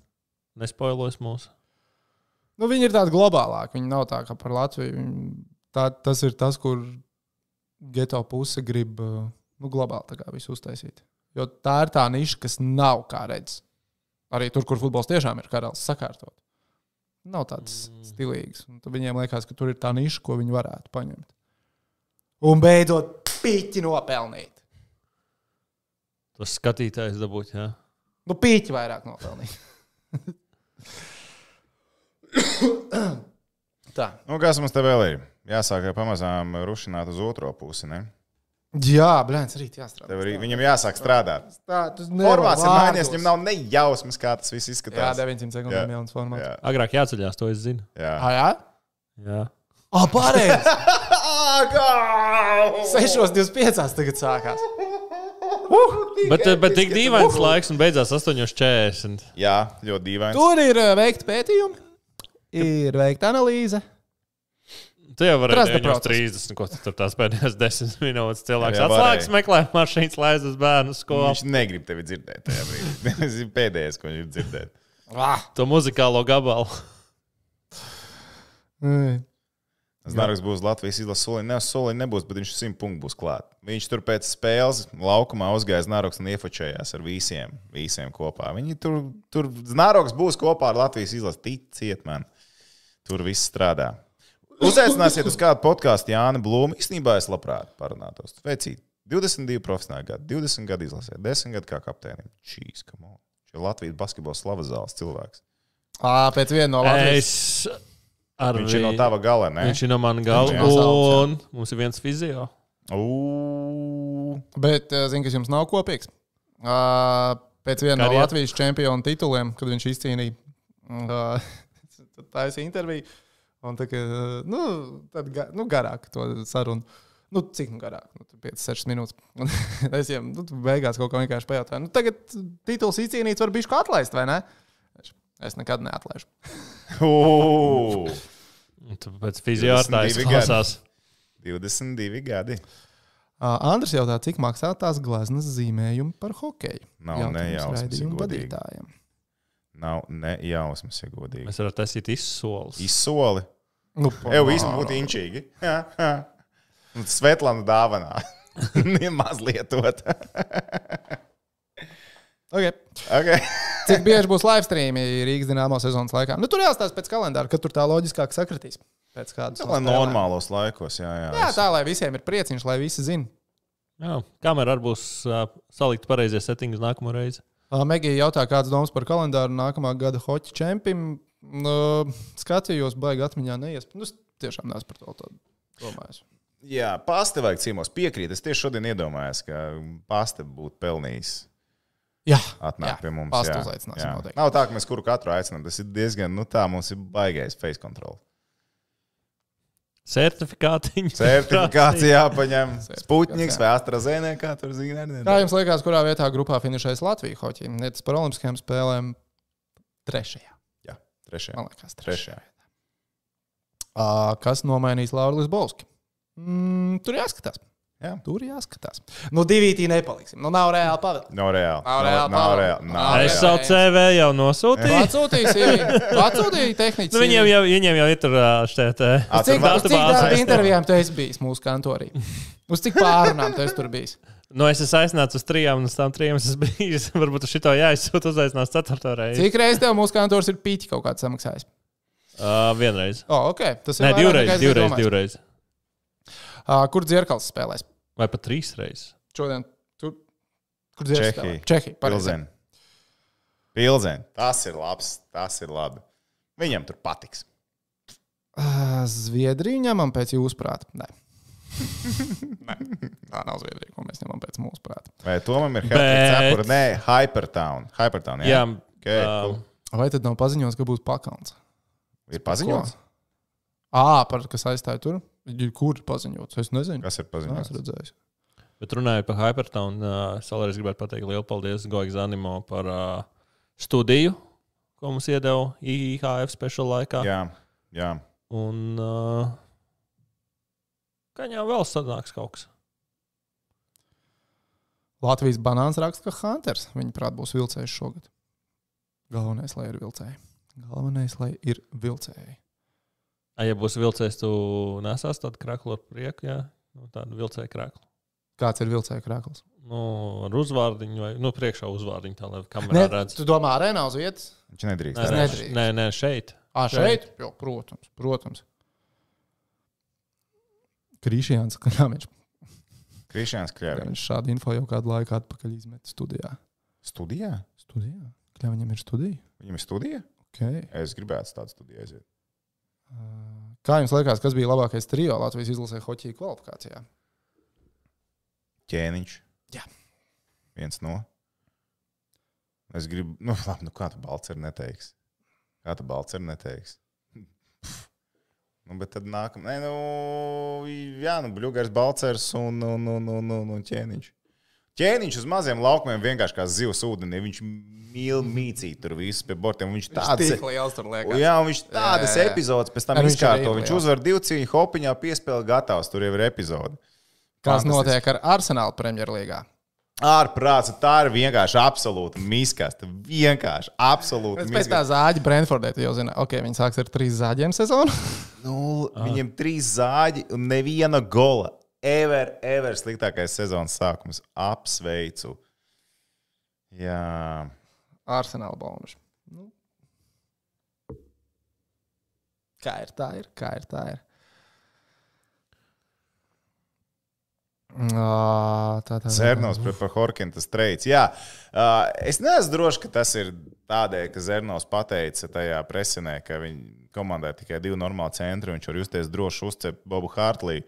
Speaker 2: nespoilos mūsu.
Speaker 1: Nu, viņi ir tādi globālāki. Viņi nav tā kā par Latviju. Viņi, tā, tas ir tas, kur geto puse grib uh, nu, globāli tā kā visu uztaisīt. Jo tā ir tā niša, kas nav kā redzes. Arī tur, kur futbols tiešām ir karalis sakārtot. Nav tāds mm. stilīgs. Un tad Viņiem liekas, ka tur ir tā niša, ko viņi varētu paņemt. Un beidzot, pīķi nopelnīt.
Speaker 2: Tas skatītājs dabūt, jā.
Speaker 1: Nu, pīķi vairāk nopelnīt. tā.
Speaker 3: Nu, kas mums te vēl ir? Jāsāk pamazām rušināt uz otro pusi. Ne?
Speaker 1: Jā, blēņas, rīt jāstrādā.
Speaker 3: Tev arī viņam jāsāk strādāt.
Speaker 1: Tā, tas
Speaker 3: Formāts ir mainījies, viņam nav ne jausmas, kā tas viss
Speaker 1: Jā,
Speaker 3: izskatās.
Speaker 1: 900 sekundēm
Speaker 3: Jā.
Speaker 1: jauns formāts.
Speaker 3: Jā.
Speaker 2: Agrāk jāceļās, to es zinu.
Speaker 3: jā.
Speaker 1: Ah, jā?
Speaker 2: Jā.
Speaker 1: Ah, pareizi!
Speaker 3: Agā!
Speaker 1: 6.25 tagad sākās.
Speaker 2: Bet, eh, bet tik dīvains
Speaker 3: Uh.
Speaker 2: laiks un beidzās 8.40.
Speaker 3: jā ļoti dīvaini.
Speaker 1: Tur ir eh, veikti pētījumi, ir veikta analīze.
Speaker 2: Tu jau vari
Speaker 1: Prasta
Speaker 2: redzēt,
Speaker 1: process.
Speaker 2: 30, ko tu tur tās pēdējās 10 minūtes cilvēks
Speaker 3: Jā, varēja.
Speaker 2: atslēgas, meklē mašīnas, lai aiz uz bērnu skolu.
Speaker 3: Viņš negrib tevi dzirdēt. tajā brīdī. [LAUGHS] Tas ir pēdējais, ko viņš grib dzirdēt.
Speaker 1: Ah.
Speaker 2: To muzikālo gabalu.
Speaker 1: Mm.
Speaker 3: Znāraks būs Latvijas izlases soliņš. Nē, soliņš nebūs, bet viņš simt punktu būs klāt. Viņš tur pēc spēles laukumā uzgāja Znāraks un iefočējās ar visiem, visiem kopā. Viņi tur, tur Znāraks būs kopā ar Latvijas izlasi. Ticiet man, tur viss strādā. Uzaicināsiet uz kādu podkāstu Jāni Blūmu. Īstenībā es labprāt parunātos. Veicīt 22 profesionāli gadi, 20 gadu izlasē, 10 gadu kā kapteinim. Čīs, kam on. Šie Latvijas basketbola slavas zāles cilvēks.
Speaker 1: Ah, pēc viena no Latvijas.
Speaker 2: Es ar
Speaker 3: Viņš ir no tava gala, ne?
Speaker 2: Viņš ir no manas galvas.
Speaker 1: Viņš ir no
Speaker 2: Un mums ir viens fizio.
Speaker 3: Ū,
Speaker 1: Bet, eh, zinu, kas jums nav kopīgs. Ah, Pēc viena no
Speaker 2: Karjeru.
Speaker 1: Latvijas čempionu tituliem, kad viņš izcīnīja ah, [LAUGHS] tad taisīja interviju. Un tā kā, nu, tad, ga- nu, garāk to sarunu. Nu, cik nu garāk? Nu, 5-6 minūtes. Un [LAUGHS] es viņam nu, tu beigās kaut ko vienkārši pajautāju. Nu, tagad tituls izcīnīts, var bišķi atlaist, vai ne? Viņš, Es nekad neatlaižu.
Speaker 3: ū.
Speaker 2: Un Tāpēc fizio ārstājs
Speaker 3: 22 gadi.
Speaker 2: klausās.
Speaker 3: 22 gadi.
Speaker 1: Uh, Andrēs jautā, cik maksā tās glazūras zīmējumi par hokeju?
Speaker 3: Nav
Speaker 1: Jautājums
Speaker 3: nejausmas,
Speaker 1: raidījuma
Speaker 3: ja godīgi.
Speaker 1: vadītājiem.
Speaker 3: Nav ne jausmas, ja godīgi.
Speaker 2: Mēs varam taisīt izsoles.
Speaker 3: Izsoli.
Speaker 1: Nu,
Speaker 3: Evo, īstenībā būtu inčīgi. Un Svetlana dāvanā. [LAUGHS] Nemaz lietot. [LAUGHS]
Speaker 1: Okay.
Speaker 3: Okay.
Speaker 1: Cik bieži būs live streami Rīgas dīnāmo sezonas laikā? Nu, tur jāstāsta pēc kalendāra, kad tur tā loģiskāk sakritīs. Pēc kādas
Speaker 3: Nu, Lai normālos laikos, jā, jā.
Speaker 1: Jā, tā lai visiem ir prieciņš, lai visi zina.
Speaker 2: Jā, kamera arī būs uh, salikta pareizie settingi uz nākamo reizi.
Speaker 1: Uh, Megija jautā, kāds domas par kalendāru nākamā gada hoķa čempim. Uh, skatījos, baigi atmiņā neies. Nu, es tiešām neesmu par to, to domājis.
Speaker 3: jā pasta vajag ciemos piekrīt. Es tieši šodien iedomājos, ka pasta būtu pelnījis.
Speaker 1: Jā,
Speaker 3: Atnāk
Speaker 1: Jā,
Speaker 3: pie mums.
Speaker 1: pastu
Speaker 3: jā,
Speaker 1: uzaicināsim
Speaker 3: jā.
Speaker 1: noteikti.
Speaker 3: Nav tā, ka mēs kuru katru aicinām. Tas ir diezgan, nu tā, mums ir baigais face
Speaker 1: [LAUGHS]
Speaker 3: control.
Speaker 2: Certifikātiņa.
Speaker 3: Certifikācija jāpaņem.
Speaker 1: Certifikāts,
Speaker 3: Sputniks
Speaker 1: jā.
Speaker 3: vai AstraZeneca, kā tur zina.
Speaker 1: Kā jums liekas, kurā vietā grupā finšēs Latvijas hoķi? Nē, tas par Olimpiskajām spēlēm trešajā.
Speaker 3: Jā, trešajā.
Speaker 1: Man liekas, trešajā.
Speaker 3: Trešajā.
Speaker 1: Uh, kas nomainīs Laurijas Bolski? Mm, tur jāskatās.
Speaker 3: Jā.
Speaker 1: Tur jāskatās. Nu, divi tī nepaliksim. Nu, nav reāli pavēlēt.
Speaker 3: Nav reāli.
Speaker 1: Nav reāli,
Speaker 3: Nav
Speaker 1: Pavel.
Speaker 3: reāli. Nav
Speaker 1: Nav
Speaker 2: Es
Speaker 1: reāli.
Speaker 3: reāli.
Speaker 2: savu CV jau nosūtīju.
Speaker 1: Atsūtīja
Speaker 2: Nu,
Speaker 1: tehniku.
Speaker 2: viņiem, jau, viņiem jau ir tur šeit.
Speaker 3: Ā,
Speaker 1: Cik daudz
Speaker 3: tur
Speaker 2: var-
Speaker 1: cik daudz
Speaker 2: datubāzē.
Speaker 1: intervijām tu esi bijis mūsu kantorī? Uz cik pārunām tu esi tur bijis?
Speaker 2: Nu, es esmu aizsnācis uz trijām, un uz tām trijām es biju. [LAUGHS] Varbūt uz šito jāizsūta uzaicinās ceturto reizi.
Speaker 1: Cik reizes tev mūsu kantors ir pīķi kaut kāds samaksājis?
Speaker 2: Uh, vienreiz.
Speaker 1: O, oh, ok. Tas ir
Speaker 2: Nē,
Speaker 1: vairāk
Speaker 2: divreiz,
Speaker 1: nekā es biju
Speaker 2: divreiz,
Speaker 1: domājis.
Speaker 2: divreiz.
Speaker 1: Ā, kur dzirkals spēlēs?
Speaker 2: Vai pat trīs reizes.
Speaker 1: Šodien tur. Kur dzirkals?
Speaker 3: Čehija.
Speaker 1: spēlē? Čehija. Pareizi.
Speaker 3: Pilzen. Pilzen. Tas ir labs. Tas ir labi. Viņam tur patiks.
Speaker 1: Ā, Zviedriju ņemam pēc jūsu prāta. Nē. [LAUGHS] Nē. Tā nav Zviedrija, ko mēs ņemam pēc mūsu prāta.
Speaker 3: Vai Tomam ir
Speaker 2: Bet-
Speaker 3: Helsinki? Nē, Hypertown. Hypertown jā.
Speaker 2: Jā,
Speaker 3: jā. Okay, cool.
Speaker 2: um,
Speaker 1: Vai tad nav paziņots, ka būs pakauts?
Speaker 3: Ir paziņots?
Speaker 1: Ā, par kas aizstāja tur? Kur paziņots? Es nezinu.
Speaker 3: Kas ir
Speaker 1: Nē,
Speaker 3: paziņots?
Speaker 1: Es redzēju.
Speaker 2: Bet runājot par Hypertonu, uh, es vēlreiz gribētu pateikt lielu paldies Goigs Zanimo par uh, studiju, ko mums iedeva IHF speciālā laikā.
Speaker 3: Jā, jā.
Speaker 2: Un uh, kaņā vēl sanāks kaut kas.
Speaker 1: Latvijas banāns raksta, ka Hunters, viņaprāt, būs vilcējs šogad. Galvenais, lai ir vilcēji. Galvenais, lai ir vilcēji.
Speaker 2: A, ja būs vilcējs, tu nesās tādu kraklu ar prieku, jā, nu, tādu vilcēju kraklu.
Speaker 1: Kāds ir vilcēja krāklis?
Speaker 2: Nu, ar uzvārdiņu, vai nu, priekšā uzvārdiņu, tā lai kamerā
Speaker 1: Nē,
Speaker 2: redz.
Speaker 1: tu domā, arēnā uz vietas?
Speaker 3: Viņš nedrīkst.
Speaker 2: Nē,
Speaker 3: tā
Speaker 2: nē,
Speaker 3: darīt.
Speaker 1: nedrīkst.
Speaker 2: nē, nē, šeit.
Speaker 1: Ah, šeit? Jo, protams, protams. Krišjāns Kļāviņš.
Speaker 3: Krišņāns Kļāviņš.
Speaker 1: Viņš šādu info jau kādu laiku atpakaļ izmet studijā.
Speaker 3: Studijā?
Speaker 1: Studijā? Kļāviņam ir studija.
Speaker 3: Viņam ir studija?
Speaker 1: Okay.
Speaker 3: Es gribētu tādu studiju aiziet.
Speaker 1: Kā jums liekas, kas bija labākais trio Latvijas izlasē hoķī kvalifikācijā?
Speaker 3: Ķēniņš.
Speaker 1: Jā.
Speaker 3: Viens no. Es gribu, nu, [LAUGHS] labi, nu kā tu balts ir neteiks? Kā tu balts ir neteiks? Nu, bet tad nākamā, nē, nu, jā, nu, bļūgais balcers un, un, un, un, un, un ķēniņš. Ķēniņš uz maziem laukumiem vienkārši kā zivs ūdenī. Viņš mīl mīcīt tur visus pie bortiem. un Viņš tāds ir.
Speaker 1: liels tur
Speaker 3: O, Jā, un viņš tādas
Speaker 1: Jā, jā, jā.
Speaker 3: epizodes pēc tam
Speaker 1: Ar viņš
Speaker 3: izkārto.
Speaker 1: arī,
Speaker 3: Viņš
Speaker 1: jā.
Speaker 3: uzvar divu cīņu, hopiņā piespēlē gatavs. Tur jau ir epizode.
Speaker 1: Kas
Speaker 3: Fantastiski.
Speaker 1: notiek ar Arsenālu Premjerlīgā?
Speaker 3: Ārprāts, tā ir vienkārši absolūta miskasta. Vienkārši absolūta
Speaker 1: Es pēc tā
Speaker 3: miskasta.
Speaker 1: zāģa Brentfordē tu jau zina, ok, viņi sāks ar trīs zāģiem sezonu.
Speaker 3: Nu,
Speaker 1: Ah.
Speaker 3: viņam trīs zāģi un neviena gola. Ever, ever sliktākais sezonas sākums. Apsveicu. Jā,
Speaker 1: Arsenāla bonuši. Nu. Kā ir tā, ir? Kā ir tā, ir? Ā, Ah, Tā tā
Speaker 3: Zernovs pret Horkinu tas treids. Jā, Ā, es neesmu drošs, ka tas ir tādēļ, ka Zernovs pateica tajā presinē, ka viņa komandai tikai divi normāli centri, un viņš var justies droši uzcept Bobu Hārtliju.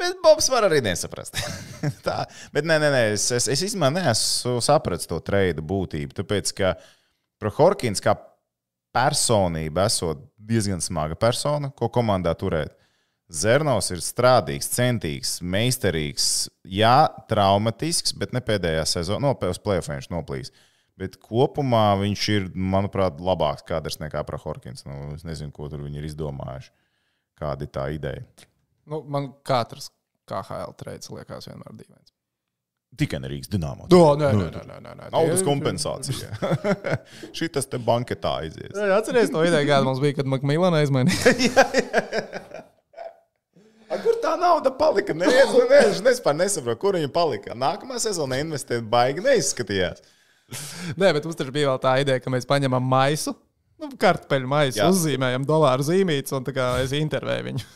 Speaker 3: Bet Bobs var arī nesaprast. [LAUGHS] Tā, bet nē, nē, nē es, es, es īstenībā neesmu sapratis to treidu būtību. Tāpēc, ka Horkins kā personība esot diezgan smaga persona, ko komandā turēt. Zernovs ir strādīgs, centīgs, meistarīgs, jā, traumatisks, bet ne pēdējā sezonā, no pēc plēsoņa viņš noplīs. Bet kopumā viņš ir, manuprāt, labāks kadrs nekā Prohorkins. Nu, es nezinu, ko tur viņi ir izdomājuši. Kāda ir tā ideja?
Speaker 1: Nu, man katrs KHL treids liekas vienmēr dīvains.
Speaker 3: Tikai ne Rīgas dīnāmā.
Speaker 1: Do, nē, nē, nē, nē, nē, nē.
Speaker 3: Naudas
Speaker 1: Tie-
Speaker 3: kompensācija. [LAUGHS] Šī tas te banketā aizies.
Speaker 1: Nē, Atceries to ideju, kāda mums bija, kad Makmīlāna aizmainīja.
Speaker 3: A, kur tā nauda palika? Nē, es nezinu, es pat nesaprotu, kur viņa palika. Nākamā sezona investēt baigi neizskatījās.
Speaker 1: Nē, bet mums taču bija vēl tā ideja, ka mēs paņemam maisu, nu, kartupeļu maisu,
Speaker 3: Jā.
Speaker 1: uzzīmējam dolāru zīmītes, un tā kā es intervēju
Speaker 3: [LAUGHS]
Speaker 1: viņu.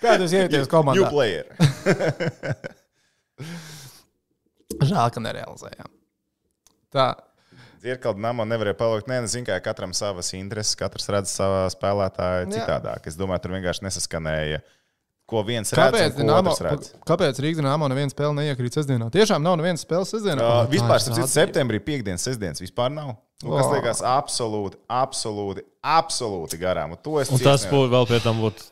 Speaker 1: Kā jūs jūtaties
Speaker 3: New
Speaker 1: komandā?
Speaker 3: player.
Speaker 1: Žēl, ka nerealizējām. Tā.
Speaker 3: Dzirkala nama nevarēja palikt. Nē, zinu, kā katram savas intereses, katrs redz savu spēlētāju
Speaker 1: Jā.
Speaker 3: citādāk. Es domāju, tur vienkārši nesaskanēja, ko viens
Speaker 1: Kāpēc,
Speaker 3: redz un ko
Speaker 1: Dinamo,
Speaker 3: otrs redz.
Speaker 1: kāpēc Rīgas dīnāmā neviena spēle neiekrīt sestdienā? Tiešām nav nevienas spēles sestdienā.
Speaker 3: Uh,
Speaker 1: Tā ir
Speaker 3: vispār, tas ir
Speaker 1: sādība.
Speaker 3: septembrī, piekdienas, sestdienas. Vispār nav. Nu,
Speaker 1: Vā.
Speaker 3: kas liekas absolūti, absolūti, absolūti garām. Un to es
Speaker 2: Un tas
Speaker 3: cienu.
Speaker 2: būtu vēl pie tam būtu.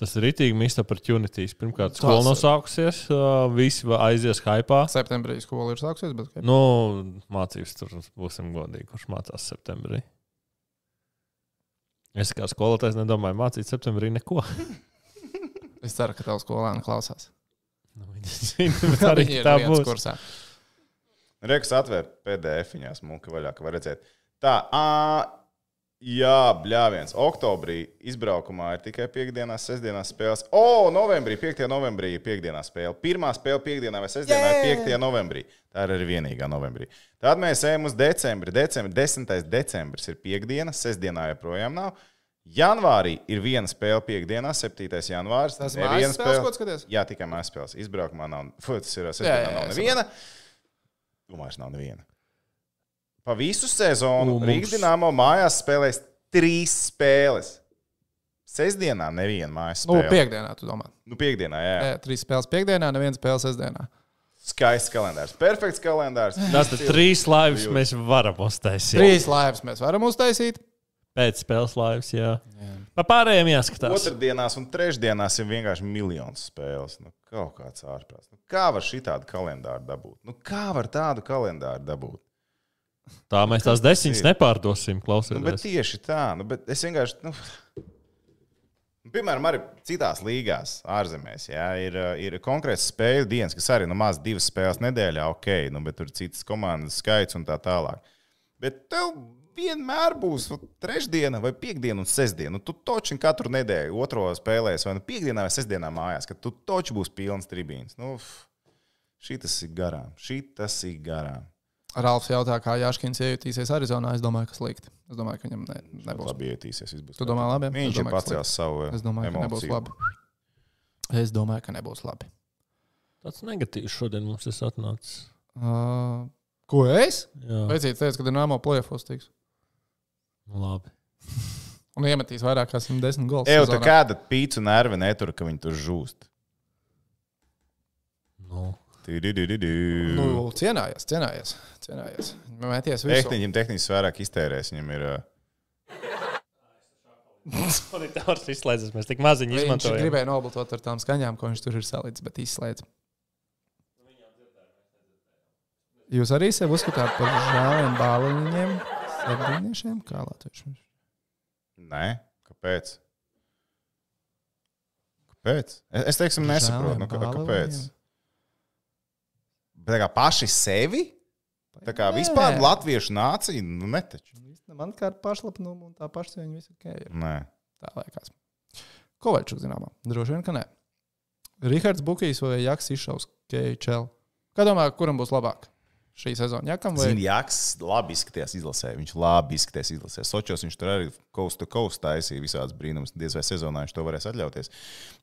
Speaker 2: Tas ir rītīgi mīsta opportunities. Pirmkārt, skola
Speaker 1: Tas-
Speaker 2: nav sākusies, uh, visi va- aizies hypā.
Speaker 1: Septembrī skola ir sākusies, bet
Speaker 2: Nu, mācības tur būsim godīgi, kurš mācās septembrī. Es kā skolotājs nedomāju mācīt septembrī neko. [LAUGHS]
Speaker 1: es ceru, ka tavs skolēns klausās.
Speaker 2: Nu, viņi
Speaker 1: [LAUGHS]
Speaker 2: zina, bet arī
Speaker 1: Viņi ir
Speaker 2: tā
Speaker 1: viens
Speaker 2: būs.
Speaker 1: Kursā.
Speaker 3: Reiks atver PDF, viņa smuka vaļā, ka var redzēt. Tā, ā, jā, bļāviens. Oktobrī izbraukumā ir tikai piekdienās, sestdienās spēles. O, novembrī, 5. novembrī ir piekdienā spēle. Pirmā spēle piekdienā vai sestdienā ir 5. novembrī. Tā ir arī vienīgā novembrī. Tad mēs ejam uz decembri. Decembri, 10. decembris ir piekdiena, sestdienā joprojām nav. Janvārī ir viena spēle piekdienā, 7. janvāris.
Speaker 1: Tas
Speaker 3: Neviena
Speaker 1: mājas spēles, ko tu skaties?
Speaker 3: Jā, tikai mājas spēles. Izbraukumā nav. Fu, tas
Speaker 1: Jā,
Speaker 3: ir
Speaker 1: jā,
Speaker 3: sestdienā
Speaker 1: jā,
Speaker 3: nav
Speaker 1: es
Speaker 3: neviena. Domāju, nav neviena. Pa visu sezonu
Speaker 2: U, mums-
Speaker 3: Rīgas dīnāmo mājās spēlēs trīs spēles. Sestdienā neviena mājas
Speaker 1: Nu,
Speaker 3: spēle.
Speaker 1: piekdienā, tu domā.
Speaker 3: nu piekdienā, jā. jā.
Speaker 1: Nē, Trīs spēles piekdienā, neviena spēle sestdienā.
Speaker 3: Skaists kalendārs, perfekts kalendārs.
Speaker 2: Tas ir trīs laivas, mēs varam uztaisīt.
Speaker 1: Trīs laivas mēs varam uztaisīt.
Speaker 2: Pēc spēles laivas, jā. Pa pārējiem jāskatās.
Speaker 3: Otradienās un trešdienās ir vienkārši miljons spēles. Nu, kaut kāds ārprāts. Nu, kā var šitādu kalendāru dabūt? Nu, kā var tādu kalendāru dabūt?
Speaker 2: Tā mēs tās desiņas nepārdosim,
Speaker 3: Nu, bet
Speaker 2: klausieties.
Speaker 3: tieši tā, nu, bet es vienkārši. Nu, Piemēram, arī citās līgās, ārzemēs, jā, ir, uh, ir konkrēts spēļu dienas, kas arī nu, maz divas spēles nedēļā, ok, nu, bet tur ir citas komandas skaits un tā tālāk. Bet tev vienmēr būs nu, trešdiena, vai piekdiena, un sestdiena. Nu, tu toči katru nedēļu, otro spēlēs, vai nu piekdienā, vai sestdienā mājās, kad tu toči būs pilns tribīns. Nu, šī tas ir garām, šī tas ir garām.
Speaker 1: Ralfs jautā, kā Jāškins iejutīsies Arizonā. Es domāju, ka slikti. Es domāju, ka viņam ne, nebūs.
Speaker 3: Labi, ietīsies. viss būs
Speaker 1: Tu
Speaker 3: kārtībā.
Speaker 1: domā labi? Es
Speaker 3: Viņš ir
Speaker 1: domāju, ka
Speaker 3: pacēlis savu eh,
Speaker 1: Es domāju, ka nebūs
Speaker 3: emociju.
Speaker 1: labi. Es domāju, ka nebūs labi.
Speaker 2: Tāds negatīvs šodien mums ir atnācis.
Speaker 1: Uh, ko es?
Speaker 2: Jā,
Speaker 1: Veicīt, teicu, ka Dienāmo plēfos tiks.
Speaker 2: nu labi.
Speaker 1: Un iemetīs vairāk kā 110 gols.
Speaker 3: Eju, tā
Speaker 1: sezonā.
Speaker 3: kāda pīcis un nervi netur, ka viņi tur žūst.
Speaker 2: Nu.
Speaker 1: Nu,
Speaker 3: Tehniņam
Speaker 1: cienājies, cienājies. cienājies. Mēties visu.
Speaker 3: tehniski vairāk iztērēs. Viņam ir uh,
Speaker 2: Monitors izslēdzas, mēs tik maziņi
Speaker 1: Viņš
Speaker 2: izmantojam.
Speaker 1: gribēja nobloķēt ar tām skaņām, ko viņš tur ir salicis, bet izslēdz. Jūs arī sev uzskatāt par žēliem bāliņiem, sardiņiem, kā latviešiem.
Speaker 3: nē, kāpēc? Kāpēc? E, Es, es teiksim, nesaprotu, nu, kā, kāpēc. Bet tā kā paši sevi? Tā kā vispār latviešu nācija, nu ne taču.
Speaker 1: Man kā ar pašlapnumu un tā pašcieņa visu ok. Ir.
Speaker 3: Nē.
Speaker 1: Tā liekas. Kovačs zināmā. Droši vien, ka nē. Rihards Bukijs vai Jaks Išaus KHL. Kā domā, kuram būs labāk šī sezona? Jakam vai
Speaker 3: Zini, Jaks labi izskatījās izlasē. Viņš labi izskatījās izlasē. Sočos viņš tur arī coast to coast taisīja visādas brīnumas. Diez vai sezonā viņš to varēs atļauties.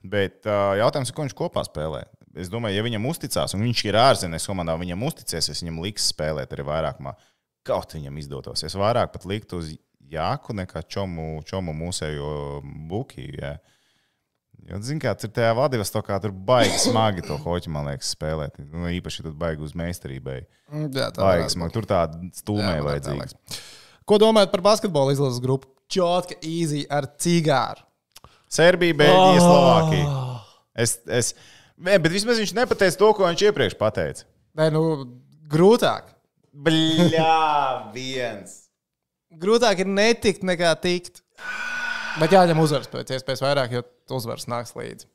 Speaker 3: Bet uh, jautājums ir, ko viņš kopā spēlē. Es domāju, ja viņam uzticās, un viņš ir ārzemēs komandā, un viņam uzticēs, es viņam liks spēlēt arī vairākumā. Kaut viņam izdotos. Es vairāk pat liktu uz Jāku nekā Čomu, čomu mūsējo Bukiju. Jā. Jo, zin, kā, tur tajā Vladivostokā tur baigi smagi to hoķi, man liekas, spēlēt. Nu, īpaši, ja tu baigi uz meistarībai.
Speaker 1: Mm, jā, tā varētu
Speaker 3: Vajag,
Speaker 1: būt.
Speaker 3: man tur tāda
Speaker 1: Jā,
Speaker 3: stūmē
Speaker 1: man arī tā
Speaker 3: vajadzīga.
Speaker 1: liekas. Ko domājat par basketbola izlases grupu? Čotka, īzī ar cigāru.
Speaker 3: Serbija, Beļģija, Slovākija. Es, es, nē, bet vismaz viņš nepateica to, ko viņš iepriekš pateica.
Speaker 1: Nē, nu, grūtāk.
Speaker 3: Bļā, viens.
Speaker 1: Grūtāk ir netikt nekā tikt. Bet jāņem uzvaras pēc iespējas vairāk, jo uzvaras nāks līdzi.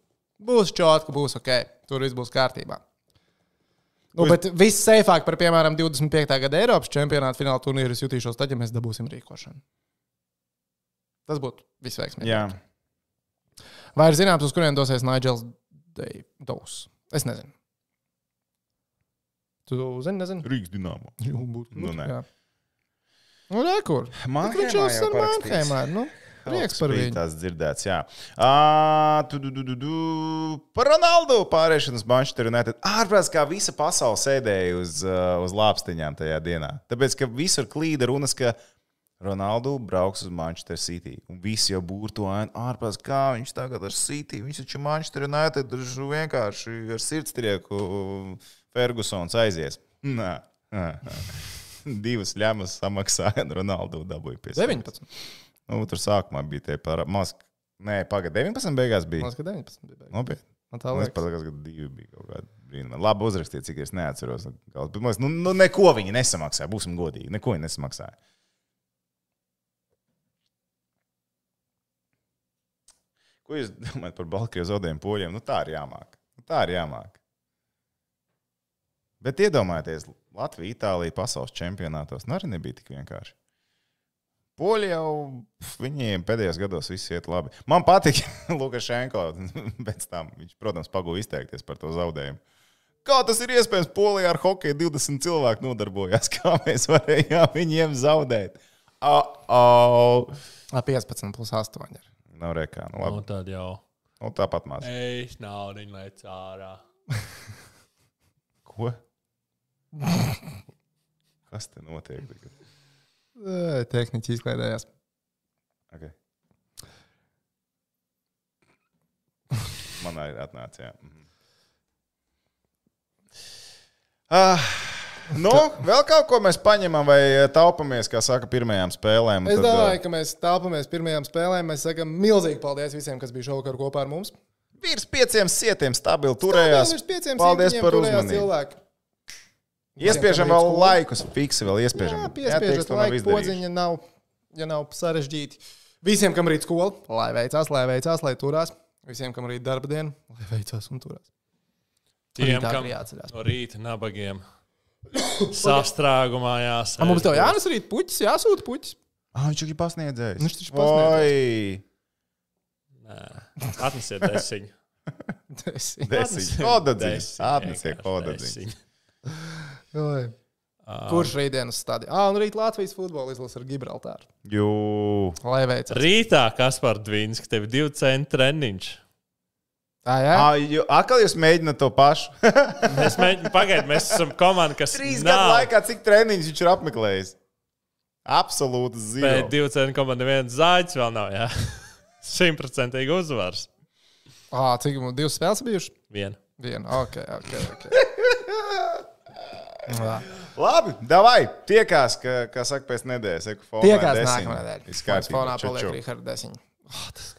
Speaker 1: Būs čotka, būs ok. Tur viss būs kārtībā. Nu, bet viss seifāk par, piemēram, 25. gada Eiropas čempionāta fināla turnīru es jutīšos tad, ja mēs dabūsim rīkošanu. Tas būtu
Speaker 3: Jā,
Speaker 1: visveiksmīgāk. Vai ir zināms, uz kurien dosies Nigels Dovs? Es nezinu. Tu zini, nezinu.
Speaker 3: Rīgas dīnāmo.
Speaker 1: Jū, būtu,
Speaker 3: Nu, nē.
Speaker 1: jā. Nu, nekur.
Speaker 3: Mannheimā
Speaker 1: Viņš jau
Speaker 3: jau
Speaker 1: sen
Speaker 3: parakstīs.
Speaker 1: Mannheimā. ir, Nu, prieks par viņu.
Speaker 3: Tas dzirdēts, jā. Ā, tu, tu, tu, tu, tu. Par Ronaldu pārēšanas Manchester United. Ārprāts, kā visa pasaule sēdēja uz, uh, uz lāpstiņām tajā dienā. Tāpēc, ka visur klīda runas, ka Ronaldu brauks uz Manchester City. Un visi jau būtu ainu ārprāts, kā viņš tagad ar City. Viņš taču Manchester United taču vienkārši ar sirdstrieku Fergusons aizies. Nā. nā, nā. [LAUGHS] Divas ļamas samaksāja, un Ronaldu dabūja pie sevis.
Speaker 1: 19.
Speaker 3: Nu, tur sākumā bija tie par mazu. Nē, pagaidi, 19. beigās bija.
Speaker 1: Man liekas, ka 19. bija beigas.
Speaker 3: Nopietni. Nu,
Speaker 1: Man tā
Speaker 3: Man liekas,
Speaker 1: liekas.
Speaker 3: ka divi bija kaut kādi brīnumi. Labi uzrakstīts, cik es neatceros. no galvas, bet, man liekas, Nu, nu, neko viņi nesamaksāja. Būsim godīgi. Neko viņi nesamaksāja. Ko jūs domājat par Baltkrievijas zaudējumu poļiem? Nu, tā ir jāmāk. Nu, tā ir jāmāk. Bet iedomājieties, Latvija, Itālija pasaules čempionātos nu arī nebija tik vienkārši. Poļi jau pf, viņiem pēdējos gados viss iet labi. Man patīk [LAUGHS] Lukašenko. Pēc tam viņš, protams, pagūda izteikties par to zaudējumu. Kā tas ir iespējams? Polijā ar hokeju 20 cilvēku nodarbojās. [LAUGHS] Kā mēs varējām viņiem zaudēt? Au!
Speaker 1: Ā, 15 plus 8. ir.
Speaker 3: Nav rekā. Nu,
Speaker 2: Nu,
Speaker 3: labi.
Speaker 2: tad jau.
Speaker 3: Nu, tāpat maz.
Speaker 2: Es naudu lec ārā.
Speaker 3: Ko? [LAUGHS] Kas te notiek? tagad?
Speaker 1: Ē, Tehniķi izklaidējās.
Speaker 3: Okay. Man arī atnāca. Jā. Mhm. Ah, nu, vēl kaut ko mēs paņemam vai eh, taupamies, kā saka, pirmajām spēlēm.
Speaker 1: Es
Speaker 3: Tad, eh,
Speaker 1: domāju, ka mēs tāpamies pirmajām spēlēm. Mēs sakām milzīgi paldies visiem, kas bija šovakar kopā ar mums.
Speaker 3: eh, Virs pieciem sietiem stabili
Speaker 1: Paldies
Speaker 3: turējās.
Speaker 1: par
Speaker 3: Paldies par uzmanību.
Speaker 1: uzmanību. Variem
Speaker 3: Iespiežam vēl
Speaker 1: paveikt
Speaker 3: laikus, fiksi vēl iespiežam.
Speaker 1: Jā, piespiežat
Speaker 3: to nav
Speaker 1: laiku
Speaker 3: izdarījuši.
Speaker 1: podziņu, ja nav, ja nav sarežģīti. Visiem, kam rīt skola, lai veicās, lai veicās, lai turās. Visiem, kam rīt darba diena, lai veicās un turās.
Speaker 2: Tiem,
Speaker 1: Rītā
Speaker 2: kam
Speaker 1: arī jāatcerās.
Speaker 2: no rīta nabagiem sastrēgumā jāsaka.
Speaker 1: A, mums tev jānes rīt puķis, jāsūta puķis. [LAUGHS]
Speaker 3: Ah, viņš ir pasniedzējis.
Speaker 1: Viņš taču pasniedzējs.
Speaker 2: Atnesiet desiņu.
Speaker 1: [LAUGHS]
Speaker 3: Desiņ.
Speaker 2: Atnesiet
Speaker 3: Kodadziņ.
Speaker 2: desiņu,
Speaker 3: Atnesiet
Speaker 2: vienkārši
Speaker 3: kodadziņ.
Speaker 2: desiņu.
Speaker 1: Oi.
Speaker 2: Ah.
Speaker 1: Kurš rītdienas stadionā? Ah, un rīt Latvijas futbola izlase ar Gibraltāru.
Speaker 3: Jū.
Speaker 1: Lai veicas.
Speaker 2: Rītā Kaspar Dvīns, ka tev ir divu centu treniņš.
Speaker 1: Tā jā.
Speaker 3: Ah, jū. Akal jūs mēģināt to pašu. [LAUGHS]
Speaker 2: Mēs mēģinām pagaidīt, mēs esam komanda, kas
Speaker 3: Trīs
Speaker 2: nav
Speaker 3: gadu laikā cik treniņus viņš ir apmeklējis? Absolūti
Speaker 2: Pēc
Speaker 3: zina.
Speaker 2: divu cenu komanda neviens zāģis vēl nav. jā. [LAUGHS] Simtprocentīgi uzvars.
Speaker 1: Ah, cik mums divas spēles bijušas?
Speaker 2: Vienu.
Speaker 1: Viena. Ok, ok.
Speaker 3: [LAUGHS]
Speaker 1: okay. Jā.
Speaker 3: Labi, davai, tiekās, kā, kā saka, pēc nedēļas. Eku fonā
Speaker 1: Tiekās
Speaker 3: desiņ.
Speaker 1: nākamā nedēļa.
Speaker 3: Viss
Speaker 1: Fonā
Speaker 3: kārtībā. Čau,
Speaker 1: paliek
Speaker 3: čau.
Speaker 1: Rīgards Desiņš. Oh, tas